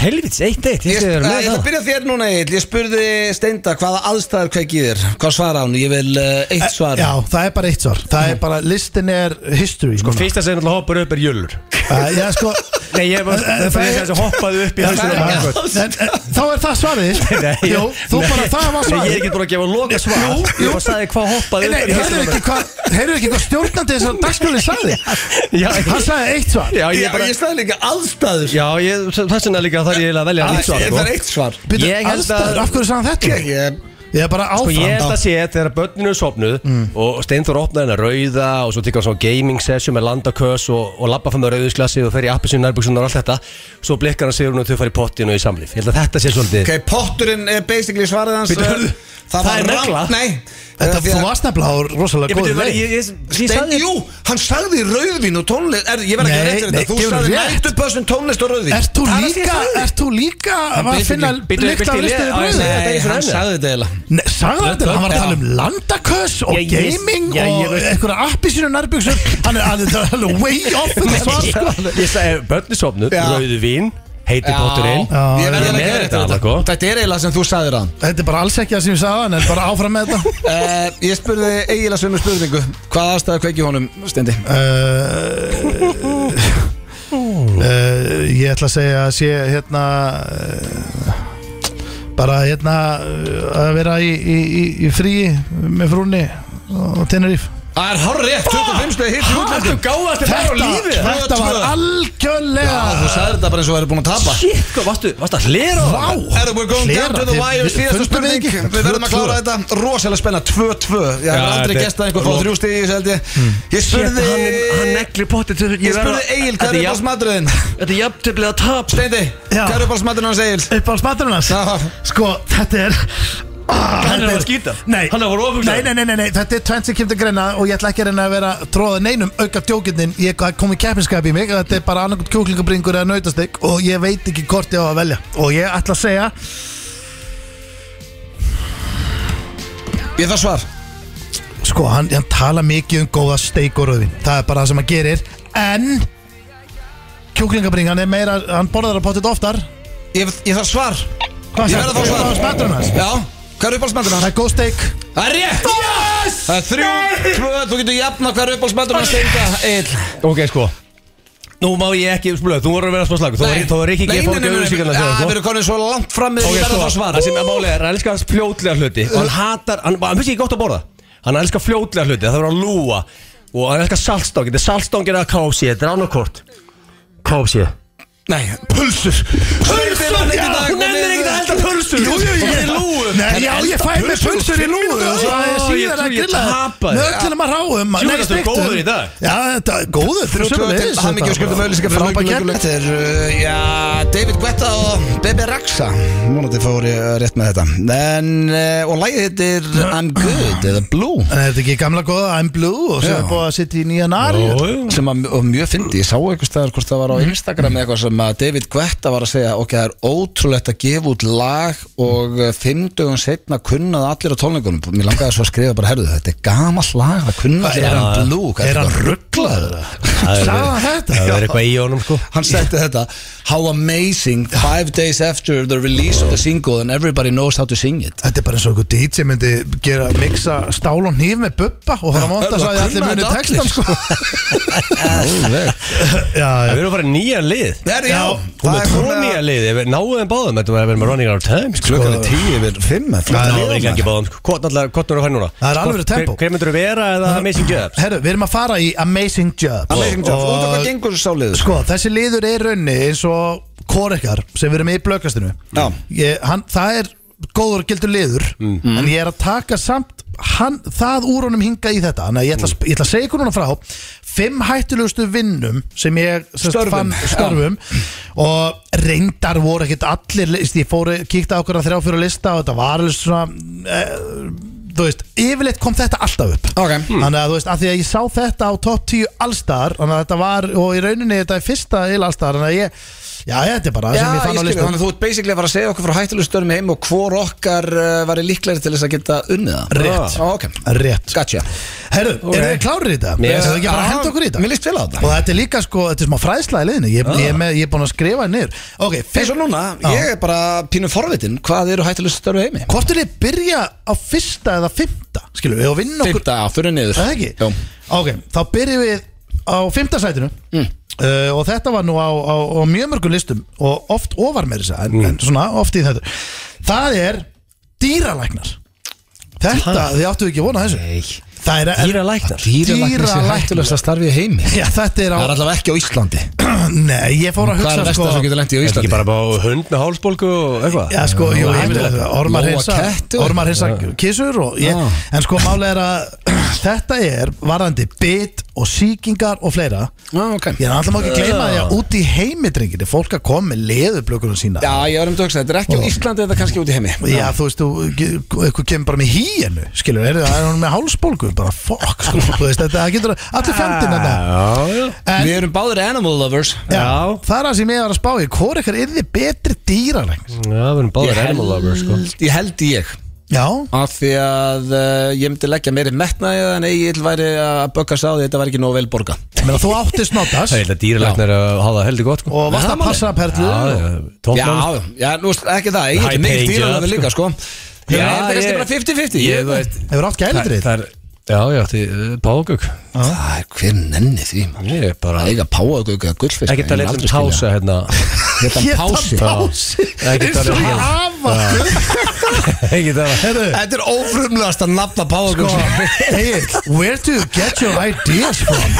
Speaker 3: helvits eitt eitt
Speaker 1: Ég,
Speaker 3: ég
Speaker 1: ég, ég
Speaker 2: um
Speaker 3: segir með
Speaker 1: ætla að
Speaker 3: það
Speaker 1: byrja þér núna Egil Ég spurði Steinda hvaða aðstæður kveikið þér Hvað svara hann? Ég vil uh, eitt svar
Speaker 2: Já, það er bara eitt svar Það er bara, listin er history Sko,
Speaker 3: fyrsta sem hann hoppar upp er jölur
Speaker 2: Já, sko
Speaker 3: nei ég var
Speaker 2: Eh, eh,
Speaker 3: það er
Speaker 2: það-
Speaker 3: þess að hoppaði upp í
Speaker 2: En,
Speaker 3: hausinu
Speaker 2: en, Þá er það svarið
Speaker 3: Nei,
Speaker 2: Jú, þú
Speaker 3: nei.
Speaker 2: bara, það var
Speaker 3: Nei,
Speaker 2: svarið
Speaker 3: ég er ekki búin að gefa loka svar
Speaker 2: Jú,
Speaker 3: Ég
Speaker 2: jú.
Speaker 3: bara sagði hvað hoppaði
Speaker 2: Nei,
Speaker 3: upp í
Speaker 2: heyrðu
Speaker 3: hausinu
Speaker 2: ekki hvað heyrðu ekki hvað stjórnandi þessar dagskjóli sagði
Speaker 3: Já,
Speaker 2: Hann sagði eitt svar
Speaker 3: já,
Speaker 1: Ég,
Speaker 3: ég bara
Speaker 1: ég sagði líka aðstæður
Speaker 3: Já, ég, þess vegna líka þarf ég eiginlega að velja nýtt
Speaker 1: Það
Speaker 3: svar
Speaker 1: er
Speaker 3: sko.
Speaker 1: eitt svar
Speaker 2: Býtu,
Speaker 3: Ég held að-
Speaker 2: aðstæður, af hverju sagði hann þetta?
Speaker 1: Ég
Speaker 2: Ég er bara
Speaker 3: Og
Speaker 2: áfram
Speaker 3: ég held að sé þegar börninu er sopnuð
Speaker 1: Mm.
Speaker 3: og Steinþór opnaði hennar rauða og svo tekur hann svona gaming session með landakös og, og labba fram með rauðisglasi og fer í appisinn nærbuksunar og allt þetta svo blikkar hann sigur hún og þau fara í pottin og í samlíf Ég held að þetta sé svolítið
Speaker 1: Ok, potturinn er basically svarið hans eh,
Speaker 3: Bíddu, hörðu,
Speaker 1: Það
Speaker 3: það er
Speaker 1: var
Speaker 3: negla?
Speaker 1: rangt, nei
Speaker 2: Þetta,
Speaker 1: Af því
Speaker 2: þú
Speaker 1: að-
Speaker 2: varst nefnilega á rosalega
Speaker 3: Ég veit,
Speaker 2: góðu
Speaker 3: ég,
Speaker 2: leið
Speaker 3: ég, ég, ég
Speaker 1: Stein,
Speaker 3: sagði
Speaker 1: jú, hann sagði rauðvin og tónlist er, Ég verð ekki
Speaker 2: Nei,
Speaker 1: rétt fyrir
Speaker 2: nei,
Speaker 1: þetta Þú
Speaker 2: gefur
Speaker 1: sagði
Speaker 2: rétt.
Speaker 1: nætupössun tónlist og rauðvin
Speaker 2: Ert þú
Speaker 1: Það er að því ég
Speaker 2: líka,
Speaker 1: sagði.
Speaker 2: ert þú líka að
Speaker 3: basically-
Speaker 2: finna
Speaker 3: Bíddu,
Speaker 2: líkt af
Speaker 3: bíddu,
Speaker 2: listuðu
Speaker 3: ég-
Speaker 2: bröðu?
Speaker 3: ég- ég-
Speaker 1: Nei, hann sagði þetta eiginlega
Speaker 2: Nei, sagði hann þetta, hann var að tala um landaköss og
Speaker 3: Ég- ég-
Speaker 2: gaming
Speaker 3: já, ég
Speaker 2: og
Speaker 3: veist-
Speaker 2: einhverja appisínu nærbyggsum Hann er alveg, það er alveg way off þetta svar sko
Speaker 3: Ég sagði börnisofnu,
Speaker 1: Já.
Speaker 3: rauðu vín Heiti
Speaker 1: Já.
Speaker 3: potturinn
Speaker 2: Já,
Speaker 1: Ég verð
Speaker 3: ég
Speaker 1: eiginlega sko. ekki
Speaker 3: með
Speaker 1: rétt
Speaker 3: þetta,
Speaker 1: fyrir
Speaker 3: Alako.
Speaker 1: þetta Þetta er eiginlega sem þú sagðir hann
Speaker 2: Þetta er bara alls ekki það sem ég sagði hann, en bara áfram með þetta
Speaker 1: Uh, ég spurði eiginlega sömu spurningu Hvað aðstæða kveiki honum, Stendi?
Speaker 2: uh, uh, Ég ætla að segja að sé hérna uh, bara hérna uh, að vera í, í, í, í fríi með frúnni og Teneríf
Speaker 1: Það er hár rétt, 25 stegi hitt í útlandum
Speaker 3: gáðast
Speaker 2: Þetta, þetta var algjörlega
Speaker 1: Já, Ah, Þú sagðir þetta bara eins og verður búin að tapa
Speaker 3: Shit, hvað varstu, varstu að hlera á það?
Speaker 1: Erðu, we're going
Speaker 2: Hlera,
Speaker 1: down to the
Speaker 2: þið-
Speaker 1: wire
Speaker 2: við-
Speaker 1: Síðasta
Speaker 2: fundum við
Speaker 1: spurning,
Speaker 2: ekki?
Speaker 1: við verðum að
Speaker 2: 2-2.
Speaker 1: klára þetta Rosalega spenna, 2-2 Ég hef
Speaker 3: Já,
Speaker 1: aldrei
Speaker 3: þetta-
Speaker 1: gestað einhver fá
Speaker 3: Lok.
Speaker 1: þrjú stegi, ég seldi
Speaker 2: Hmm.
Speaker 1: Ég
Speaker 3: Shit,
Speaker 1: spurði
Speaker 3: hann, hann negli potið til
Speaker 1: Ég spurði Egil, hvað er uppáhalds maturinn?
Speaker 3: Þetta er jafntöflið að tap
Speaker 1: Steindi,
Speaker 2: Já.
Speaker 1: hvað er uppáhalds maturinn hans Egil?
Speaker 2: uppáhalds maturinn hans
Speaker 1: Já.
Speaker 2: Sko, þetta er Ah,
Speaker 3: Hann er
Speaker 2: þetta
Speaker 3: að skýta.
Speaker 2: Nei
Speaker 3: Hann er að fara ofugsa.
Speaker 2: nei, nei, nei, nei, nei, þetta er 20 kemta greina og ég ætla ekki að reyna að vera tróða neinum auka djókinnin Ég kom í keppinskap í mig Þetta er bara annarkot kjúklingabringur eða nautastik Og ég veit ekki hvort ég á að velja Og ég ætla að segja
Speaker 1: Ég þarf svar
Speaker 2: Sko, hann, hann tala mikið um góða steik og rauðin Það er bara það sem hann gerir En Kjúklingabring, hann er meira Hann borðar að potið oftar
Speaker 1: Ég ég þarf svar
Speaker 2: Hvað
Speaker 1: Ég verð að fá svar.
Speaker 2: Uppáhalds maturinn hans?
Speaker 1: Já, hvað er uppáhalds maturinn
Speaker 2: Það
Speaker 1: hans?
Speaker 2: er góð steik
Speaker 1: Það er rétt! Það er þrjú, tvö, þú getur jafna hver uppáhaldsmættur með steinda Egil
Speaker 3: Ok, sko Nú má ég ekki spila, þú voru að vera smá slagur Þú voru- Þú voru ekki ekki
Speaker 1: Nei, nei, nei,
Speaker 3: fór ekki
Speaker 1: nei, nei,
Speaker 3: auðvísíkarna
Speaker 1: nei, Það verður konið svo langt fram með
Speaker 3: sko.
Speaker 1: Mm.
Speaker 3: Ok,
Speaker 1: því
Speaker 3: sko,
Speaker 1: verður það svar
Speaker 3: það sem er málið er, hann elskar fljótlega hluti og hann hatar, hann, hann finnst ekki gott að borða hann elskar fljótlega hluti, það verður að lúa og hann elskar saltstangin, þetta er saltstangin að KFC, þetta er annarkort KFC
Speaker 1: Nei, pulsur Pulsur,
Speaker 3: já, hún nennir ekkert að elda pulsur
Speaker 2: Jú, jú,
Speaker 3: Hún
Speaker 2: ég
Speaker 3: er í lúgu.
Speaker 2: Nei, já, ég fæ
Speaker 3: Elda
Speaker 2: með pulsur í lúgu Og svo að ég
Speaker 3: Ó, ég
Speaker 2: síðan
Speaker 3: trú-
Speaker 2: að
Speaker 3: ég
Speaker 2: grilla
Speaker 3: tapaði.
Speaker 2: Með öllum að ráum
Speaker 3: Jú, þetta er góður í dag.
Speaker 2: Já, þetta er góður
Speaker 1: Þrjú, tvö, til hann ekki og skuldum auðlýsingar fyrir
Speaker 2: Frábæk
Speaker 1: Lugguleik.
Speaker 2: gerð
Speaker 1: Þetta er, uh, já, David Guetta og Bebe Rexa Mónandi fór ég uh, rétt með þetta En, uh, og lagið heitir I'm Good, eða Blue
Speaker 2: En er þetta ekki gamla góða I'm Blue Og svo
Speaker 1: Já.
Speaker 2: er búið að sitja í nýja nari
Speaker 1: sem að, og mjög fyndi, ég sá einhvers staðar hvort það var á Instagram eða eitthvað sem að David Guetta var að segja ok, það er ótrúlegt að gefa út lag og eh, fimm dögum setna kunnað allir á tónleikunum, mér langaði svo að skrifa bara herðu, þetta er gamall lag, það kunnað allir
Speaker 2: Er
Speaker 1: er hann
Speaker 2: hann-
Speaker 1: blú,
Speaker 2: Er hann rugglaður? Sagði hann þetta?
Speaker 3: það verður eitthvað í honum sko
Speaker 1: Hann setti þetta How amazing, five days after the release of the single and everybody knows how to sing it
Speaker 2: Þetta er bara eins og einhver DJ myndi gera mixa stál og hníf með bubba og það er mónt að
Speaker 1: það
Speaker 2: sagði allir
Speaker 1: kunna
Speaker 2: muni
Speaker 1: þetta
Speaker 2: textan
Speaker 1: allir.
Speaker 2: sko
Speaker 1: Alveg.
Speaker 2: Já, já
Speaker 3: það verður að fara í nýja lið
Speaker 1: Herri, já,
Speaker 3: hún
Speaker 1: það
Speaker 3: er
Speaker 1: er
Speaker 3: tvo
Speaker 1: komið
Speaker 3: nýja lið, ef við náum þeim báðum þetta verður að vera running out of time sko
Speaker 1: Klukkan er tíu yfir fimm er flott
Speaker 2: Það er
Speaker 1: að
Speaker 3: Náum
Speaker 1: liða,
Speaker 3: við
Speaker 1: maður.
Speaker 3: ekki báðum sko, hvort allar, hvort verður að fara núna
Speaker 2: Það er alvöru tempó.
Speaker 3: Hver- Hver myndur vera eða Amazing Jobs
Speaker 2: Herru, við erum að fara í Amazing Jobs
Speaker 1: Amazing Job, út af
Speaker 2: Og-
Speaker 1: hvað gengur sá liður
Speaker 2: Sko, þessi liður er raunni eins og kórekar sem við erum með í blökastinu
Speaker 1: Já.
Speaker 2: ég, hann, Það er góður og gildur liður
Speaker 1: Mm.
Speaker 2: en ég er að taka samt hann, það úr honum hinga í þetta Þannig að ég ætla, að sp- ég ætla að segja ykkur núna frá fimm hættulegustu vinnum sem ég sem sagt
Speaker 1: Störfum.
Speaker 2: fann störfum og reyndar voru ekkert allir list, ég fór kíkta okkur að þrjá fyrir lista og þetta var alveg svona eh, þú veist, yfirleitt kom þetta alltaf upp
Speaker 1: Ok.
Speaker 2: Þannig að þú veist, af því að ég sá þetta á top 10 allstar Þannig að þetta var, og í rauninni þetta er fyrsta il allstar Þannig að ég, já þetta er bara það
Speaker 1: Já,
Speaker 2: sem ég
Speaker 1: ég
Speaker 2: fann á
Speaker 1: skilur,
Speaker 2: listum
Speaker 1: þannig að þú ert basically að fara að segja okkur frá hættulegum störmi heim og hvor okkar uh, væri líklegri til þess að geta unnið það
Speaker 2: Rétt.
Speaker 1: ah, Ok,
Speaker 2: Rétt
Speaker 1: gotcha Eh, ah,
Speaker 2: Herru, okay. eru þið klárir í þetta?
Speaker 3: Mér-
Speaker 2: Yes. Það ekki bara að henda okkur í
Speaker 1: Mér
Speaker 2: þetta?
Speaker 1: líst vel á þetta
Speaker 2: Og þetta er líka sko, þetta er smá fræðsla í liðinu Ég, ég, er með, ég er búin að skrifa niður Ok,
Speaker 1: Eins og núna, ég er bara pínu forvitin hvað eru hættulegum störmi heimi
Speaker 2: Hvort er þið byrja á fyrsta eða fymta? Skilur við, og vinna okkur
Speaker 1: Fymta, já, fyrir niður
Speaker 2: Er Það ekki?
Speaker 1: Jó.
Speaker 2: Ok, þá byrjum við á fymta sætinu
Speaker 1: Mm.
Speaker 2: uh, og þetta var nú á, á, á mjög mörgum listum og oft ofar með þess að
Speaker 1: Mm.
Speaker 2: en, en svona oft í þetta Það er dýralæknar Þetta, þið áttu ekki að vona þessu Nei. Það er er-
Speaker 3: Dýralæknar?
Speaker 1: Dýralæknis er
Speaker 2: Dýralæknar
Speaker 1: hættulegast að starfi heimi
Speaker 2: Já, þetta er á
Speaker 1: Það er allavega ekki á Íslandi
Speaker 2: Nei, ég fór
Speaker 1: Hvað er
Speaker 2: að hugsa sko-
Speaker 1: vest að það getur lendi á
Speaker 3: Er þetta
Speaker 1: Íslandi?
Speaker 3: ekki bara bara hund með hálsbólgu og eitthvað?
Speaker 2: Já sko, jú, ég veit
Speaker 1: heimilegt.
Speaker 2: það,
Speaker 1: Lóa
Speaker 2: ormar
Speaker 1: Ah.
Speaker 2: hinsa
Speaker 1: ketti og-
Speaker 2: Ormar hinsa kissur og ég,
Speaker 1: Já.
Speaker 2: En sko, málega er að þetta er varðandi bit og sýkingar og fleira
Speaker 1: Já, Ah, ok
Speaker 2: Ég er alltaf má ekki gleyma því að út í heimidrenginni fólk að koma með leðublökunum sína
Speaker 1: Já, ég var um dögst Þetta er
Speaker 2: Oh.
Speaker 1: ekki á Íslandi, þetta er kannski út í heimi
Speaker 2: Já, þú veist, þú, eitthvað kemur bara með híinu skilur, er það er hún með hálsbólgu bara fokk, sko, þú veist, þetta það getur allir fjandinn þetta
Speaker 3: já,
Speaker 2: En
Speaker 1: Við erum báðir animal lovers
Speaker 2: já,
Speaker 3: já.
Speaker 2: það er það sem ég var að spá í hvort ykkar yrði betri dýralengs
Speaker 3: já við erum báðir animal lovers sko.
Speaker 1: Ég held ég
Speaker 2: Já,
Speaker 1: Af því að uh, ég myndi leggja meiri metnaði en Egil væri að böggast á því þetta væri ekki nóg vel borga
Speaker 2: menn að þú átti
Speaker 3: það
Speaker 2: snotas
Speaker 3: er eitthvað dýralæknar að hafa það heldur gott sko.
Speaker 2: og varst að passa að perlu
Speaker 1: Já, já, nú veist, ekki það, Egil
Speaker 3: High
Speaker 1: er mikil
Speaker 3: paying
Speaker 1: dýralöfur
Speaker 3: job,
Speaker 1: líka, sko Já, þetta er kannski bara 50-50
Speaker 3: Ég veit
Speaker 2: Hefur átt gæludrið
Speaker 3: Það er, já, já, því págögg
Speaker 1: Það er hver nenni því, mann
Speaker 3: Ég er bara
Speaker 1: Það er ekki að páa guðgöða gullfisk
Speaker 3: Ekki tala um pása hérna
Speaker 1: Þetta er pási
Speaker 2: Pási
Speaker 3: Ekki
Speaker 2: Eins
Speaker 3: tala
Speaker 2: og
Speaker 3: um
Speaker 2: afa sko.
Speaker 3: Ekki tala
Speaker 2: Heyrðu,
Speaker 1: Þetta er ófrumlegast að nafna páa
Speaker 3: Sko,
Speaker 2: Egil, where do you get your ideas from?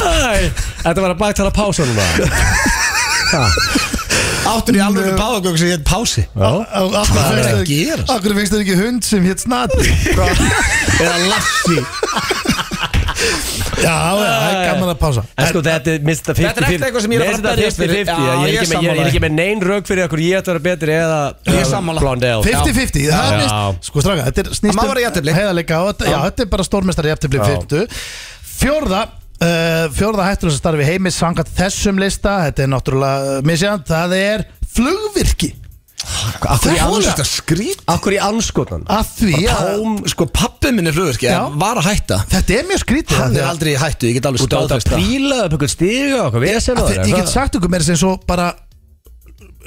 Speaker 3: Æ, Þetta var að baktala pása núna
Speaker 1: Áttur í alveg
Speaker 3: mm.
Speaker 1: páa sem ég heit pási
Speaker 3: Já
Speaker 1: Hvað er að
Speaker 2: Akkur
Speaker 1: gerast?
Speaker 2: finnst þér ekki hund sem hétt snati
Speaker 1: Eða lassi
Speaker 2: Já, já, það er gaman að pása
Speaker 3: En sko þetta er mista 50-50
Speaker 1: Þetta er eftir eitthvað sem ég er að fara að berjast fyrir.
Speaker 3: fyrir
Speaker 1: Já, ég
Speaker 3: Ég er
Speaker 1: er
Speaker 3: ekki með- ég er ekki með neyn rauk fyrir okkur Ég ætti að vera betri eða
Speaker 1: Ég er sammála.
Speaker 3: Blonde
Speaker 2: 50-50, það er
Speaker 3: Já.
Speaker 2: mist Sko stráka, þetta er snýst
Speaker 1: Það má vera jafntefli.
Speaker 2: heiðarleika og þetta- Já, þetta er bara stórmestari jæftibli
Speaker 3: Já.
Speaker 2: 50 Fjórða uh, Fjórða hættur sem starfi heimis Sangat þessum lista, þetta er náttúrulega misjönd Það er flugvirki
Speaker 1: Akkur
Speaker 2: Það
Speaker 1: ég
Speaker 2: er
Speaker 1: alveg
Speaker 2: það.
Speaker 1: þetta skrít
Speaker 3: Akkur í anskotan
Speaker 2: Að því að
Speaker 1: Tóm, sko pappi minn er flugverki
Speaker 2: Já.
Speaker 1: Var að hætta
Speaker 2: Þetta er mjög skrítið af
Speaker 1: Hann
Speaker 2: því
Speaker 1: er
Speaker 2: að-
Speaker 1: aldrei í hættu, ég get alveg
Speaker 3: Út á þetta
Speaker 1: staðfest það.
Speaker 3: príla upp einhvern stiga okkur Við sem
Speaker 2: Af því- Ég get sagt ykkur meira sem svo bara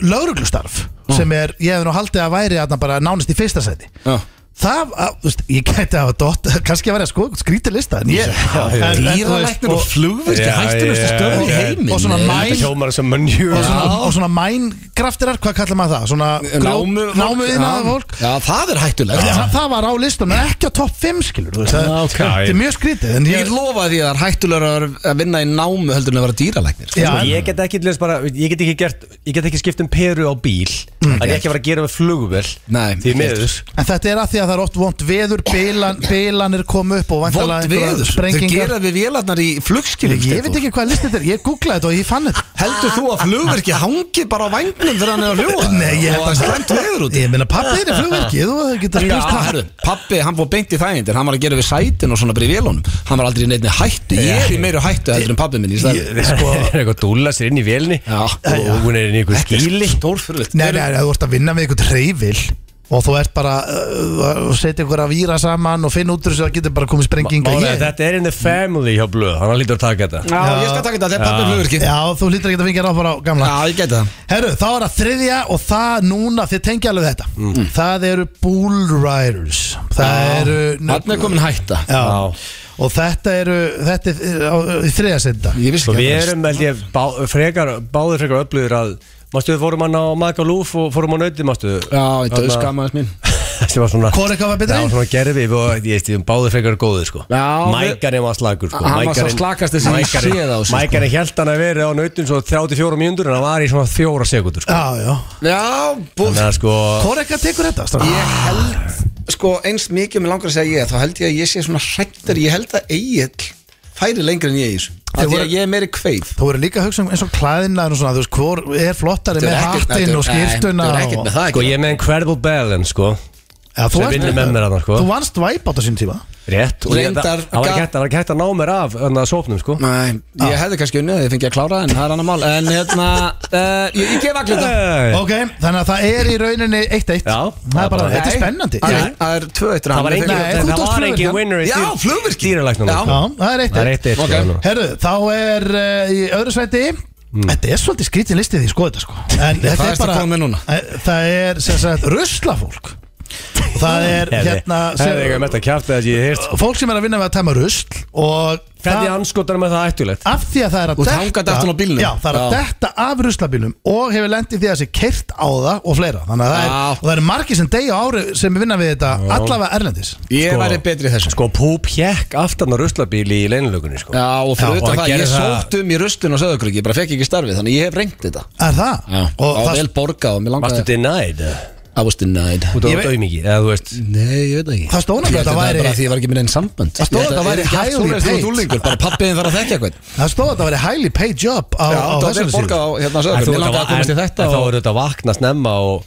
Speaker 2: lauruglustarf sem er, ég hef nú haldið að væri að bara nánast í fyrsta sæti
Speaker 1: Já.
Speaker 2: Það, að, þú veist, ég gæti að hafa dott kannski að vera sko, skrítið lista en ég, en- en, þú veist,
Speaker 1: Dýralæknir og flugverki
Speaker 3: Já,
Speaker 1: Hættulegustu
Speaker 3: já,
Speaker 1: störf í
Speaker 3: já.
Speaker 1: heiminn
Speaker 2: Og svona
Speaker 1: Eh,
Speaker 2: mæ-
Speaker 3: Þetta hjómar sem mönjur
Speaker 2: og svona, og svona mængraftirar, hvað kallar maður það? Svona
Speaker 1: Námu-
Speaker 2: námuðinaða
Speaker 1: Já.
Speaker 2: fólk
Speaker 1: Já, það er hættulegt
Speaker 2: það, það var á listan, en ekki á topp 5 skilur þú veist, það,
Speaker 3: Já, ok.
Speaker 2: þetta er mjög skrítið en
Speaker 1: Ég
Speaker 2: ég,
Speaker 1: lofaði því að það er hættulegur að vinna í námu heldur en að vera dýralæknir
Speaker 2: já,
Speaker 3: Sko,
Speaker 2: en-
Speaker 3: ég get ekki til þess bara ég get ekki, gert, ég get ekki skipt um peru á bíl það er ekki að fara að gera með flugvel
Speaker 1: Nei,
Speaker 3: því
Speaker 1: ekki.
Speaker 3: miður
Speaker 2: en þetta er að því að það er oft vond veður bilan, bilanir kom upp og
Speaker 1: Vond
Speaker 2: væntanlega einhverjar
Speaker 1: veður, þau
Speaker 2: sprengingar
Speaker 1: gera við vélarnar í flugskilum
Speaker 2: Ég, ég veit ekki hvað listið er, ég googlaði þetta og ég fann þetta
Speaker 1: Heldur þú að flugverki hangi bara á vangnum þegar hann er að fljúa?
Speaker 2: ah, Nei, ég held
Speaker 1: held
Speaker 2: að-
Speaker 1: að slemt veður út
Speaker 2: Ég meina pappi er í flugverki, þú getur
Speaker 1: Já,
Speaker 2: spurt hann
Speaker 1: herru, pappi, hann fór beint í þægindir Hann var að gera við sætin og svona bara í vélunum Hann var aldrei í neittni hættu Ég er í meiri hættu heldur en pappi minn í stæðin
Speaker 3: sko, er eitthvað að dúlla sér inn í vélni
Speaker 1: Eh, Já.
Speaker 3: og hún er inn í einhver skíli
Speaker 1: Stórfurlegt
Speaker 2: Nei, nei, ef þú ert að vinna með einhvern reyfil og þú ert bara uh, og setja einhver að víra saman og finna út úr þessu að getur bara komið sprenginga
Speaker 3: Málega,
Speaker 2: ég,
Speaker 3: þetta er in the family hjá blöð hann lítur að taka þetta
Speaker 1: Já, ég skal taka þetta, þetta er pappi flugverki
Speaker 2: Já, þú lítur ekki að vingja ráð bara á gamla
Speaker 1: Já, ég gæti það
Speaker 2: Herru, þá er það þriðja og það núna þið tengja alveg þetta Það eru bull riders Það eru
Speaker 1: Hann er komin hætta
Speaker 2: Já.
Speaker 3: Já.
Speaker 2: Og þetta eru þetta er á- í þriðja senda
Speaker 1: Ég vissi
Speaker 3: sko,
Speaker 1: ekki
Speaker 3: við
Speaker 1: að það
Speaker 3: erum held ég bá, frekar, báður frekar öflugir að mástu við fórum hann á Magalúf og fórum á nauti mástu
Speaker 1: Já, ég döð skammaðis mín
Speaker 3: sem var svona
Speaker 2: Hvor eitthvað var
Speaker 3: það var
Speaker 2: betri?
Speaker 3: svona gerfi og ég veist ég báður frekar góðir sko
Speaker 1: Já, við-
Speaker 3: mækarinn var slagur sko
Speaker 1: Hann var sá
Speaker 3: Mækarinn-
Speaker 1: slakasti sem ég
Speaker 3: Mækarinn-
Speaker 1: séð á sig, sko.
Speaker 3: Mækarinn held hann að vera á nautum svo 34 mínútur en hann var í svona 4 sekundur sko
Speaker 2: Já, já
Speaker 1: Já, bú
Speaker 3: þannig að sko
Speaker 2: Hvor eitthvað tekur þetta? strákar?
Speaker 1: Ég held Sko, eins mikið með langar að segja ég Þá held ég að ég sé svona hrættar Ég held að Egil færi lengri en ég í þessu Af Því
Speaker 2: voru-
Speaker 1: að ég er meiri kveif
Speaker 2: Þú verður líka að hugsa um eins og klæðinaður og svona, þú veist, hvor er flottari með hattinn og skýrtuna
Speaker 1: Þú er
Speaker 2: og...
Speaker 1: ekkert með það
Speaker 3: sko
Speaker 1: ekki
Speaker 3: ég er með incredible balance sko
Speaker 2: Já, þú
Speaker 3: sem
Speaker 2: varst-
Speaker 3: vinnur með mér þarna, sko.
Speaker 2: Þú vannst væp á þessum tíma
Speaker 3: rétt og ég-
Speaker 1: Reyndar-
Speaker 3: það var ekki hægt- það var ekki hægt að ná mér af þannig að sópnum sko
Speaker 1: Nei, ég hefði kannski unnið að ég fengi að klára það, en það er annar mál En hérna, uh, ég, ég gef allir þetta
Speaker 3: Nei.
Speaker 2: Ok, þannig að það er í rauninni 1-1
Speaker 3: Já,
Speaker 2: Það er bara,
Speaker 3: bara-
Speaker 2: þetta er spennandi
Speaker 1: Það
Speaker 2: Já,
Speaker 1: er- Það er tvö eittur
Speaker 3: það var engin
Speaker 2: Nei,
Speaker 3: það-
Speaker 2: þú
Speaker 3: það
Speaker 2: tókst
Speaker 3: var engin
Speaker 2: flugvirkjann.
Speaker 3: winner í
Speaker 1: Já,
Speaker 3: dýr-
Speaker 1: flugvirkjann.
Speaker 3: dýralæknum
Speaker 1: Já.
Speaker 3: sko.
Speaker 2: það er
Speaker 3: það
Speaker 2: 1-1
Speaker 3: er eitt eitt
Speaker 1: Ok.
Speaker 3: sko
Speaker 2: Herru, þá er uh, í öðru sæti Þetta er svolítið skrítið listið því, sko þetta sko En þetta
Speaker 1: ertu að koma með núna?
Speaker 2: Eh, Það er, sem sagt, ruslafólk Og Það er, hérna
Speaker 3: það er eitthvað
Speaker 2: sem,
Speaker 3: með þetta kjátt að ég heist
Speaker 2: Fólk sem er að vinna með að tæma rusl Og
Speaker 3: hvernig anskotar með það ættulegt
Speaker 2: af því að það er að
Speaker 1: Út hangadaftan á bílnum.
Speaker 2: já, það er að
Speaker 1: Já.
Speaker 2: detta af ruslabílnum og hefur lendið því að sé kert á það og fleira þannig að það er,
Speaker 1: Já.
Speaker 2: og það eru margir sem degi á ári sem vinna við þetta allavega erlendis
Speaker 1: Ég
Speaker 3: Sko.
Speaker 1: væri betri í þessu
Speaker 3: sko púp hjekk aftan á ruslabíl í leinilögunni sko
Speaker 1: Já, og fyrir
Speaker 3: Já, og
Speaker 1: utan
Speaker 3: það
Speaker 1: það, ég
Speaker 3: gerir það-
Speaker 1: sótt um í rustun og söðukryggi Ég bara fekk ekki starfið, þannig ég hef reynd þetta
Speaker 2: er það
Speaker 1: Já,
Speaker 2: og
Speaker 1: það var
Speaker 2: það,
Speaker 1: vel borgað og mér
Speaker 3: varstu
Speaker 1: langaði
Speaker 3: denied eða?
Speaker 1: I was denied
Speaker 3: Út
Speaker 2: Ég
Speaker 3: á
Speaker 2: veit-
Speaker 3: dömingi, eða þú veist
Speaker 1: Nei, ég veit ekki
Speaker 2: Það stóð nefnilega að það væri-
Speaker 1: Það bara því ég var ekki með einn sambönd
Speaker 2: Það stóð að það væri highly paid.
Speaker 1: úlingur Bara pappiðin þarf að þekkja eitthvað
Speaker 2: Það stóð að það væri highly paid job á,
Speaker 1: Já,
Speaker 2: á
Speaker 1: það
Speaker 2: þessari
Speaker 1: er
Speaker 2: síðu
Speaker 1: borgað á hérna
Speaker 3: En þú
Speaker 1: sögur Ég
Speaker 3: ert
Speaker 1: langa
Speaker 3: að-
Speaker 1: að komast í
Speaker 3: en-
Speaker 1: þetta
Speaker 3: en Þá
Speaker 1: og
Speaker 3: eru þetta að vakna snemma og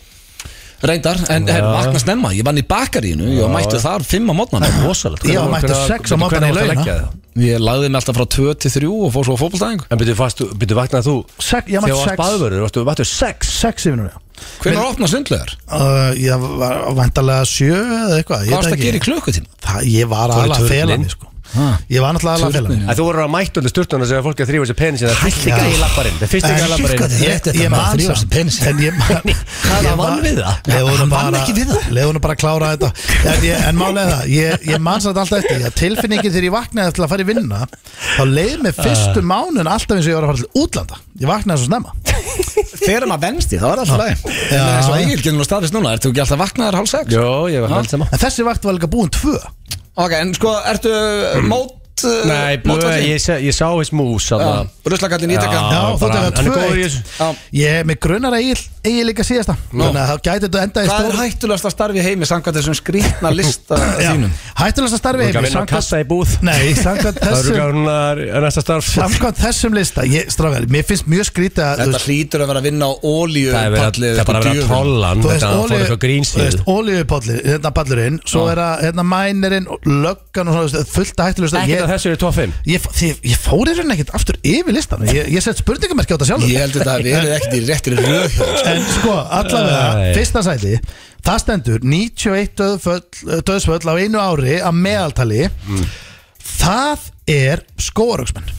Speaker 1: reyndar En
Speaker 3: Já.
Speaker 1: her, vakna snemma, ég vann í bakaríinu Ég var mættu þar fimm á mótnana
Speaker 3: rosalegt
Speaker 2: Ég var mættur sex á morgnana í laugina.
Speaker 1: Ég lagði mig alltaf frá 2 til 3 og fór svo á fótboltæðingu
Speaker 3: En byrju, varstu- byrju, vaknaði þú
Speaker 2: Sex- ég
Speaker 3: Þegar
Speaker 2: mætti
Speaker 3: þú varst
Speaker 2: sex.
Speaker 3: baðvörður, varstu- vaknaði sex
Speaker 2: Sex yfir núna
Speaker 1: Hvernig opna sundlegar?
Speaker 2: uh, Ég var vantarlega sjö eða eitthvað ég
Speaker 1: Hvað varst
Speaker 2: veit
Speaker 1: að
Speaker 2: ekki.
Speaker 1: gera í klukkutíma?
Speaker 2: Það, ég var alveg að fela
Speaker 3: turninn?
Speaker 2: mig sko Ég var náttúrulega alveg að fela mig
Speaker 3: En þú voru að mættu undir styrtuna sem fólk að þrýfa sér penin Það er fyrst
Speaker 2: Já.
Speaker 3: ykkur í lapparinn Það er fyrst ykkur í
Speaker 2: En-
Speaker 3: lapparinn
Speaker 1: þetta er
Speaker 2: Ég-
Speaker 1: rétt, þetta
Speaker 2: ég
Speaker 1: maður
Speaker 2: man
Speaker 1: þrífast
Speaker 2: samt.
Speaker 1: í penisinn.
Speaker 2: En ég man
Speaker 1: Hvað, hann
Speaker 2: ég
Speaker 1: vann
Speaker 2: man-
Speaker 1: við það?
Speaker 2: Leið honum
Speaker 1: Hann vann
Speaker 2: bara-
Speaker 1: ekki við það?
Speaker 2: Leið honum bara að klára þetta En, ég, en málega það, ég, ég man satt alltaf eftir að Tilfinningin þegar ég vaknaði til að fara í vinna Þá leið mér fyrstu
Speaker 3: Ah.
Speaker 2: mánun alltaf eins og ég var að fara til útlanda Ég vaknaði svo snemma
Speaker 1: Þegar maður venst í, það var alltaf læg
Speaker 2: Já.
Speaker 1: En svo Egil getur nú staðist núna, ertu ekki alltaf vaknaðar hálf sex?
Speaker 3: Jó, ég var held sama
Speaker 2: En þessi vakt var líka búin tvö
Speaker 1: Ok, en sko, ertu mót uh,
Speaker 3: Mm. Nei, blöð,
Speaker 1: mótvallinn?
Speaker 3: ég, sé- ég sá þess mús
Speaker 1: Já,
Speaker 3: þarna.
Speaker 1: Ruslakallin ítaka
Speaker 2: Já, þú
Speaker 3: bara-
Speaker 2: ert að
Speaker 3: hann er
Speaker 2: tvö
Speaker 3: góður
Speaker 2: eitt.
Speaker 3: í þessu.
Speaker 1: Já.
Speaker 2: Ég er með grunnar að ég er líka síðasta Þannig að þá gæti þetta enda
Speaker 1: Hvað
Speaker 2: í
Speaker 1: er
Speaker 2: stór
Speaker 1: hættulegast að starfi í heimi samkvæmt þessum skrýtna lista þínum?
Speaker 2: Hættulegast að starfi
Speaker 3: Þú ekki að
Speaker 2: heimi,
Speaker 3: vinna á
Speaker 2: samkvæmt-
Speaker 3: kassa í búð
Speaker 2: Nei, samkvæmt
Speaker 3: Það eru
Speaker 2: þessum
Speaker 3: gæðunar næsta starf
Speaker 2: Samkvæmt þessum lista, ég, strafgar, mér finnst mjög skrítið að, þú
Speaker 1: Þetta
Speaker 2: veist,
Speaker 1: hlýtur að vera að vinna á ólíu
Speaker 3: Það er verið að- það er bara að vera tollan
Speaker 2: þú
Speaker 3: Þetta fór
Speaker 2: olíu-
Speaker 3: eitthvað
Speaker 2: þú
Speaker 3: grínsíð
Speaker 2: veist, olíupallurinn, hérna pallurinn, svo er að, hérna mænerinn, og löggan og svona, þú veist, fullt að hættulegast
Speaker 3: Ekki að
Speaker 2: ég,
Speaker 3: þessu eru top 5
Speaker 2: ég, ég, ég fór í rauninni ekkert aftur yfir listan, ég, ég sett spurningamerki á þetta sjálfur.
Speaker 1: Ég held þetta að við erum ekkert í réttir röðhjóð
Speaker 2: En sko, allavega,
Speaker 3: Æ.
Speaker 2: fyrsta sæti Það stendur 91 döðföll, döðsföll á einu ári að meðaltali
Speaker 3: Mm.
Speaker 2: Það er skóaröksmenn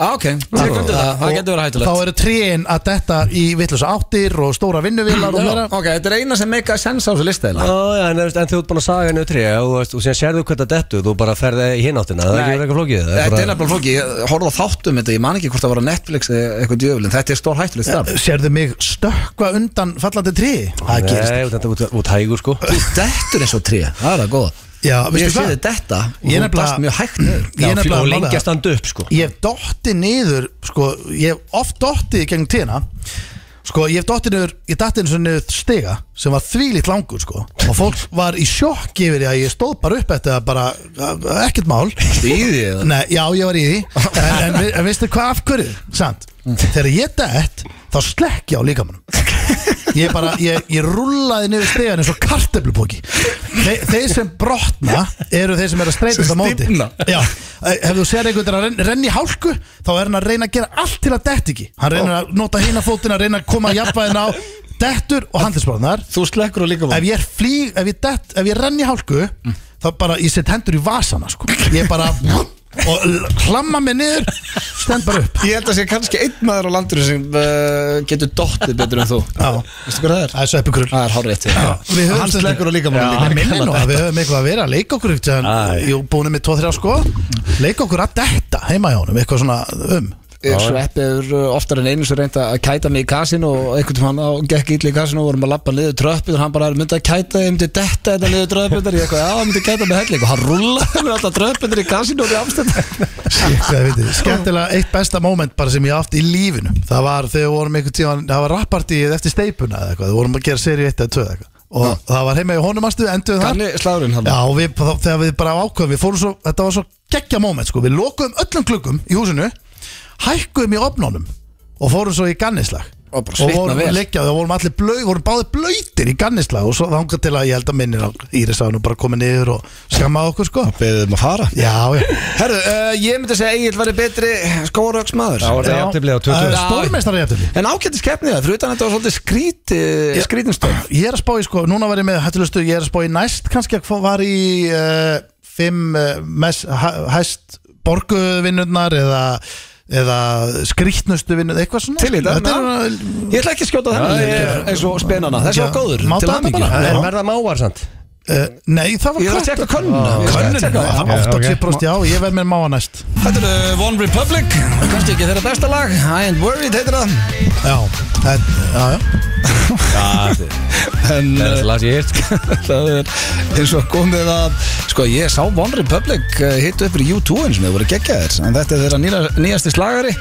Speaker 1: ah, Ok, það getur það, það getur verið
Speaker 2: Þá
Speaker 1: hættulegt
Speaker 2: eru tríin að detta í vitlusa áttir og stóra vinnuvilar og
Speaker 1: Já,
Speaker 2: fleira
Speaker 1: Ok, þetta er eina sem make a sense á þessu lista eiginlega.
Speaker 3: Já, já, en, þú veist, en þú ert búin að saga henni utri og, veist, og síðan sérðu hvernig það dettu þú bara ferði í hináttina, það er ekki verið eitthvað flókið það
Speaker 1: Þetta er
Speaker 3: bara-
Speaker 1: nefnilega flóki, ég horfði á þáttum þetta, ég man ekki hvort það var á Netflix eða eitthvað djöfulin, þetta er stór hættulegt starf
Speaker 2: Sérðu mig stökkva undan fallandi trí Það gerist
Speaker 3: Nei, þetta er út- út hægur sko
Speaker 1: Þú dettur eins og tré, það er það góða
Speaker 2: Já,
Speaker 1: Ég
Speaker 2: Ah, veistu
Speaker 1: sé
Speaker 2: hvað?
Speaker 1: þið detta og
Speaker 2: Ég
Speaker 1: þú
Speaker 2: nefnilega-
Speaker 1: dast mjög hægt niður
Speaker 2: Ég er
Speaker 3: Já,
Speaker 2: nefnilega
Speaker 3: og
Speaker 2: að mála
Speaker 3: lengja
Speaker 2: það.
Speaker 3: standa upp sko
Speaker 2: Ég hef dotti niður sko, Ég hef oft dotti í gegnum tíðina Sko, ég hef dotti niður Ég datti eins og niður stiga sem var þvílíkt langur sko. og fólk var í sjokk yfir því að ég stóð bara upp eftir að bara uh, ekkert mál
Speaker 1: Stíði eða
Speaker 2: Nei, já, ég var í því En, en, vi- en veistu hvað af hverju? Sant Þegar ég dett, þá slekk ég á líkamanum Ég bara, ég, ég rúllaði niður stegan eins og kartöflupóki Þe, Þeir sem brotna eru þeir sem eru að streytast á móti
Speaker 1: stífna.
Speaker 2: Já, eh, ef þú sér einhvern veginn að renn- renna í hálku Þá er hann að reyna að gera allt til að dett ekki Hann reynir að nota hina fótina, reyna að koma jafnvæðin á Dettur og handlisbrotnar
Speaker 1: Þú slekkur og líka
Speaker 2: ef ég er flýg, ef ég dett, ef ég renn í hálku þá bara, ég set hendur í vasana sko. ég bara og l- hlamma mig niður, stend bara upp
Speaker 1: Ég held að sé kannski einn maður á landinu sem uh, getur dottið betur en þú
Speaker 2: Já.
Speaker 1: Veistu hvað það er?
Speaker 2: það er svo epikrull
Speaker 1: Það er hárið
Speaker 2: Við
Speaker 1: eftir
Speaker 2: höfum
Speaker 1: Hann
Speaker 2: stundum-
Speaker 1: slegur og líka mann
Speaker 2: Ég
Speaker 1: líka
Speaker 2: minni nú að við höfum eitthvað að vera að leika okkur eitthvað,
Speaker 3: Æ.
Speaker 2: jú, búinu með 2-3 sko leika okkur að detta heima hjá honum eitthvað svona um
Speaker 1: Ég sveppið oftar en einu sem reynda að kæta mig í kasinu og einhvern tímann á gekk ítli í kasinu og vorum að labba niður tröppið og hann bara myndi að kæta ég myndi detta þetta niður tröppið ég eitthvað, já, hann myndi kæta mig helling og hann rúlaði mér alltaf tröppið í kasinu og við afstönda
Speaker 2: Shit, hvað veitir, skemmtilega eitt besta moment bara sem ég átti í lífinu það var þegar við vorum einhvern tíðan það var rappartíð eftir steipuna eða eitthvað við vorum að gera seri 1 eða 2 eða eitthvað og það var heima í honumastu, enduðum þar
Speaker 1: Kanni slagurinn hann
Speaker 2: Já, og við, þá, þegar við bara ákveðum við fórum svo, þetta var svo geggja moment sko. við lokuðum öllum klukkum í húsinu hækkuðum í opnónum og fórum svo í gannislag
Speaker 1: Og bara svitna
Speaker 2: vorum
Speaker 1: vel.
Speaker 2: leggja, þá vorum allir blöð, vorum báði blöytir í gannislag og svo þangað til að ég held að minnir að Íris að nú bara komið niður og skammaði okkur sko
Speaker 1: Beðum að fara
Speaker 2: Já, já
Speaker 1: Herru, uh, ég myndi að segja Egil væri betri skóraugs maður
Speaker 3: Já, var þetta
Speaker 2: Já.
Speaker 3: jafntefli á
Speaker 2: Það
Speaker 3: 20
Speaker 2: er stórmeistari jafntefli
Speaker 1: En ágætti skefnið það, fyrir utan þetta var svolítið eh, skríti, skrítinstöð
Speaker 2: Ég er að spá í sko, núna var ég með hættulegustu ég er að spá í næst kannski að hvað var í uh, fimm uh, mest, hæ, hæst borguvinnurnar eða eða skrýtnustu vinnur, eitthvað svona
Speaker 1: Til í þetta,
Speaker 2: þetta
Speaker 1: já.
Speaker 2: er,
Speaker 1: Ég ætla ekki að skjóta
Speaker 3: Já,
Speaker 1: þennan
Speaker 3: ég-
Speaker 1: leik eins og spenana, þessi var
Speaker 2: Já,
Speaker 1: góður
Speaker 2: máta
Speaker 1: til
Speaker 2: þetta
Speaker 1: hamingju.
Speaker 2: bara.
Speaker 3: En
Speaker 2: Já.
Speaker 3: verða mávar sant?
Speaker 2: uh, Nei, það var
Speaker 1: Ég þarf að tekka könnun
Speaker 2: Könnunin,
Speaker 3: það.
Speaker 2: átt að
Speaker 3: Ok, ok.
Speaker 2: tipprost, já, ég verð með máa næst
Speaker 1: Þetta eru uh, One Republic Kannski ekki þeirra besta lag I ain't worried heitir það
Speaker 2: Já, það, já, já
Speaker 3: Já, það
Speaker 1: En
Speaker 3: er
Speaker 1: uh,
Speaker 3: það las ég hirt
Speaker 1: það er eins og komið að Sko ég sá One eh, Republic uh, hitt upp fyrir U2 eins og það voru geggjaðir En þetta er þeirra nýra, nýjasti slagari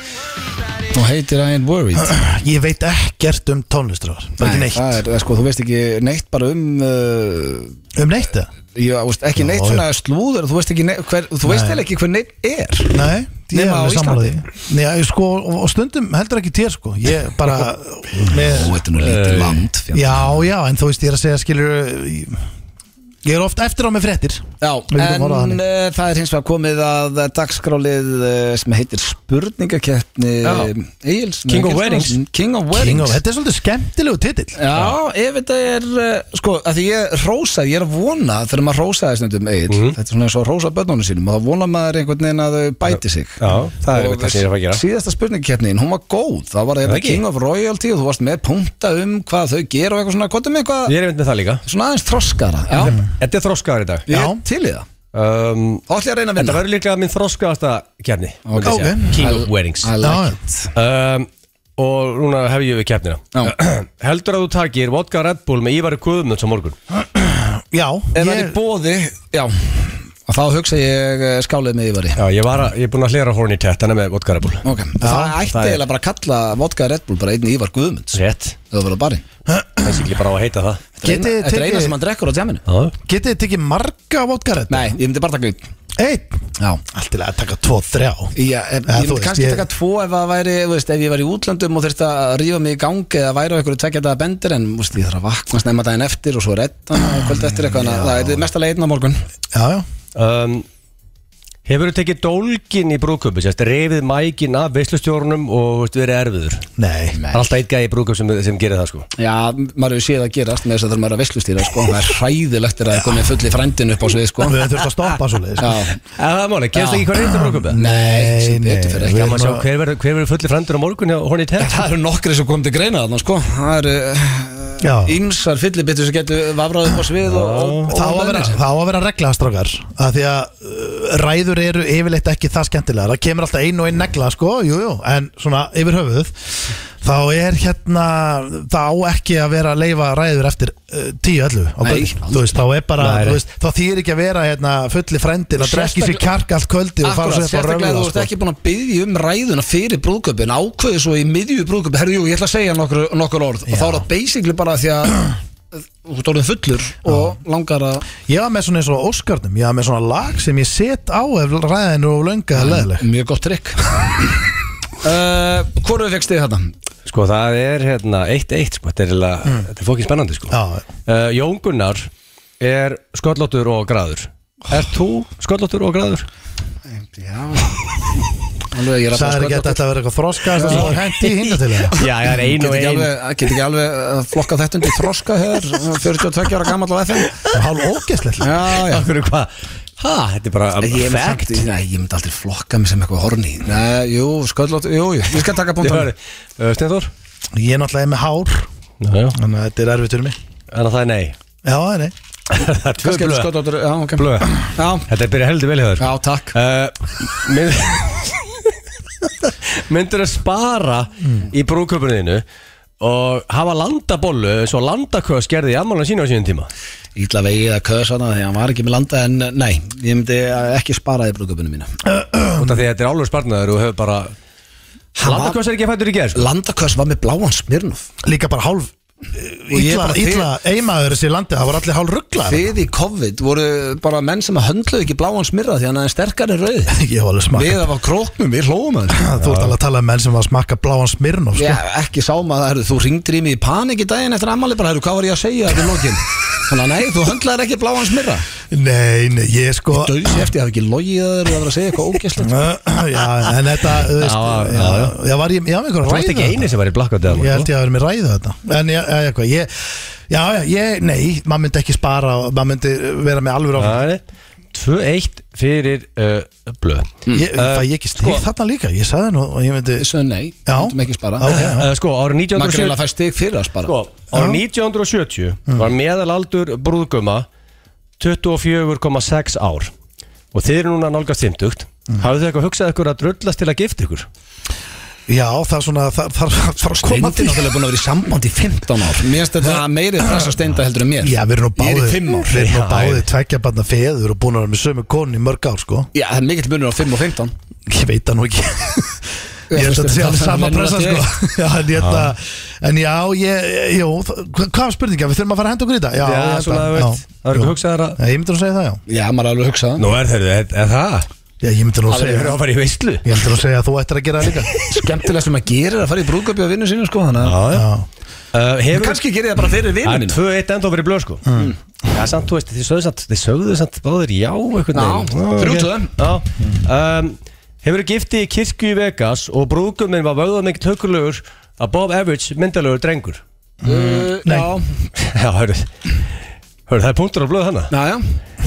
Speaker 1: Hún heitir I ain't worried
Speaker 2: Ég veit ekkert um tónlistrar Bara ekki
Speaker 1: það
Speaker 2: neitt
Speaker 1: er, það er, sko, Þú veist ekki neitt bara um uh,
Speaker 2: Um neitt það?
Speaker 1: já, þú veist, Ekki
Speaker 2: Já,
Speaker 1: neitt
Speaker 2: já.
Speaker 1: svona slúður Þú veist, ekki neitt, hver, þú veist
Speaker 2: Nei.
Speaker 1: heil ekki hver neitt er
Speaker 2: Nei, ég er
Speaker 1: Nema á
Speaker 2: alveg sammála því Nei, ég, sko, og, og stundum heldur ekki þér sko Ég bara með,
Speaker 1: Þú veit nú lítið land fjandinn.
Speaker 2: Já, já, en þú veist ég er að segja skilur Ég ég er oft eftir á með fréttir
Speaker 1: Já,
Speaker 2: Við getum orðað
Speaker 1: en
Speaker 2: þannig.
Speaker 1: uh, það er hins vegar komið að eh, dagskrálið uh, sem heitir spurningakeppni eh,
Speaker 3: Já.
Speaker 1: Egils
Speaker 3: King of Weddings.
Speaker 1: King of
Speaker 2: King of,
Speaker 1: Weddings
Speaker 2: þetta er svolítið skemmtilegu titill
Speaker 1: Já, ef þetta er, uh, sko, að því ég rósa, ég er að vona þegar maður rósaði stundum eigin, þetta er svona eins og að rósa börnunum sínum og þá vonar maður einhvern veginn að þau bæti sig.
Speaker 3: Já, það er
Speaker 1: Og
Speaker 3: einmitt það sem ég er að fara að gera.
Speaker 1: Síðasta spurningkeppnin, hún var góð, það var
Speaker 3: það
Speaker 1: eitthvað
Speaker 3: ekki?
Speaker 1: King of Royalty og þú varst með punta um hvað þau gera og eitthvað svona, hvað er með eitthvað,
Speaker 3: Ég er einmitt með það líka
Speaker 1: svona aðeins þroskara, já,
Speaker 3: Þetta er þroskaðar í dag
Speaker 1: ég
Speaker 2: Já.
Speaker 1: er til í það.
Speaker 3: um,
Speaker 1: Þá ætlum ég að reyna að
Speaker 3: Þetta
Speaker 1: vinna.
Speaker 3: verður líklega minn þroskaðasta kefni
Speaker 1: Ok.
Speaker 3: King of Weddings
Speaker 1: I
Speaker 2: Já,
Speaker 1: like
Speaker 2: já.
Speaker 1: it.
Speaker 3: um, Og núna hef ég við kefnina
Speaker 1: Já.
Speaker 3: Heldur að þú takir vodka Red Bull með Ívar Guðmunds á morgun
Speaker 2: Já,
Speaker 1: Ef það er í
Speaker 2: ég,
Speaker 1: bóði, já, og þá hugsa ég eh, skálið með yfari.
Speaker 3: Já, ég, var að, ég er búin að hlera hórn í tett Þannig með vodka Red Bull
Speaker 1: Okay. það ætti
Speaker 3: það er-
Speaker 1: eiginlega bara að kalla vodka Red Bull bara einn Ívar Guðmunds
Speaker 3: Rétt
Speaker 1: ef það verður barinn
Speaker 3: Það sé ekki bara á að heita það
Speaker 2: Getið þið
Speaker 1: Þetta er eina
Speaker 2: tekið-
Speaker 1: sem hann drekkur á tjáminu
Speaker 3: Já.
Speaker 2: getið þið tekið marga vodkarett?
Speaker 1: Nei, ég myndi bara taka einn
Speaker 2: Einn
Speaker 1: Já
Speaker 2: Allt til að taka tvo, þrjá
Speaker 1: Já, ef,
Speaker 2: Eða,
Speaker 1: ég
Speaker 2: þú
Speaker 1: myndi
Speaker 2: veist,
Speaker 1: kannski
Speaker 2: ég-
Speaker 1: taka tvo ef það væri, þú veist, ef ég var í útlöndum og þurfti að rífa mig í gangi eða væri á einhverju tvekja daga bendir en, þú veist, ég þarf að vakna snemma daginn eftir og svo redda hana kvöld eftir eitthvað, þannig að það er mestalega einn á morgun
Speaker 2: Já, já
Speaker 3: um, Hefur þú tekið dólgin í brúðköpi Sérst, reyfið mækin af veislustjórnum Og veist, verið erfiður Það
Speaker 2: Nei,
Speaker 3: er alltaf eitt gæði í brúðköp sem, sem gerir það sko
Speaker 1: Já, maður hefur séð að gerast með þess að það er maður að veslustýra, sko það er hræðilegt er að komið fulli frændin upp á svið, sko
Speaker 2: við þurfum að stoppa svo leiðis
Speaker 1: Já,
Speaker 3: En það er máli, kemst ekki hvað reynda brúðköpi
Speaker 1: nei, sem
Speaker 2: nei,
Speaker 1: betur fyrir
Speaker 2: við
Speaker 1: ekki
Speaker 2: erum
Speaker 3: Gaman að sjá hver verður hver verður fulli frendur á morgun hjá Horny Tech
Speaker 1: Það eru nokkri sem kom til greina þarna sko Það
Speaker 2: Já.
Speaker 1: eru ímsar fyllibittu sem getur vafrað upp á svið og, og,
Speaker 2: Það á að vera, það á að vera regla strákar að Því að uh, ræður eru yfirleitt ekki það skemmtilega Það kemur alltaf ein og ein negla sko jú, jú, En svona yfir höfuð Þá er hérna Það á ekki að vera að leifa ræður eftir uh, 10-11 á
Speaker 1: Nei,
Speaker 2: kvöldi. Þú veist, Þá er bara,
Speaker 3: Nei, nei.
Speaker 2: þú veist, þá þýr ekki að vera hérna, fulli frændin að drekki sér
Speaker 1: Sérstaklega-
Speaker 2: kjark allt kvöldi og fara
Speaker 1: Akkurat,
Speaker 2: svo upp á sko.
Speaker 1: sérstaklega
Speaker 2: röfðu
Speaker 1: þú ert ekki búin að byggja um ræðuna fyrir brúðköpun ákveði svo í miðju brúðköpun Herru, jú, ég ætla að segja nokkur, nokkur orð og þá er það basically bara því að þú ert orðin fullur og langar að
Speaker 2: Ég var með svona eins og Óskarnum Ég var með svona lag sem ég set á ef ræðin eru og lönga eða leðileg
Speaker 1: Mjög gott trikk uh, Hvoru fegst þið þetta?
Speaker 3: Sko það er hérna 1-1 sko, þetta er, eiginlega- þetta er fókin spennandi sko
Speaker 2: Já.
Speaker 3: uh, Jón Gunnar er sköllóttur og græður Er þú sköllóttur og græður?
Speaker 1: Já Alveg, ég er að
Speaker 2: Sæðir ekki að þetta ætla að vera eitthvað þroska Það er hendi hinga til það
Speaker 3: Já, ég er ein
Speaker 1: Get ekki alveg, get ekki alveg uh, flokkað þetta undir þroska hér eh, 42 ára gammal á FM
Speaker 2: Hálf ógeðslegt
Speaker 1: Já, já
Speaker 3: Akkur hvað? Ha, þetta er bara
Speaker 1: Ég er
Speaker 3: fact.
Speaker 1: samt, nei, ég myndi aldrei flokka mig sem eitthvað horni Nei, jú, sköllótt, jú, jú, ég skal taka
Speaker 3: Ég
Speaker 1: bóndan
Speaker 3: var- Uh, Steinþór?
Speaker 2: Ég er náttúrulega með hár
Speaker 3: Já, já
Speaker 2: Þannig að þetta er erfitt fyrir mig
Speaker 3: En það er nei
Speaker 2: Já, það er nei
Speaker 3: Það er
Speaker 1: Kannski
Speaker 3: tvö
Speaker 1: er
Speaker 3: blöð
Speaker 1: sköllótt, já, ok
Speaker 3: Blöð
Speaker 1: Já,
Speaker 3: Þetta er byrjað heldur vel hjá þér
Speaker 1: já, takk
Speaker 3: uh, mynd, Myndur að spara
Speaker 2: Mm.
Speaker 3: í brúköpuninu og hafa landabollu eins og landaköðs gerði í afmálan sína á sínum tíma
Speaker 1: Ítla vegið að kösa hana því að hann var ekki með landa En uh, nei, ég myndi uh, ekki spara í brúðköpunum mína
Speaker 2: Um.
Speaker 3: út af því að þetta er álur sparnaður og hefur bara
Speaker 1: var-
Speaker 3: landaköðs er ekki fættur í gerð sko.
Speaker 1: Landakös var með bláan smirnuf
Speaker 2: Líka bara hálf
Speaker 1: ég
Speaker 2: Ítla,
Speaker 1: bara-
Speaker 2: ítla eimaður þessi landi Það voru allir hálf rugglar
Speaker 1: Þið í COVID voru bara menn sem höndluðu ekki bláan smirra Því hann er sterkari en rauð
Speaker 2: Ég var alveg smakka
Speaker 1: Við af á króknum, við hlóum að þessu.
Speaker 2: Þú ert alveg að tala um menn sem var að smakka bláan sko. smirn
Speaker 1: Já, ekki sáum að það, herru, þú ringdir í mig í panik í daginn eftir ammali bara, herru, hvað var ég að segja eftir lokin? Þannig að nei, þú höndlaðir ekki bláan smirra
Speaker 2: Nei, nei, ég sko
Speaker 1: Dauðs eftir, ég hafi ekki logið að þeir og það var að segja eitthvað ógæslegt
Speaker 2: Já, en þetta þú veist,
Speaker 3: Já,
Speaker 2: Já, já, já var ég, ég var með einhverja
Speaker 3: Þú varst ekki
Speaker 2: ræðu
Speaker 3: eini sem sko. var í blackout eða
Speaker 2: Ég
Speaker 3: eitthvað,
Speaker 2: held ég að vera með ræðu þetta En já, já, já, ég, já, já, ég, nei Maður myndi ekki spara, og maður myndi vera með alveg áfram
Speaker 3: sko. Það er 2-1 fyrir uh, blöð
Speaker 2: Ég- Fæ ég ekki
Speaker 3: Sko-
Speaker 2: stík þarna líka, ég sagði nú og ég myndi
Speaker 1: Þessu nei,
Speaker 2: Já.
Speaker 1: höndum ekki spara
Speaker 2: Já, já.
Speaker 3: uh, Sko, árið
Speaker 1: Maður greið
Speaker 3: 1970
Speaker 1: að fæ stig fyrir að spara
Speaker 3: sko, Árið 1970 var meðalaldur brúðguma 24,6 ár og þið eru núna nálgast 50
Speaker 2: Mm.
Speaker 3: hafið þið eitthvað hugsað ykkur að drullast til að gifta ykkur?
Speaker 2: Já, það er svona, það það- það- það er að koma
Speaker 1: Steindi
Speaker 2: að því
Speaker 1: náttúrulega búin að vera í samband í 15 ár Mér finnst þetta meiri pressa steinda heldur en mér
Speaker 2: Já, við
Speaker 1: Ég er
Speaker 2: erum nú
Speaker 1: í
Speaker 2: báðið
Speaker 1: fimm ár.
Speaker 2: Við erum nú
Speaker 3: Já,
Speaker 2: báðið tvekja barna feður og búin að vera með sömu konu í mörg ár, sko
Speaker 1: Já, það er mikill munur á 5 og 15
Speaker 2: Ég veit það nú ekki Ég held að þetta sé alveg
Speaker 1: Þannig
Speaker 2: sama
Speaker 1: að
Speaker 2: pressa
Speaker 1: núna
Speaker 2: sko.
Speaker 1: til-
Speaker 2: já, en, ég, já. en já, ég, jú, þ- hva- hvað spurninga, við þurfum að fara að henda okkur í þetta Já,
Speaker 3: Já,
Speaker 2: ég held að-
Speaker 3: svona, þú veist,
Speaker 2: já.
Speaker 3: það
Speaker 2: Jú.
Speaker 3: er eitthvað hugsaðar að
Speaker 2: Nei, Ég myndi nú að segja það, já
Speaker 1: Já, maður er alveg að hugsa það
Speaker 3: Nú er þeirri, er, er það?
Speaker 2: Já, ég myndi nú að
Speaker 3: Það
Speaker 2: segja
Speaker 3: er að fara í veistlu
Speaker 2: Ég myndi nú að segja að þú ættir að gera það líka
Speaker 1: Skemmtilegast sem að gera er að fara í brúðköpi á vinnu sínu sko Þannig að
Speaker 2: Já,
Speaker 3: uh,
Speaker 1: En
Speaker 3: Hefur
Speaker 1: kannski gerir það bara fyrir
Speaker 3: Það er
Speaker 1: vinnuninu
Speaker 3: 2-1 enda fyrir blöð sko Já, samt, þú veist, þið sögðu samt, þið sögðu samt báðir já einhvern
Speaker 1: Já, þrjú
Speaker 3: ok.
Speaker 1: tvö.
Speaker 3: Já, um, hefur gifti í kirkju í Vegas og brúðguminn var vögðað mikið tökulegur above average myndalegur drengur
Speaker 1: Mm,
Speaker 2: Nei.
Speaker 1: Eh, Já,
Speaker 3: Já, hörru, hörru, það er punktur á blöð hana
Speaker 1: já, já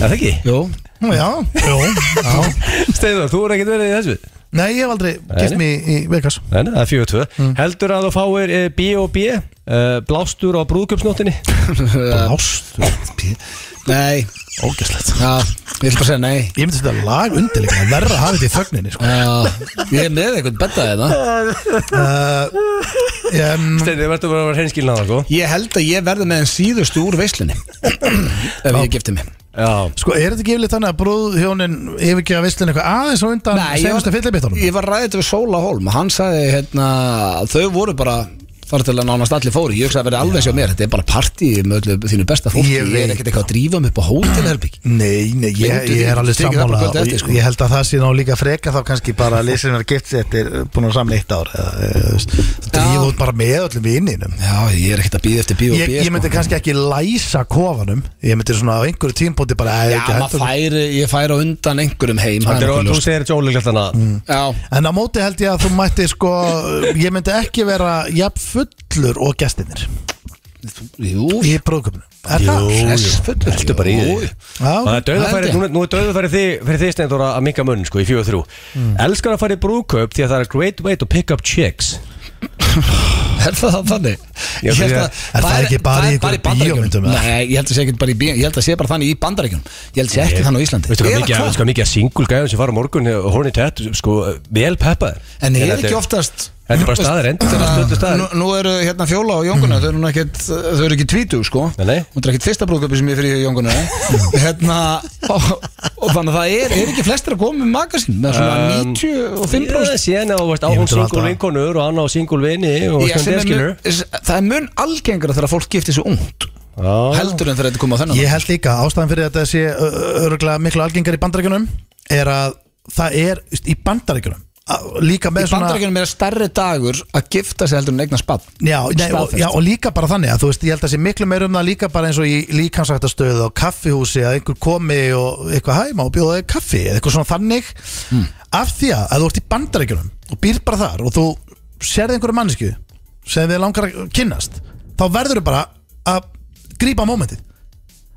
Speaker 3: Er það ekki?
Speaker 1: Jú,
Speaker 2: já, jú, já
Speaker 3: Steinar, þú er ekkert verið í þessu
Speaker 2: Nei, ég hef aldrei gift mig í, í Vegas
Speaker 3: Nei, nei, það er 4-2 Heldur að þú fáir eh, B&B eh, blástur á brúðgumsnóttinni
Speaker 2: Ást,
Speaker 1: nei
Speaker 2: ógæslegt
Speaker 1: Já, ég vil bara segja nei
Speaker 2: Ég myndi setja lag undir líka, verra að hafa þetta í þögninni sko.
Speaker 1: Já, ég er með eitthvað betta hérna. þetta
Speaker 2: um,
Speaker 3: Steinar, þið verður bara að vera hreinskilin á það, sko
Speaker 1: Ég held að ég verði með en síðustu úr veislinni Ef ég gifti mig
Speaker 3: Já,
Speaker 2: Sko, er þetta ekki yfirleitt þannig að brúðhjónin yfirgefa veislun eitthvað aðeins og undan
Speaker 1: Nei, ég var-
Speaker 2: senastu fyllibittunum?
Speaker 1: Ég var ræðið við Sóla Holm og hann sagði hérna að þau voru bara þar til að nánast allir fóri, ég hugsa að vera alveg sér mér þetta er bara partí með öllu þínu besta fólki ég,
Speaker 2: Ég
Speaker 1: er
Speaker 2: veit.
Speaker 1: ekkert eitthvað að drífa mig upp á hótelherbygg
Speaker 2: Nei, nei, ég,
Speaker 1: Myndu
Speaker 2: ég
Speaker 1: þið
Speaker 2: er alveg
Speaker 1: tekið það
Speaker 2: sammála
Speaker 1: bara
Speaker 2: og
Speaker 1: kvöldið
Speaker 2: ég,
Speaker 1: eftir, sko?
Speaker 2: ég held að það sé ná líka freka þá kannski bara að lýsirinn er gift sér eftir eh, búin að samla eitt ár eða, eða, þú veist, þú drífa út bara með öllum vinninum
Speaker 1: Já, ég er ekkert að býða eftir bíó
Speaker 2: ég, ég
Speaker 1: sko.
Speaker 2: myndi kannski ekki læsa kofanum ég myndi svona á einhverju tímpóti bara "Æ,
Speaker 1: Já,
Speaker 2: ekki
Speaker 1: maður
Speaker 2: hendur-
Speaker 1: færi, ég færi á undan einhverjum heim það er
Speaker 3: Sko, þetta er Mm.
Speaker 1: nokkuð
Speaker 3: og þú
Speaker 1: ljóst.
Speaker 3: segir þetta óleglegt þannig að
Speaker 1: Já,
Speaker 2: En á móti held ég að þú mætti sko ég myndi ekki vera jafn fullur og gestinir
Speaker 1: jú,
Speaker 2: í brúðköpunum Er það?
Speaker 1: þess fullur
Speaker 3: Heldur bara í því
Speaker 2: Já,
Speaker 3: Það er
Speaker 1: Held
Speaker 3: dauðafæri,
Speaker 1: ég.
Speaker 3: nú, nú er dauðafæri þið, fyrir þið steindur að minka munn sko í 4-3
Speaker 1: Mm.
Speaker 3: Elskar að fara í brúðkaup því að það er great way to pick up chicks
Speaker 1: Er það það þannig?
Speaker 3: Já,
Speaker 1: Ég held
Speaker 3: því að-
Speaker 1: að-
Speaker 2: Er það ekki bara í
Speaker 1: það er
Speaker 2: einhverjum
Speaker 1: Bandaríkjunum.
Speaker 2: bíómyndum, eða?
Speaker 1: Nei, ég held að sé ekki bara í bíó Ég held að sé bara þannig í bandaríkjum Ég held að sé ekki
Speaker 3: Ég-
Speaker 1: þannig á Íslandi
Speaker 3: Veistu hvað
Speaker 1: Eða
Speaker 3: mikið,
Speaker 1: hvað?
Speaker 3: veistu hvað mikið að single gæðum sem fara á morgun og horni tett, sko, vel peppaðir
Speaker 1: En er
Speaker 3: þetta
Speaker 1: ekki oftast
Speaker 3: Þetta er bara staðarind, þetta er bara stöldu
Speaker 1: Nú,
Speaker 3: staðarind
Speaker 1: nú eru hérna Fjóla og Jónguna Þau eru nú ekkit, þau eru ekki tvítug sko
Speaker 3: Nei, nei. Mm.
Speaker 1: Hún er ekkit fyrsta brúðköpi sem ég fyrir í Jónguna Hérna og, og þannig að það er, er ekki flestir að koma með magasín Með svona
Speaker 3: Um,
Speaker 1: 95
Speaker 3: Já, síðan á, veist, á
Speaker 2: Ég
Speaker 3: hún
Speaker 2: myndi nú
Speaker 3: single
Speaker 2: alltaf-
Speaker 3: vinkonur og hann á single vini og
Speaker 1: Ég, sem
Speaker 3: stundið
Speaker 1: er
Speaker 3: skilur
Speaker 1: mun- það er mun algengara þegar fólk giftir svo ungt
Speaker 3: Ah.
Speaker 1: heldur en þegar þetta kom á þennan
Speaker 2: Ég held líka að ástæðan fyrir að þetta sé ö- ö- örugglega miklu algengar í bandarækjunum er að það er just, í bandarækjunum líka
Speaker 1: Í
Speaker 2: með svona
Speaker 1: bandarækjunum er stærri dagur að gifta sig heldur en eigna spatt
Speaker 2: Já, nei, og, já, og líka bara þannig að þú veist, ég held að sé miklu meir um það líka bara eins og í líkansættastöð og kaffihúsi að einhver komi og eitthvað hæma og bjóða þig kaffi eða eitthvað svona þannig
Speaker 1: Hmm.
Speaker 2: af því að, að þú ert í bandarækjunum og býr bara þar og þú sérði einhverju mannesku sem þið langar að kynnast þá verður þau bara að grípa mómentið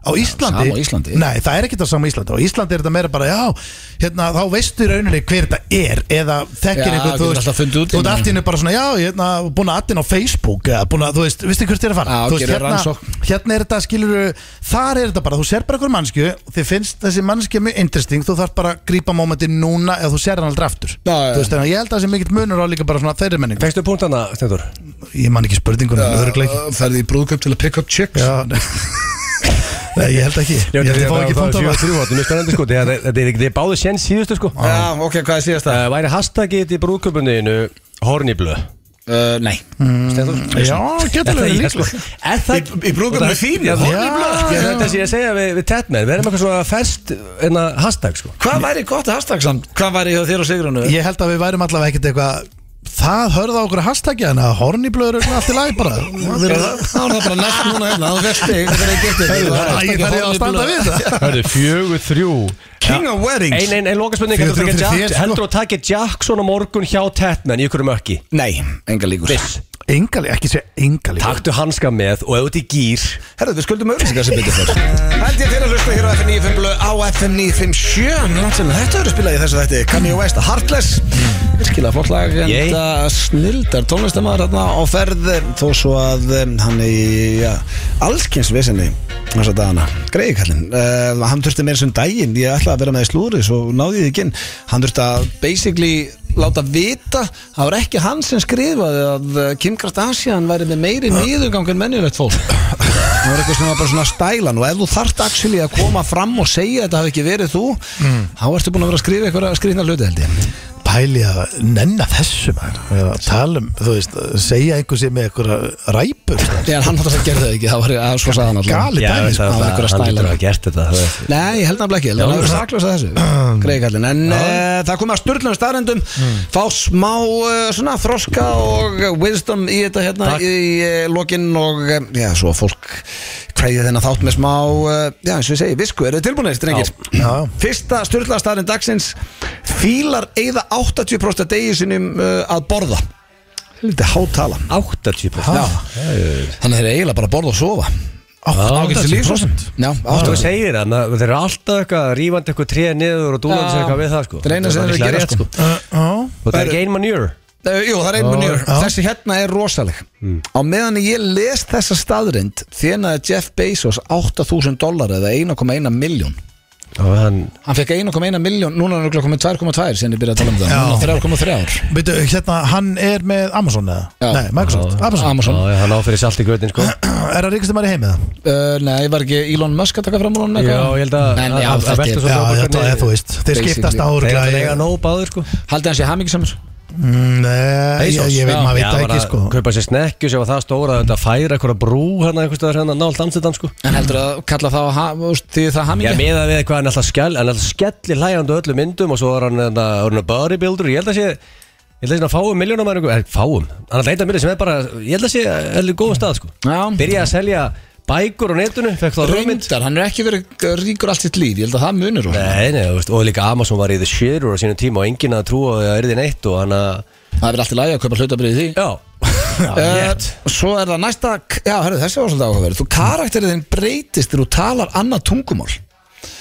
Speaker 2: á Íslandi,
Speaker 1: sama á Íslandi.
Speaker 2: Nei, það er ekki það sama á Íslandi á Íslandi er þetta meira bara, já hérna, þá veistu í rauninni hver þetta er eða þekkir
Speaker 1: Já,
Speaker 2: einhver,
Speaker 1: getur alltaf fundið út
Speaker 2: þú ert
Speaker 1: innan.
Speaker 2: allt í einu bara svona, já, ég hérna, búin að addin á Facebook eða búin að, þú veist, veistu hvert þér að fara
Speaker 1: Já,
Speaker 2: þú veist,
Speaker 1: gerir
Speaker 2: hérna,
Speaker 1: rannsókn.
Speaker 2: hérna er þetta, skilur þar er þetta bara, þú sér bara einhver mannskju þið finnst þessi mannskja mjög interesting þú þarf bara að grípa mómentin núna eða þú sér hann aldrei aftur
Speaker 1: Já, já,
Speaker 2: þú veist, þannig að ég held að það sé mikill munur á líka bara svona þeirri menning
Speaker 3: Fengstu punktana, Stendur?
Speaker 2: ég man ekki spurningunum, öðrugleik
Speaker 1: ferði í brúðköp til að pick up chicks
Speaker 2: já, nei. nei, ég held ekki ég held ég fá ekki punkt á það
Speaker 3: 4-3, þetta er spennandi sko, þetta er- þetta er þetta er báðu sén síðustu sko
Speaker 1: Já, ok, hvað er síðast
Speaker 2: Eh.
Speaker 1: það?
Speaker 3: Uh, væri hashtagið í brúðköpunniðinu Horniblö
Speaker 1: Uh, nei
Speaker 3: Stendur?
Speaker 2: Mm, já, getur
Speaker 3: Þetta
Speaker 2: verið
Speaker 3: ég
Speaker 2: líka
Speaker 3: sko Er það
Speaker 1: Í brúðköp með sko. þín
Speaker 3: Já,
Speaker 2: Já.
Speaker 3: Ég er þetta sem ég segja við, við Tatman Við erum eitthvað svona fest en að hashtag sko
Speaker 1: Hvað væri gott hashtag samt? Hvað væri hjá þér og Sigrunu?
Speaker 2: Ég held að við værum allavega ekkert eitthvað Það hörða okkur að hashtagja hana Horniblöður er allt í læg bara
Speaker 1: Það er það bara næst núna hérna Það er stig Það er giftið
Speaker 2: Æ, þarf ég að standa við þetta
Speaker 3: Hörðu, fjögur, þrjú
Speaker 1: King of weddings
Speaker 3: Ein, ein, ein lokaspurning
Speaker 2: Fjögur, þrjú, fyrir
Speaker 3: Heldur þú að taka Jack-
Speaker 2: þér, sko.
Speaker 3: heldurðu að taka Jackson á morgun hjá Tatman í ykkur mökki
Speaker 1: Nei, enga líkur
Speaker 3: Viss
Speaker 2: Engali, ekki segja engali
Speaker 3: Taktu hanska með og ef þú ert í gýr
Speaker 1: Herðu, við skuldum auðvitað sem byrja fyrst Held ég til að hlusta hér á FM 95 blöð á FM 957 Langt sem þetta eru spilað í þessu þætti Kanye West, Heartless Virkilega flott lag
Speaker 3: Mm. Yay.
Speaker 1: Enda snildar tónlistamæður hérna á ferð Þó svo að um, hann er í ja, allskynsvesinni Þessa dagana, greiði kallinn uh, Hann þurfti meira sem daginn Ég ætlaði að vera með í slúri Svo náði ég því ekki inn Hann þurfti að basically láta vita Það var ekki hann sem skrifaði að eh, Kim Kardashian væri með meiri nýðugang en mennilegt fólk Það var eitthvað sem var bara svona stælan og ef þú þart actually að koma fram og segja að þetta hafi ekki verið þú þá ertu búin að vera að skrifa eitthvað skrifna hluti held ég
Speaker 2: pæli að nenna þessu maður að tala um, þú veist, að segja einhver sem er eitthvað ræpur sko.
Speaker 1: Þegar hann náttúrulega gerði það ekki, það var að svo sagði hann alltaf
Speaker 2: Galið.
Speaker 3: Já,
Speaker 2: dæmi,
Speaker 3: ég veit
Speaker 2: sko,
Speaker 3: það,
Speaker 1: hann var
Speaker 3: það-
Speaker 1: einhverja
Speaker 3: hann
Speaker 1: stæla.
Speaker 3: lítur að hafa gert þetta það er-
Speaker 1: Nei, ég held nafnilega ekki, það er saklaus að þessu Greiðkallin, en uh, það komið að styrlunum staðrendum
Speaker 3: Mm.
Speaker 1: Fá smá uh, svona þroska og wisdom í þetta hérna
Speaker 3: Takk.
Speaker 1: í uh, lokin og uh, já, svo að fólk kveði þennan þátt með smá uh, já, eins og ég segi, visku, eru þið tilbúinir, drengir?
Speaker 2: Já.
Speaker 1: Fyrsta styrla staðrend dagsins Fílar eigða 80% af degi sinum uh, að borða Lítið hátala
Speaker 3: 80%
Speaker 1: Já. Þannig að þeir eru eiginlega bara að borða og sofa Ágætis líf, svo sem.
Speaker 2: 80%
Speaker 1: Já,
Speaker 3: Þú
Speaker 1: 80%
Speaker 3: segir það, maður- þeir eru alltaf eitthvað rífandi eitthvað tré niður og dúlandi sér
Speaker 1: Já.
Speaker 3: eitthvað við það sko
Speaker 1: Það er eina sem þeir eru að
Speaker 3: líklega
Speaker 1: gera,
Speaker 3: rétt,
Speaker 1: sko.
Speaker 2: Uh, já.
Speaker 3: Og það er ekki ein manjur
Speaker 1: Uh, jú, það er einn munjur.
Speaker 2: já.
Speaker 1: Þessi hérna er rosaleg.
Speaker 3: Mm.
Speaker 1: Á meðan ég les þessa staðrind þjenaði Jeff Bezos 8.000 dólar eða 1,1 miljón.
Speaker 3: Og hann,
Speaker 1: Hann fekk 1,1 miljón, núna er hann örugglega kominn 2,2 sem ég byrjaði að tala um það. Núna 3,3.
Speaker 2: Veitu, hérna, hann er með Amazon eða?
Speaker 1: Já.
Speaker 2: Nei, Microsoft, Amazon
Speaker 1: Amazon.
Speaker 3: Já, já, hann áfyrir salt í götin sko
Speaker 2: Er það ríkast maður í heimi það?
Speaker 1: Uh, nei, var ekki Elon Musk að taka fram úr hann
Speaker 3: Já, ég held að
Speaker 1: En já,
Speaker 3: að- að
Speaker 1: þetta
Speaker 3: velta
Speaker 1: er...
Speaker 3: svo-
Speaker 2: Já,
Speaker 3: bara
Speaker 2: þetta
Speaker 3: hvernig-
Speaker 2: er þú veist Þeir
Speaker 1: Basically.
Speaker 2: skiptast
Speaker 3: Þeir eru að
Speaker 2: áreiklega
Speaker 3: lega nóg báður sko
Speaker 1: Haldið hann sé hamingisamur?
Speaker 2: Mm, Nei, ég, ég veit, maður veit það ekki sko
Speaker 3: Kaupa sér snekju sem var það stóra að færa eitthvað brú hérna einhvers staðar hérna nált Amsterdam sko
Speaker 1: En heldur að kalla það, ha, úst, því það
Speaker 3: Já,
Speaker 1: hamingi?
Speaker 3: miðað við hvað hann er alltaf skell hann er alltaf skellir hlægjandi á öllum myndum og svo er hann, hérna, er hann bodybuilder ég held að sé ég held að sé hann fáum miljónum er eitthvað eh, fáum hann er leitað miljónum sem er bara ég held að sé heldur góðum stað sko
Speaker 1: Já.
Speaker 3: byrja að selja bækur á netinu fekk það römynd
Speaker 1: Reyndar, hann er ekki verið ríkur allt sitt líf, ég held að það munir hún.
Speaker 3: Nei, nei, þú veist, og líka Amazon var í The Shitter á sínum tíma og enginn að trúa að það er því neitt og hann að
Speaker 1: Það er verið allt í lagi að kaupa hlutabrið í því.
Speaker 3: Já,
Speaker 1: Eh,
Speaker 3: rétt
Speaker 1: Svo er það næsta Já, herru, þessi var svolítið áhugaverð Þú karakterið þinn breytist þegar þú talar annað tungumál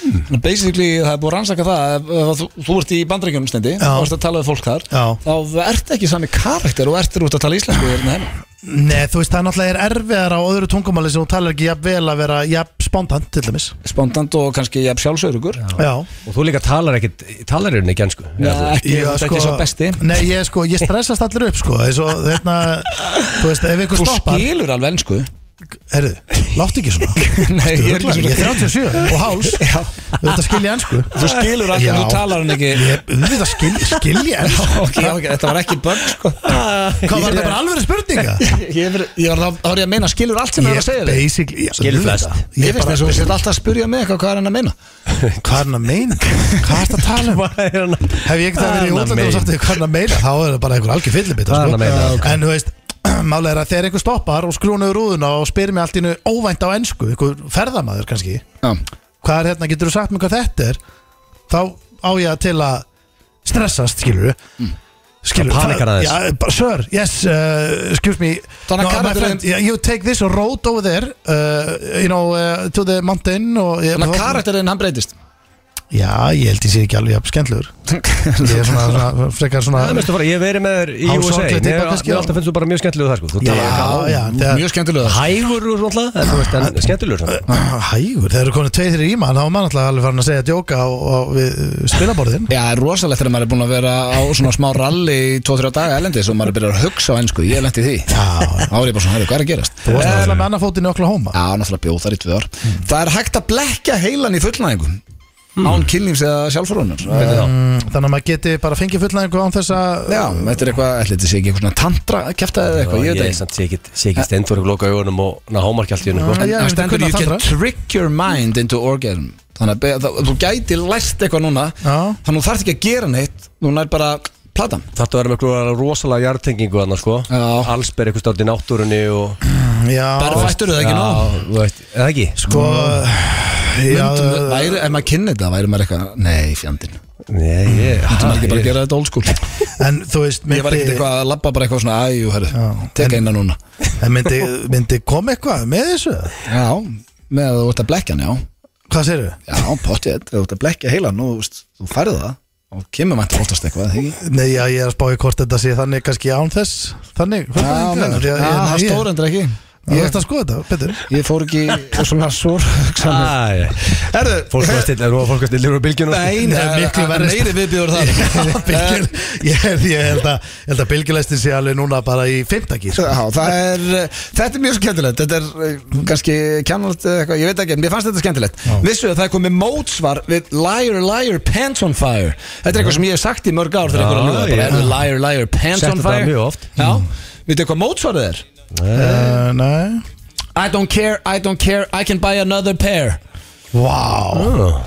Speaker 1: hmm. Basically, það er búið að rannsaka það ef- ef þú, þú ert í bandryggjum stendi Þú ert að tala við fólk þar
Speaker 2: Já.
Speaker 1: Þá ert ekki sami karakter og ertir út að tala íslensku hérna heima.
Speaker 2: Nei, þú veist, það náttúrulega er erfiðar á öðru tungumáli sem þú talar ekki jafn vel að vera jafn spontant, til dæmis
Speaker 1: Spontant og kannski jafn sjálfsörugur
Speaker 2: Já,
Speaker 3: Og þú líka talar ekkit, talar er ekki ennsku
Speaker 1: Ekki, þú ert ekki svo besti
Speaker 2: sko, Nei, ég sko, ég stressast allir upp sko eins og hérna, þú veist, ef ykkur
Speaker 1: Þú
Speaker 2: stoppar
Speaker 1: skilur alveg ensku
Speaker 2: Herðu, láttu ekki svona
Speaker 1: Nei,
Speaker 2: Ertu
Speaker 1: ég er ekki
Speaker 2: ruglaður?
Speaker 1: svona.
Speaker 2: Ég er 37 og háls Þetta skil ég ennsku
Speaker 1: Þú skilur alveg
Speaker 2: Já.
Speaker 1: en þú talar hann ekki
Speaker 2: Ég, þetta skil, skil ég ennsku
Speaker 1: Ok, ok, Þetta var ekki börn sko
Speaker 2: Hvað var þetta bara alvöru spurninga?
Speaker 1: Ég er- ég var þá þá er ég að meina skilur allt sem það er að segja þig
Speaker 2: basically
Speaker 3: Skilur flest.
Speaker 1: Ég finnst þess að þú sér alltaf að spurja mig eitthvað hvað er hann að meina
Speaker 2: Hvað er hann að meina? Hvað er þetta að tala um? Hef ég ekki það verið í útlandu og sagt þig hvað er hann að meina? Þá er það bara einhver algjör fyllibita
Speaker 3: Hvað er hann að meina?
Speaker 2: sko. En þú veist, málega er að þegar einhver stoppar og skrúnaður rúðuna og spyrir mig allt í einu óvænt á ensku, einhver ferðamaður kannski
Speaker 1: Já.
Speaker 2: Hvað er hérna, getur þú sagt mér hvað þetta er? Þá á ég til að stressast, skilur þú Skilur,
Speaker 3: Það panikar aðeins.
Speaker 2: Já, bara, sir, yes, uh, excuse me
Speaker 1: Þannig að
Speaker 2: my
Speaker 1: karakterinn-
Speaker 2: friend, yeah, You take this road over there uh, You know, uh, to the mountain og-
Speaker 1: Þannig að Hérna, karakterinn hann breytist
Speaker 2: Já, ég held ég sé ekki alveg jafn skemmtlegur Ég er svona, svona frekar svona
Speaker 3: Það mestu bara, ég hef verið með þér í
Speaker 2: Hálf
Speaker 3: USA
Speaker 2: sorglega
Speaker 3: Mér
Speaker 2: tippa
Speaker 3: mér
Speaker 2: kannski, já.
Speaker 3: alltaf finnst þú bara mjög skemmtilegur þar sko Þú
Speaker 2: Já,
Speaker 3: talar
Speaker 2: já, já
Speaker 1: Mjög
Speaker 2: þegar-
Speaker 1: skemmtilega
Speaker 3: hægur og svona alltaf En þú veist, en skemmtilegur svona
Speaker 2: Ah, Hægur, þegar eru konið tveið þeirri í mann þá var mann alltaf alveg farin að segja djóka á, á við uh, spilaborðin
Speaker 1: Já, það er rosalegt þegar maður er búin að vera á svona smá ralli í 2-3 daga elendis og maður er byrjað að hugsa á ennsku, ég lendi í því
Speaker 2: Já,
Speaker 1: Þá er ég bara svona, "Herru, hvað er að gerast?
Speaker 2: þú varst alltaf með annar fótinn í okla hóma
Speaker 1: Já, náttúrulega bjóð þar í tvö ár Það er hægt að blekja heilan í fullnæðingum Án kynlífs eða sjálfsforunar
Speaker 2: Mm, Þannig að maður geti bara fengið fullnæðingu án þess að
Speaker 1: Já, þetta er eitthvað, ætli þetta sé ekki eitthvað svona tantra kæfta eða eitthvað,
Speaker 3: Já,
Speaker 1: ég veit
Speaker 3: Ég
Speaker 1: ekki
Speaker 3: samt sé ekki- sé ekki stendur og loka augunum og ná hámarki allt í sko. hennu
Speaker 2: Já, ég
Speaker 1: Það
Speaker 2: myndi
Speaker 1: stendur,
Speaker 2: kunna
Speaker 1: you can
Speaker 2: tantra.
Speaker 1: trick your mind into orgasm Þannig að be- það- þú gæti læst eitthvað núna
Speaker 2: Já.
Speaker 1: Þannig að þú þarft ekki að gera neitt Núna er bara platan
Speaker 3: Þetta verður með eitthvað rosalega jartengingu annars sko
Speaker 1: Já.
Speaker 3: Allsber eitthvað státt í náttúrunni og
Speaker 2: Já,
Speaker 1: Berfættur eða ekki nóg
Speaker 3: Já, þú veist, eða ekki
Speaker 2: sko Já,
Speaker 1: Myndum við- væri- Ef maður kynni þetta, væri maður eitthvað Nei, fjandinn,
Speaker 3: Nei, ég
Speaker 1: þú maður ekki bara að
Speaker 3: ég-
Speaker 1: gera þetta old school Ég
Speaker 2: en þú veist
Speaker 1: var ekkert
Speaker 2: myndi,
Speaker 1: eitthvað að labba bara eitthvað svona Æjú, herru, teka eina núna
Speaker 2: en myndi, myndi kom eitthvað með þessu
Speaker 1: Já, með að þú ert að blekja hann, já
Speaker 2: Hvað segirðu?
Speaker 1: Já, pottið, ef þú ert að blekja heilan og þú veist, þú færðu það og kemur mættur oftast eitthvað, eða ekki?
Speaker 2: Nei, já, ég er að spá í hvort þetta sé þannig kannski án þess Þannig,
Speaker 1: Já,
Speaker 2: fullnægingu.
Speaker 1: meinar.
Speaker 2: Því að-
Speaker 1: Já,
Speaker 2: ég-
Speaker 1: það stórendur ekki
Speaker 2: Ég veist að skoða þetta, betur
Speaker 1: Ég fór ekki svona svo hugsanir.
Speaker 5: Erðu,
Speaker 3: Fólk var stillir, þú var fólk að stillir úr bylgjunum
Speaker 5: Nei,
Speaker 2: Nei,
Speaker 5: nei,
Speaker 2: miklu verri-
Speaker 5: meiri viðbjóður það
Speaker 2: Bylgjur, ég, held- ég held að, ég held að bylgjulæstin sé alveg núna bara í fymtakís
Speaker 1: Já, það er, eh, þetta er mjög skemmtilegt Þetta er eh, kannski kjánalt eitthvað, ég veit ekki, en mér fannst þetta skemmtilegt Vissu að það er komið mótsvar við Liar, liar, pants on fire Þetta er eitthvað sem ég hef sagt í mörg ár þegar einhver
Speaker 3: Já,
Speaker 1: að ljúga bara,
Speaker 3: ég-
Speaker 1: "Heyrðu, Liar, liar, pants
Speaker 3: Sagt
Speaker 1: on
Speaker 3: þetta
Speaker 1: fire
Speaker 3: mjög oft.
Speaker 1: Já, veitu hvað mótsvarið er?
Speaker 2: uh, Nei
Speaker 1: I don't care, I don't care, I can buy another pair
Speaker 2: Vá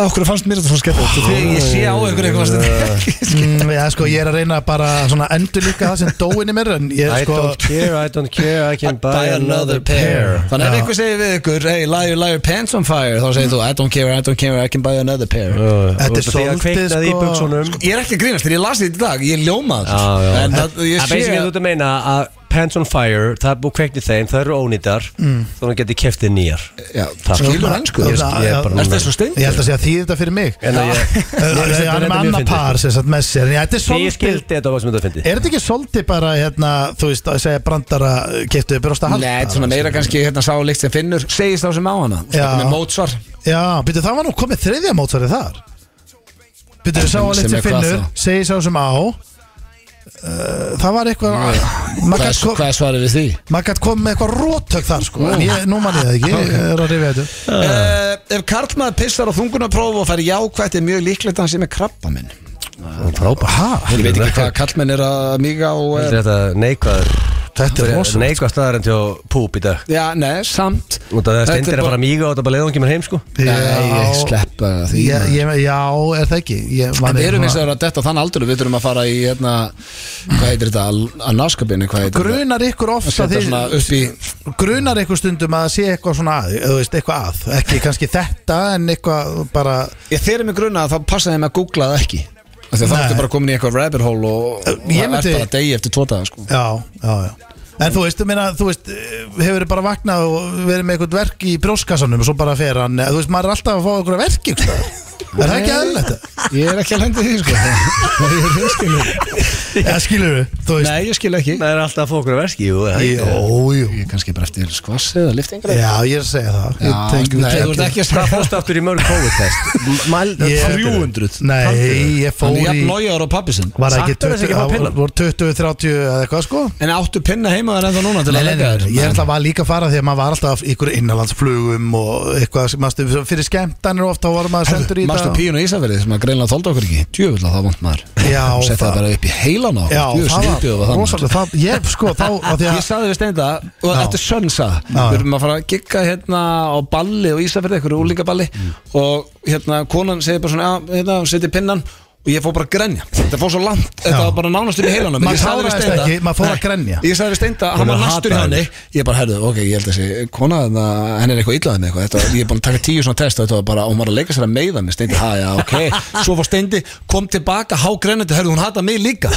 Speaker 3: Ah.
Speaker 1: Okkur fannst mér þetta svona skemmtilegt Þegar ég sé á ykkur eitthvað stund
Speaker 2: mm, Já, sko, ég er að reyna bara svona endur líka það sem dóin í mér En ég
Speaker 3: I
Speaker 2: sko
Speaker 3: don't care, I don't care, I can buy another pair
Speaker 1: Þannig ef
Speaker 2: Já.
Speaker 1: ykkur segir við ykkur Hey, liar, liar, pants on fire Þá segir þú, I don't care, I don't care, I can buy another pair
Speaker 2: Þetta er svolítið,
Speaker 3: sko í
Speaker 2: sko-
Speaker 3: buksunum
Speaker 1: Ég er ekki að grínast, þegar ég lasi þetta í dag, ég ljómaði
Speaker 3: Já, já.
Speaker 1: En það, ég
Speaker 3: Það
Speaker 1: sé
Speaker 3: veist ekki að þú ert að meina að Pants on Fire, það er búið kveikt í þeim, það eru ónýtar Þannig að geti keftið nýjar
Speaker 1: Já,
Speaker 3: Það-
Speaker 1: skilur hann sko
Speaker 2: Já,
Speaker 3: Ég ég er bara
Speaker 1: Ertu þessu
Speaker 2: Ég
Speaker 1: steindur?
Speaker 2: held að segja því þetta fyrir mig
Speaker 3: En að ég-
Speaker 2: Eh,
Speaker 3: Mér finnst
Speaker 2: Hann er
Speaker 3: þetta
Speaker 2: með
Speaker 3: mjög
Speaker 2: annað
Speaker 3: fyndið.
Speaker 2: par sem sagt með sér En já, Þetta er
Speaker 3: Því ég
Speaker 2: svolítið
Speaker 3: skildi þetta var sem þetta fyndi
Speaker 2: Er þetta ekki svolítið bara, hérna, þú veist, að segja brandara Keftuðu brjósta halda?
Speaker 1: Nei, svona meira kannski hérna sá líkt sem finnur Segist þá sem á hana
Speaker 2: Já.
Speaker 1: Svona Með mótsvar
Speaker 2: Já, byrju, það var nú komið þriðja mótsvarið þar Byrju, sá að
Speaker 1: Sem
Speaker 2: litið
Speaker 1: er hvað
Speaker 2: finnur
Speaker 1: þá?
Speaker 2: Segir sá sem á uh, Það var eitthvað
Speaker 1: Hvað
Speaker 2: Maður sko-
Speaker 1: er-
Speaker 2: gætt kom,
Speaker 1: hvað er svarið við því?
Speaker 2: mað kom með eitthvað róttök þar sko. En ég, nú man ég það ekki, ég er að rifja þetta
Speaker 3: Ah.
Speaker 1: Uh, ef karlmaður pissar á þungunapróf og fær jákvætt er mjög líklegt að hann sé með krabba minn
Speaker 2: Frábæ,
Speaker 1: Ég veit ekki
Speaker 3: Þetta
Speaker 1: hvað karlmenn er að míga og
Speaker 3: er
Speaker 1: er...
Speaker 3: þetta neikvæður
Speaker 2: Þetta er rosalegt.
Speaker 3: Neikvæð staðar en til að púp í dag
Speaker 1: Já, nei, samt
Speaker 3: Út af það
Speaker 1: Þetta er
Speaker 3: stendir að
Speaker 1: bara-
Speaker 3: fara að míga og þetta bara leiðum ekki mér heim sko
Speaker 1: Nei, ég sleppa því
Speaker 2: Já,
Speaker 1: maður.
Speaker 2: ég, já, er það ekki ég, man
Speaker 1: En við
Speaker 2: ekki
Speaker 1: erum eins og
Speaker 2: svona-
Speaker 1: að detta á þann aldur Við þurfum að fara í hérna Hvað heitir þetta? Al- Að náskapinni Hvað heitir þetta?
Speaker 2: Grunar ykkur
Speaker 1: Að
Speaker 2: ofta
Speaker 1: setja svona upp í
Speaker 2: Grunar ykkur stundum að það sé eitthvað svona að, þú veist, eitthvað að Ekki kannski þetta en eitthvað bara
Speaker 1: Ég þeirri mig gruna að þá passa þeim að googla það ekki Af því að
Speaker 2: Nei.
Speaker 1: Það ertu bara komin í eitthvað rabbit hole og og
Speaker 2: Ég
Speaker 1: það
Speaker 2: myndi-
Speaker 1: ert bara degi eftir tvo daga sko.
Speaker 2: Já, já, já En þú veist, meina, þú veist, hefur bara vaknað og verið með eitthvað verk í brjóskassanum og svo bara fer hann, þú veist, maður er alltaf að fá eitthvað verk ykkur staðar. Er það ekki aðlætt?
Speaker 1: Ég er ekki að lendi því sko. Nei, ég reynskilur.
Speaker 2: Já, skilur þú, þú veist
Speaker 1: Nei, ég skil ekki
Speaker 3: Það er alltaf að fá okkur að verski jú, það er-
Speaker 2: Jó, jú
Speaker 1: Ég er kannski bara eftir skvassi eða liftingar
Speaker 2: Já, ég er að segja það
Speaker 1: Já, nei, þú ert ekki að
Speaker 3: Hvað
Speaker 1: strafa
Speaker 3: fórstu aftur í mörg COVID-test? Mæl,
Speaker 2: Ég-
Speaker 1: 300
Speaker 2: Nei, ég fór
Speaker 1: Þannig
Speaker 2: í
Speaker 1: jafn lójar og pappi sinn
Speaker 2: Var það ekki
Speaker 3: Samt er
Speaker 2: 20,
Speaker 3: þessi ekki að fá
Speaker 2: það
Speaker 3: pinna?
Speaker 2: voru 20, 30 eða eitthvað sko
Speaker 1: En áttu pinna heima þar ennþá núna til
Speaker 2: Nei,
Speaker 1: að
Speaker 2: nei,
Speaker 1: leggja
Speaker 2: nei,
Speaker 1: þér
Speaker 2: ég ætla að líka að fara því að maður var alltaf í ykkur innanlandsflugum og eitthvað, sem- manstu, fyrir skemmtanir ofta var maður sendur í
Speaker 1: Mastu
Speaker 2: þetta
Speaker 1: píun og Ísafjörði sem að greinlega þólda okkur ekki Djöfull að það vant maður
Speaker 2: Já,
Speaker 1: Sett
Speaker 2: það-
Speaker 1: það bara upp í heilan á okkur.
Speaker 2: Já,
Speaker 1: Djöfull
Speaker 2: það
Speaker 1: sniðbjóður
Speaker 2: var
Speaker 1: maður.
Speaker 2: rosalega það, Ég sko, þá, að því
Speaker 1: Ah, Ég
Speaker 2: að
Speaker 1: saði við steinda og
Speaker 2: Já.
Speaker 1: þetta er sönsa
Speaker 2: Já, já.
Speaker 1: Við erum að fara að gigga hérna á balli og Ísafjörði, einhverju úlíkaballi og hérna konan segir bara svona "Já, hérna, seti pinnan og ég fór bara að grenja Þetta fór svo langt, þetta var bara nánast upp í heilanum
Speaker 2: Maður
Speaker 1: Ég sagði við
Speaker 2: táraðist
Speaker 1: Steinda-
Speaker 2: ekki, maður fór að
Speaker 1: Nei.
Speaker 2: grenja.
Speaker 1: Ég sagði við steinda,
Speaker 3: Hún
Speaker 1: hann var
Speaker 3: er
Speaker 1: næstur í
Speaker 3: hataður.
Speaker 1: henni Ég bara, herðu, ok, ég held að þessi kona þarna, henni er eitthvað illaðið með eitthvað þetta, var- Ég er búin að taka tíu svona test og þetta var bara, og hún var að leika sér að meiða mig Steindi, ha, já, ok Svo fór steindi, kom tilbaka, há grenjandi, herðu, hún hata mig líka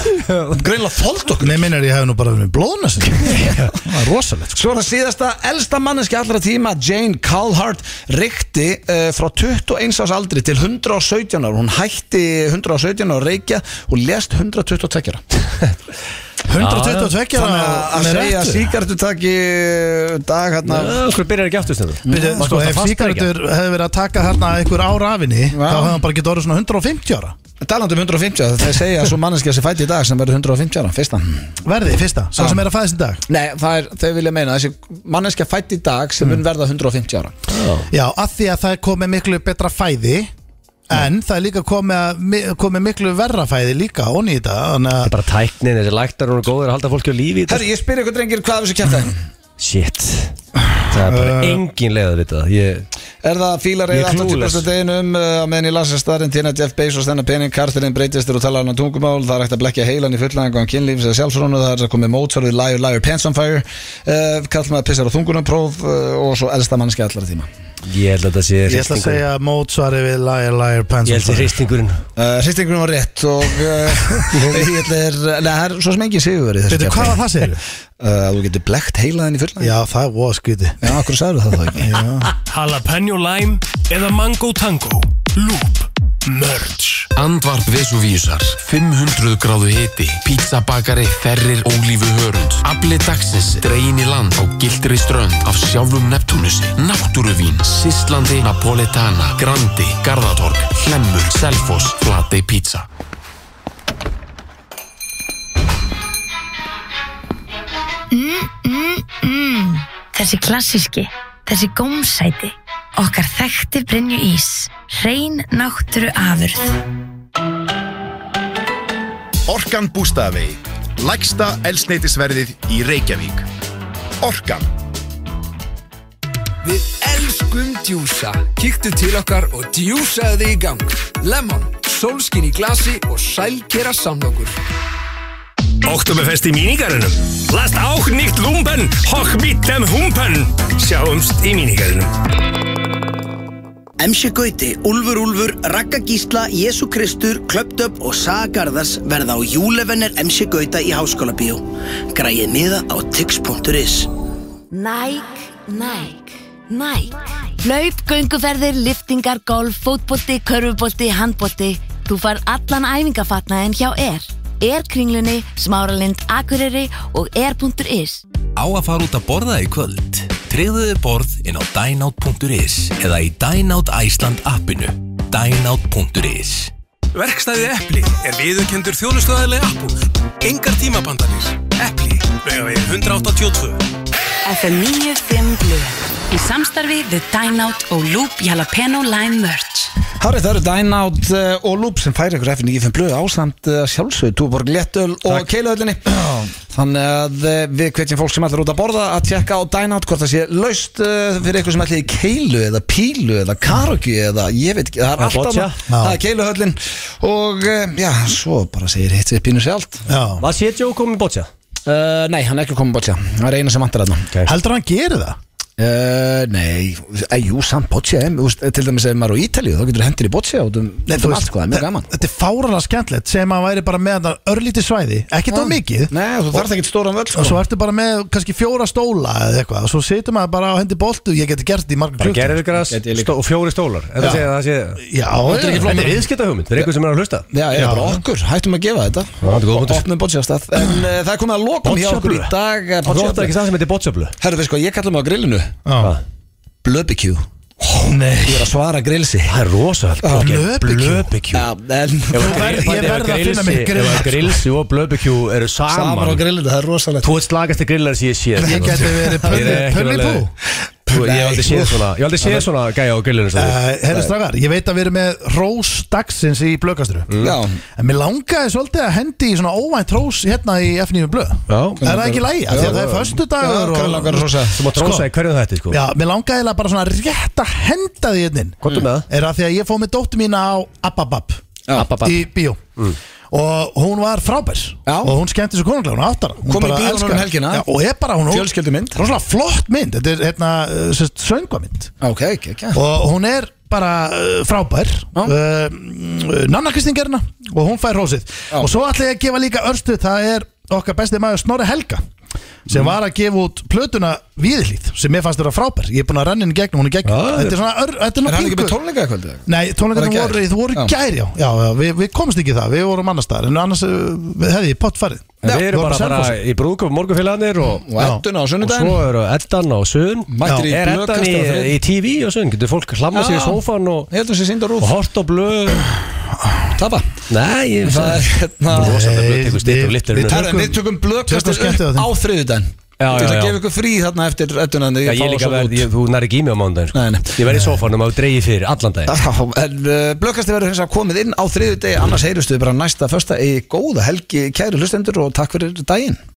Speaker 1: Greinlega þólt okkur
Speaker 2: Nei, minn er ég hef nú bara verið blóðna sem Það er rosalegt sko.
Speaker 1: Svo er það síðasta, elsta manneski allra tíma Jane Calhart reykti uh, frá 21 árs aldri til 117 ára, hún hætti 117 ára að reykja og lest 122 ára
Speaker 2: 122
Speaker 1: Þannig að,
Speaker 2: ára
Speaker 1: að
Speaker 2: með
Speaker 1: segja
Speaker 2: réttu.
Speaker 1: síkartu taki dag hérna
Speaker 3: Okkur byrjar ekki aftur stundum
Speaker 2: Byrju,
Speaker 3: Maður
Speaker 2: sko,
Speaker 3: komst að
Speaker 2: Ef
Speaker 3: fasta
Speaker 2: síkardur hefði verið að taka hérna einhver ára af henni þá hefði hann bara getið orðið svona 150 ára
Speaker 1: Talandi um 150, það segja að svo manneski að sé fætt í dag sem verður 150 ára, fyrsta
Speaker 2: Verði, fyrsta, sá sem er að fæðast í dag
Speaker 1: Nei, það er, þau vilja meina að þessi manneski að fætt í dag sem mun verða 150 ára
Speaker 2: Já, að því að það er komið miklu betra fæði en það er líka komið, að- mi- komið miklu verra fæði líka onni í dag Þannig
Speaker 3: ekki.
Speaker 2: að
Speaker 3: Bara tæknin, þessi læktar og góður að halda fólki á lífi í dag.
Speaker 1: Herri, ég spyr ykkur drengir hvað af þessu kjæftaði
Speaker 3: Shit Það er bara engin leið að vita það Ég,
Speaker 1: Er það að fílar
Speaker 3: Ég
Speaker 1: eða
Speaker 3: er clueless.
Speaker 1: 80% deginum uh, á meðan ég lasa starinn tína Jeff Bezos þennan pening, kartirinn breytistur og tala hann á tungumál, það er hægt að blekja heilan í fullangan kynlífs eða sjálfsrónu, það er að komið mótsvar við liar, liar, pants on fire uh, kall maður pissar á þungunapróf uh, og svo elsta mannski allara tíma uh,
Speaker 3: ég held að þetta sé
Speaker 2: ég ætla að segja mótsvari við Liar Liar Pants
Speaker 3: Ég held að sé hristingurinn
Speaker 1: Hristingurinn Uh, var rétt og uh, ég er, neða, það er svo sem engin sigur verið
Speaker 2: Veitu, hvað var það segir?
Speaker 1: Uh, þú getur blekt heilaðin í fullangan
Speaker 2: Já, það var skviti
Speaker 1: Já, okkur sagður það þá ekki
Speaker 6: Jalapeno Lime eða Mango Tango Loop Andvarp Vesuvíusar 500 gráðu hiti Pizzabakari Ferrir Ólífu Hörund Afli dagsins Dregin í land á gildri strönd Af sjálfum Neptúnusi Náttúruvín Sýslandi Napoletana Grandi Garðatorg Hlemmur Selfoss Flatey Pizza
Speaker 7: Þessi klassíski, þessi gómsæti, okkar þekkti Brynju Ís, hrein náttúru afurð.
Speaker 8: Orkan Bústaðavegi. Lægsta elsneitisverðið í Reykjavík. Orkan.
Speaker 9: Við elskum djúsa. Kíktu til okkar og djúsaðu þig í gang. Lemon, sólskin í glasi og sælgera samlokur.
Speaker 10: Oktoberfest í mínígarunum Last auch nicht lumpen, hoch mit dem humpen Sjáumst í mínígarunum
Speaker 11: MC Gauti, Úlfur Úlfur, Ragga Gísla, Jésu Kristur, Klöptöp og Saga Garðars verða á júlefennir MC Gauta í Háskóla Bíó. Græið miða á tix.is.
Speaker 12: Nike, Nike, Nike. Laup, gönguferðir, liftingar, golf, fótbolti, körfubolti, handbolti. Þú far allan æfingafatnaðin hjá ER. ER kringlunni, smáralind, akureyri og ER.is.
Speaker 13: Á að fara út að borða í kvöld Tryggðu þið borð inn á dineout.is eða í Dineout Iceland appinu dineout.is
Speaker 10: Verkstæði Epli er viðurkendur þjónustöðarlega appúl Engar tímabandanir Epli, vega við 182
Speaker 12: FM 95 Blu. Í samstarfi við Dynout og Loop Jalapeno Lime Merch.
Speaker 1: Hárið, það eru Dynout eh, og Loop sem færi ykkur FN í FN Blöð ásamt eh, sjálfsögðu Túborg Léttöl og Keilaöllinni Þannig að eh, við hvetjum fólk sem ætlar út að borða að tjekka á Dynout hvort það sé laust eh, fyrir ykkur sem ætlar í Keilu eða Pílu eða Karogi eða ég veit ekki, það er
Speaker 3: Eða
Speaker 1: allt
Speaker 3: Boccia.
Speaker 1: annað Það er Keiluöllin og eh, já, svo bara segir hitt sér pínu sér allt
Speaker 2: Já.
Speaker 3: Var Sétjó komið bótsja?
Speaker 1: uh, Nei, hann er ekki komið bótsja, það er eina sem vantar þarna
Speaker 2: Heldur hann gerir það?
Speaker 1: Uh, nei, að jú, samt boccia em, þú veist, Til dæmis ef maður er á Ítalíu þá getur hendur í boccia út um,
Speaker 2: Nei,
Speaker 1: út um allt, sko, það er mjög
Speaker 2: þe-
Speaker 1: gaman
Speaker 2: Þetta er fáranlega skemmtilegt sem að væri bara með þetta örlítið svæði Ekkert á mikið
Speaker 1: Nei, þú þarf ekki stóran sko. völd
Speaker 2: Og svo ertu bara með kannski fjóra stóla eða eitthvað Og svo situr maður bara á hendi boltu Ég geti gert þetta í margar
Speaker 3: Bara
Speaker 2: klukkutíma.
Speaker 3: gerðið græs
Speaker 1: Gæti ég líka.
Speaker 3: stó, og fjóri stólar En það
Speaker 2: Já.
Speaker 3: sé að það sé
Speaker 2: Já,
Speaker 3: Þetta er ekki flott Þetta er viðskipta hugmynd Það er eitthvað sem er að hlusta
Speaker 1: Já, ég
Speaker 2: Já.
Speaker 1: er bara okkur, hættum að gefa þetta
Speaker 3: þetta er góð
Speaker 1: Og
Speaker 3: punktur.
Speaker 1: opnum bocciastað En uh, það er komið að lokum hjá okkur í
Speaker 3: Bocciablö?
Speaker 1: dag eh,
Speaker 3: Þú ætlar
Speaker 1: Bocciablö.
Speaker 3: ekki það sem heitir bótsjöflu
Speaker 1: Herðu, veist hvað, ég kalla mig á grillinu
Speaker 2: Já.
Speaker 1: Blöbikjú Ég er að svara grillsi
Speaker 3: Það er rosalt
Speaker 2: Blöbikjú.
Speaker 1: Já, en
Speaker 2: Ég verð- ég verð að finna mig grill,
Speaker 3: Ef að
Speaker 2: sko.
Speaker 3: grilsi og blöbekjú eru
Speaker 1: Samar á
Speaker 3: saman
Speaker 1: grillinu, það er rosalegt
Speaker 3: Þú ert slagasti grillar sem ég sé
Speaker 2: Ég geti verið pönni, pönni pú sko.
Speaker 3: Ég hef aldrei séð svona Ég hef aldrei séð svona gæja á grillinu sem þú.
Speaker 2: uh, Herri strafgar, ég veit að við erum með Rós dagsins í blökastru
Speaker 1: Já,
Speaker 3: Mm.
Speaker 2: En mér langaði svolítið að hendi í svona óvænt rós hérna í FNÍU blöð
Speaker 3: Já.
Speaker 2: Er það ekki lægi? Því að það er föstudagur
Speaker 1: hvað langar að rosa
Speaker 3: Þú má trósa í hverju þetta sko
Speaker 2: Já, mér langaði eiginlega bara svona rétt að henda því hérna inn
Speaker 3: Komdu með það
Speaker 2: Er að því að ég fóð með dóttu mína á Ababab
Speaker 1: Já, Mm.
Speaker 2: Í bíó Og hún var frábær
Speaker 1: Já.
Speaker 2: Og hún skemmti svo konunglega, hún áttara Hún
Speaker 1: Kom í
Speaker 2: bara
Speaker 1: bíó núna um
Speaker 2: elskar-
Speaker 1: helgina.
Speaker 2: Já, Og er bara hún
Speaker 1: Fjölskyldumynd.
Speaker 2: Róslega flott mynd Þetta er hérna, uh, sem sagt, söngvamynd
Speaker 1: ok, ekki, ekki
Speaker 2: og hún er bara uh, frábær
Speaker 1: Já.
Speaker 2: uh, Nanna Kristín gerna og hún fær rósið og svo ætla ég að gefa líka örstu það er okkar besti maður Snorri Helga
Speaker 1: Mm.
Speaker 2: sem var að gefa út plötuna Víðlíð sem mér fannst þetta frábær ég er búin að renna henni í gegnum, hún er gegn þetta er svona, ör, þetta er
Speaker 1: Er hann
Speaker 2: nú
Speaker 1: ekki með
Speaker 2: pingu
Speaker 1: tónleika kvöldið?
Speaker 2: Nei,
Speaker 1: Var
Speaker 2: tónleikarnir
Speaker 1: það
Speaker 2: voru,
Speaker 1: gær?
Speaker 2: þú voru
Speaker 1: Já.
Speaker 2: í gær, já, já, já við, við komumst ekki í það, við vorum annars staðar en annars uh, við hefði ég pott farið
Speaker 3: En Við erum
Speaker 2: vorum
Speaker 3: bara,
Speaker 2: á
Speaker 3: bara
Speaker 2: Selfossi.
Speaker 3: í brúðköp morgunfélagarnir og,
Speaker 1: Og Edduna á
Speaker 3: og
Speaker 1: sunnudaginn
Speaker 3: svo eru Eddan á Suðun
Speaker 1: Mættir í
Speaker 3: Er Eddan í,
Speaker 1: blöðkastið á þriðjudaginn.
Speaker 3: í TV og Suðun Getur fólk hlamma sig í
Speaker 1: Já.
Speaker 3: sófan og,
Speaker 1: Ég held að það sé sýnd á
Speaker 3: og
Speaker 1: rúf
Speaker 3: hort og blöð
Speaker 1: Tapa
Speaker 3: Nei, ég
Speaker 1: Það er hérna
Speaker 3: Rósandi blöð
Speaker 2: Nei,
Speaker 3: tekur stýtt og
Speaker 2: við-
Speaker 3: littir
Speaker 2: við-
Speaker 1: Herra, við tökum blökkastu
Speaker 2: tökum skemmtið á
Speaker 1: upp
Speaker 2: þeim.
Speaker 1: á þriðudaginn
Speaker 3: Já,
Speaker 1: Ég ætla
Speaker 3: já,
Speaker 1: að
Speaker 3: já.
Speaker 1: gefa ykkur frí þarna eftir öttunan
Speaker 3: Já, ég líka verð, ég, þú nær ekki í mig á mánudaginn sko.
Speaker 1: Nei, nei.
Speaker 3: Ég verð í sófanum að dreigi fyrir allan dag
Speaker 1: Já, en uh, blökkastu verður hins að komið inn á þriðudegi annars heyrustu við bara næsta fösta í góða helgi kæru hlustendur og takk fyrir daginn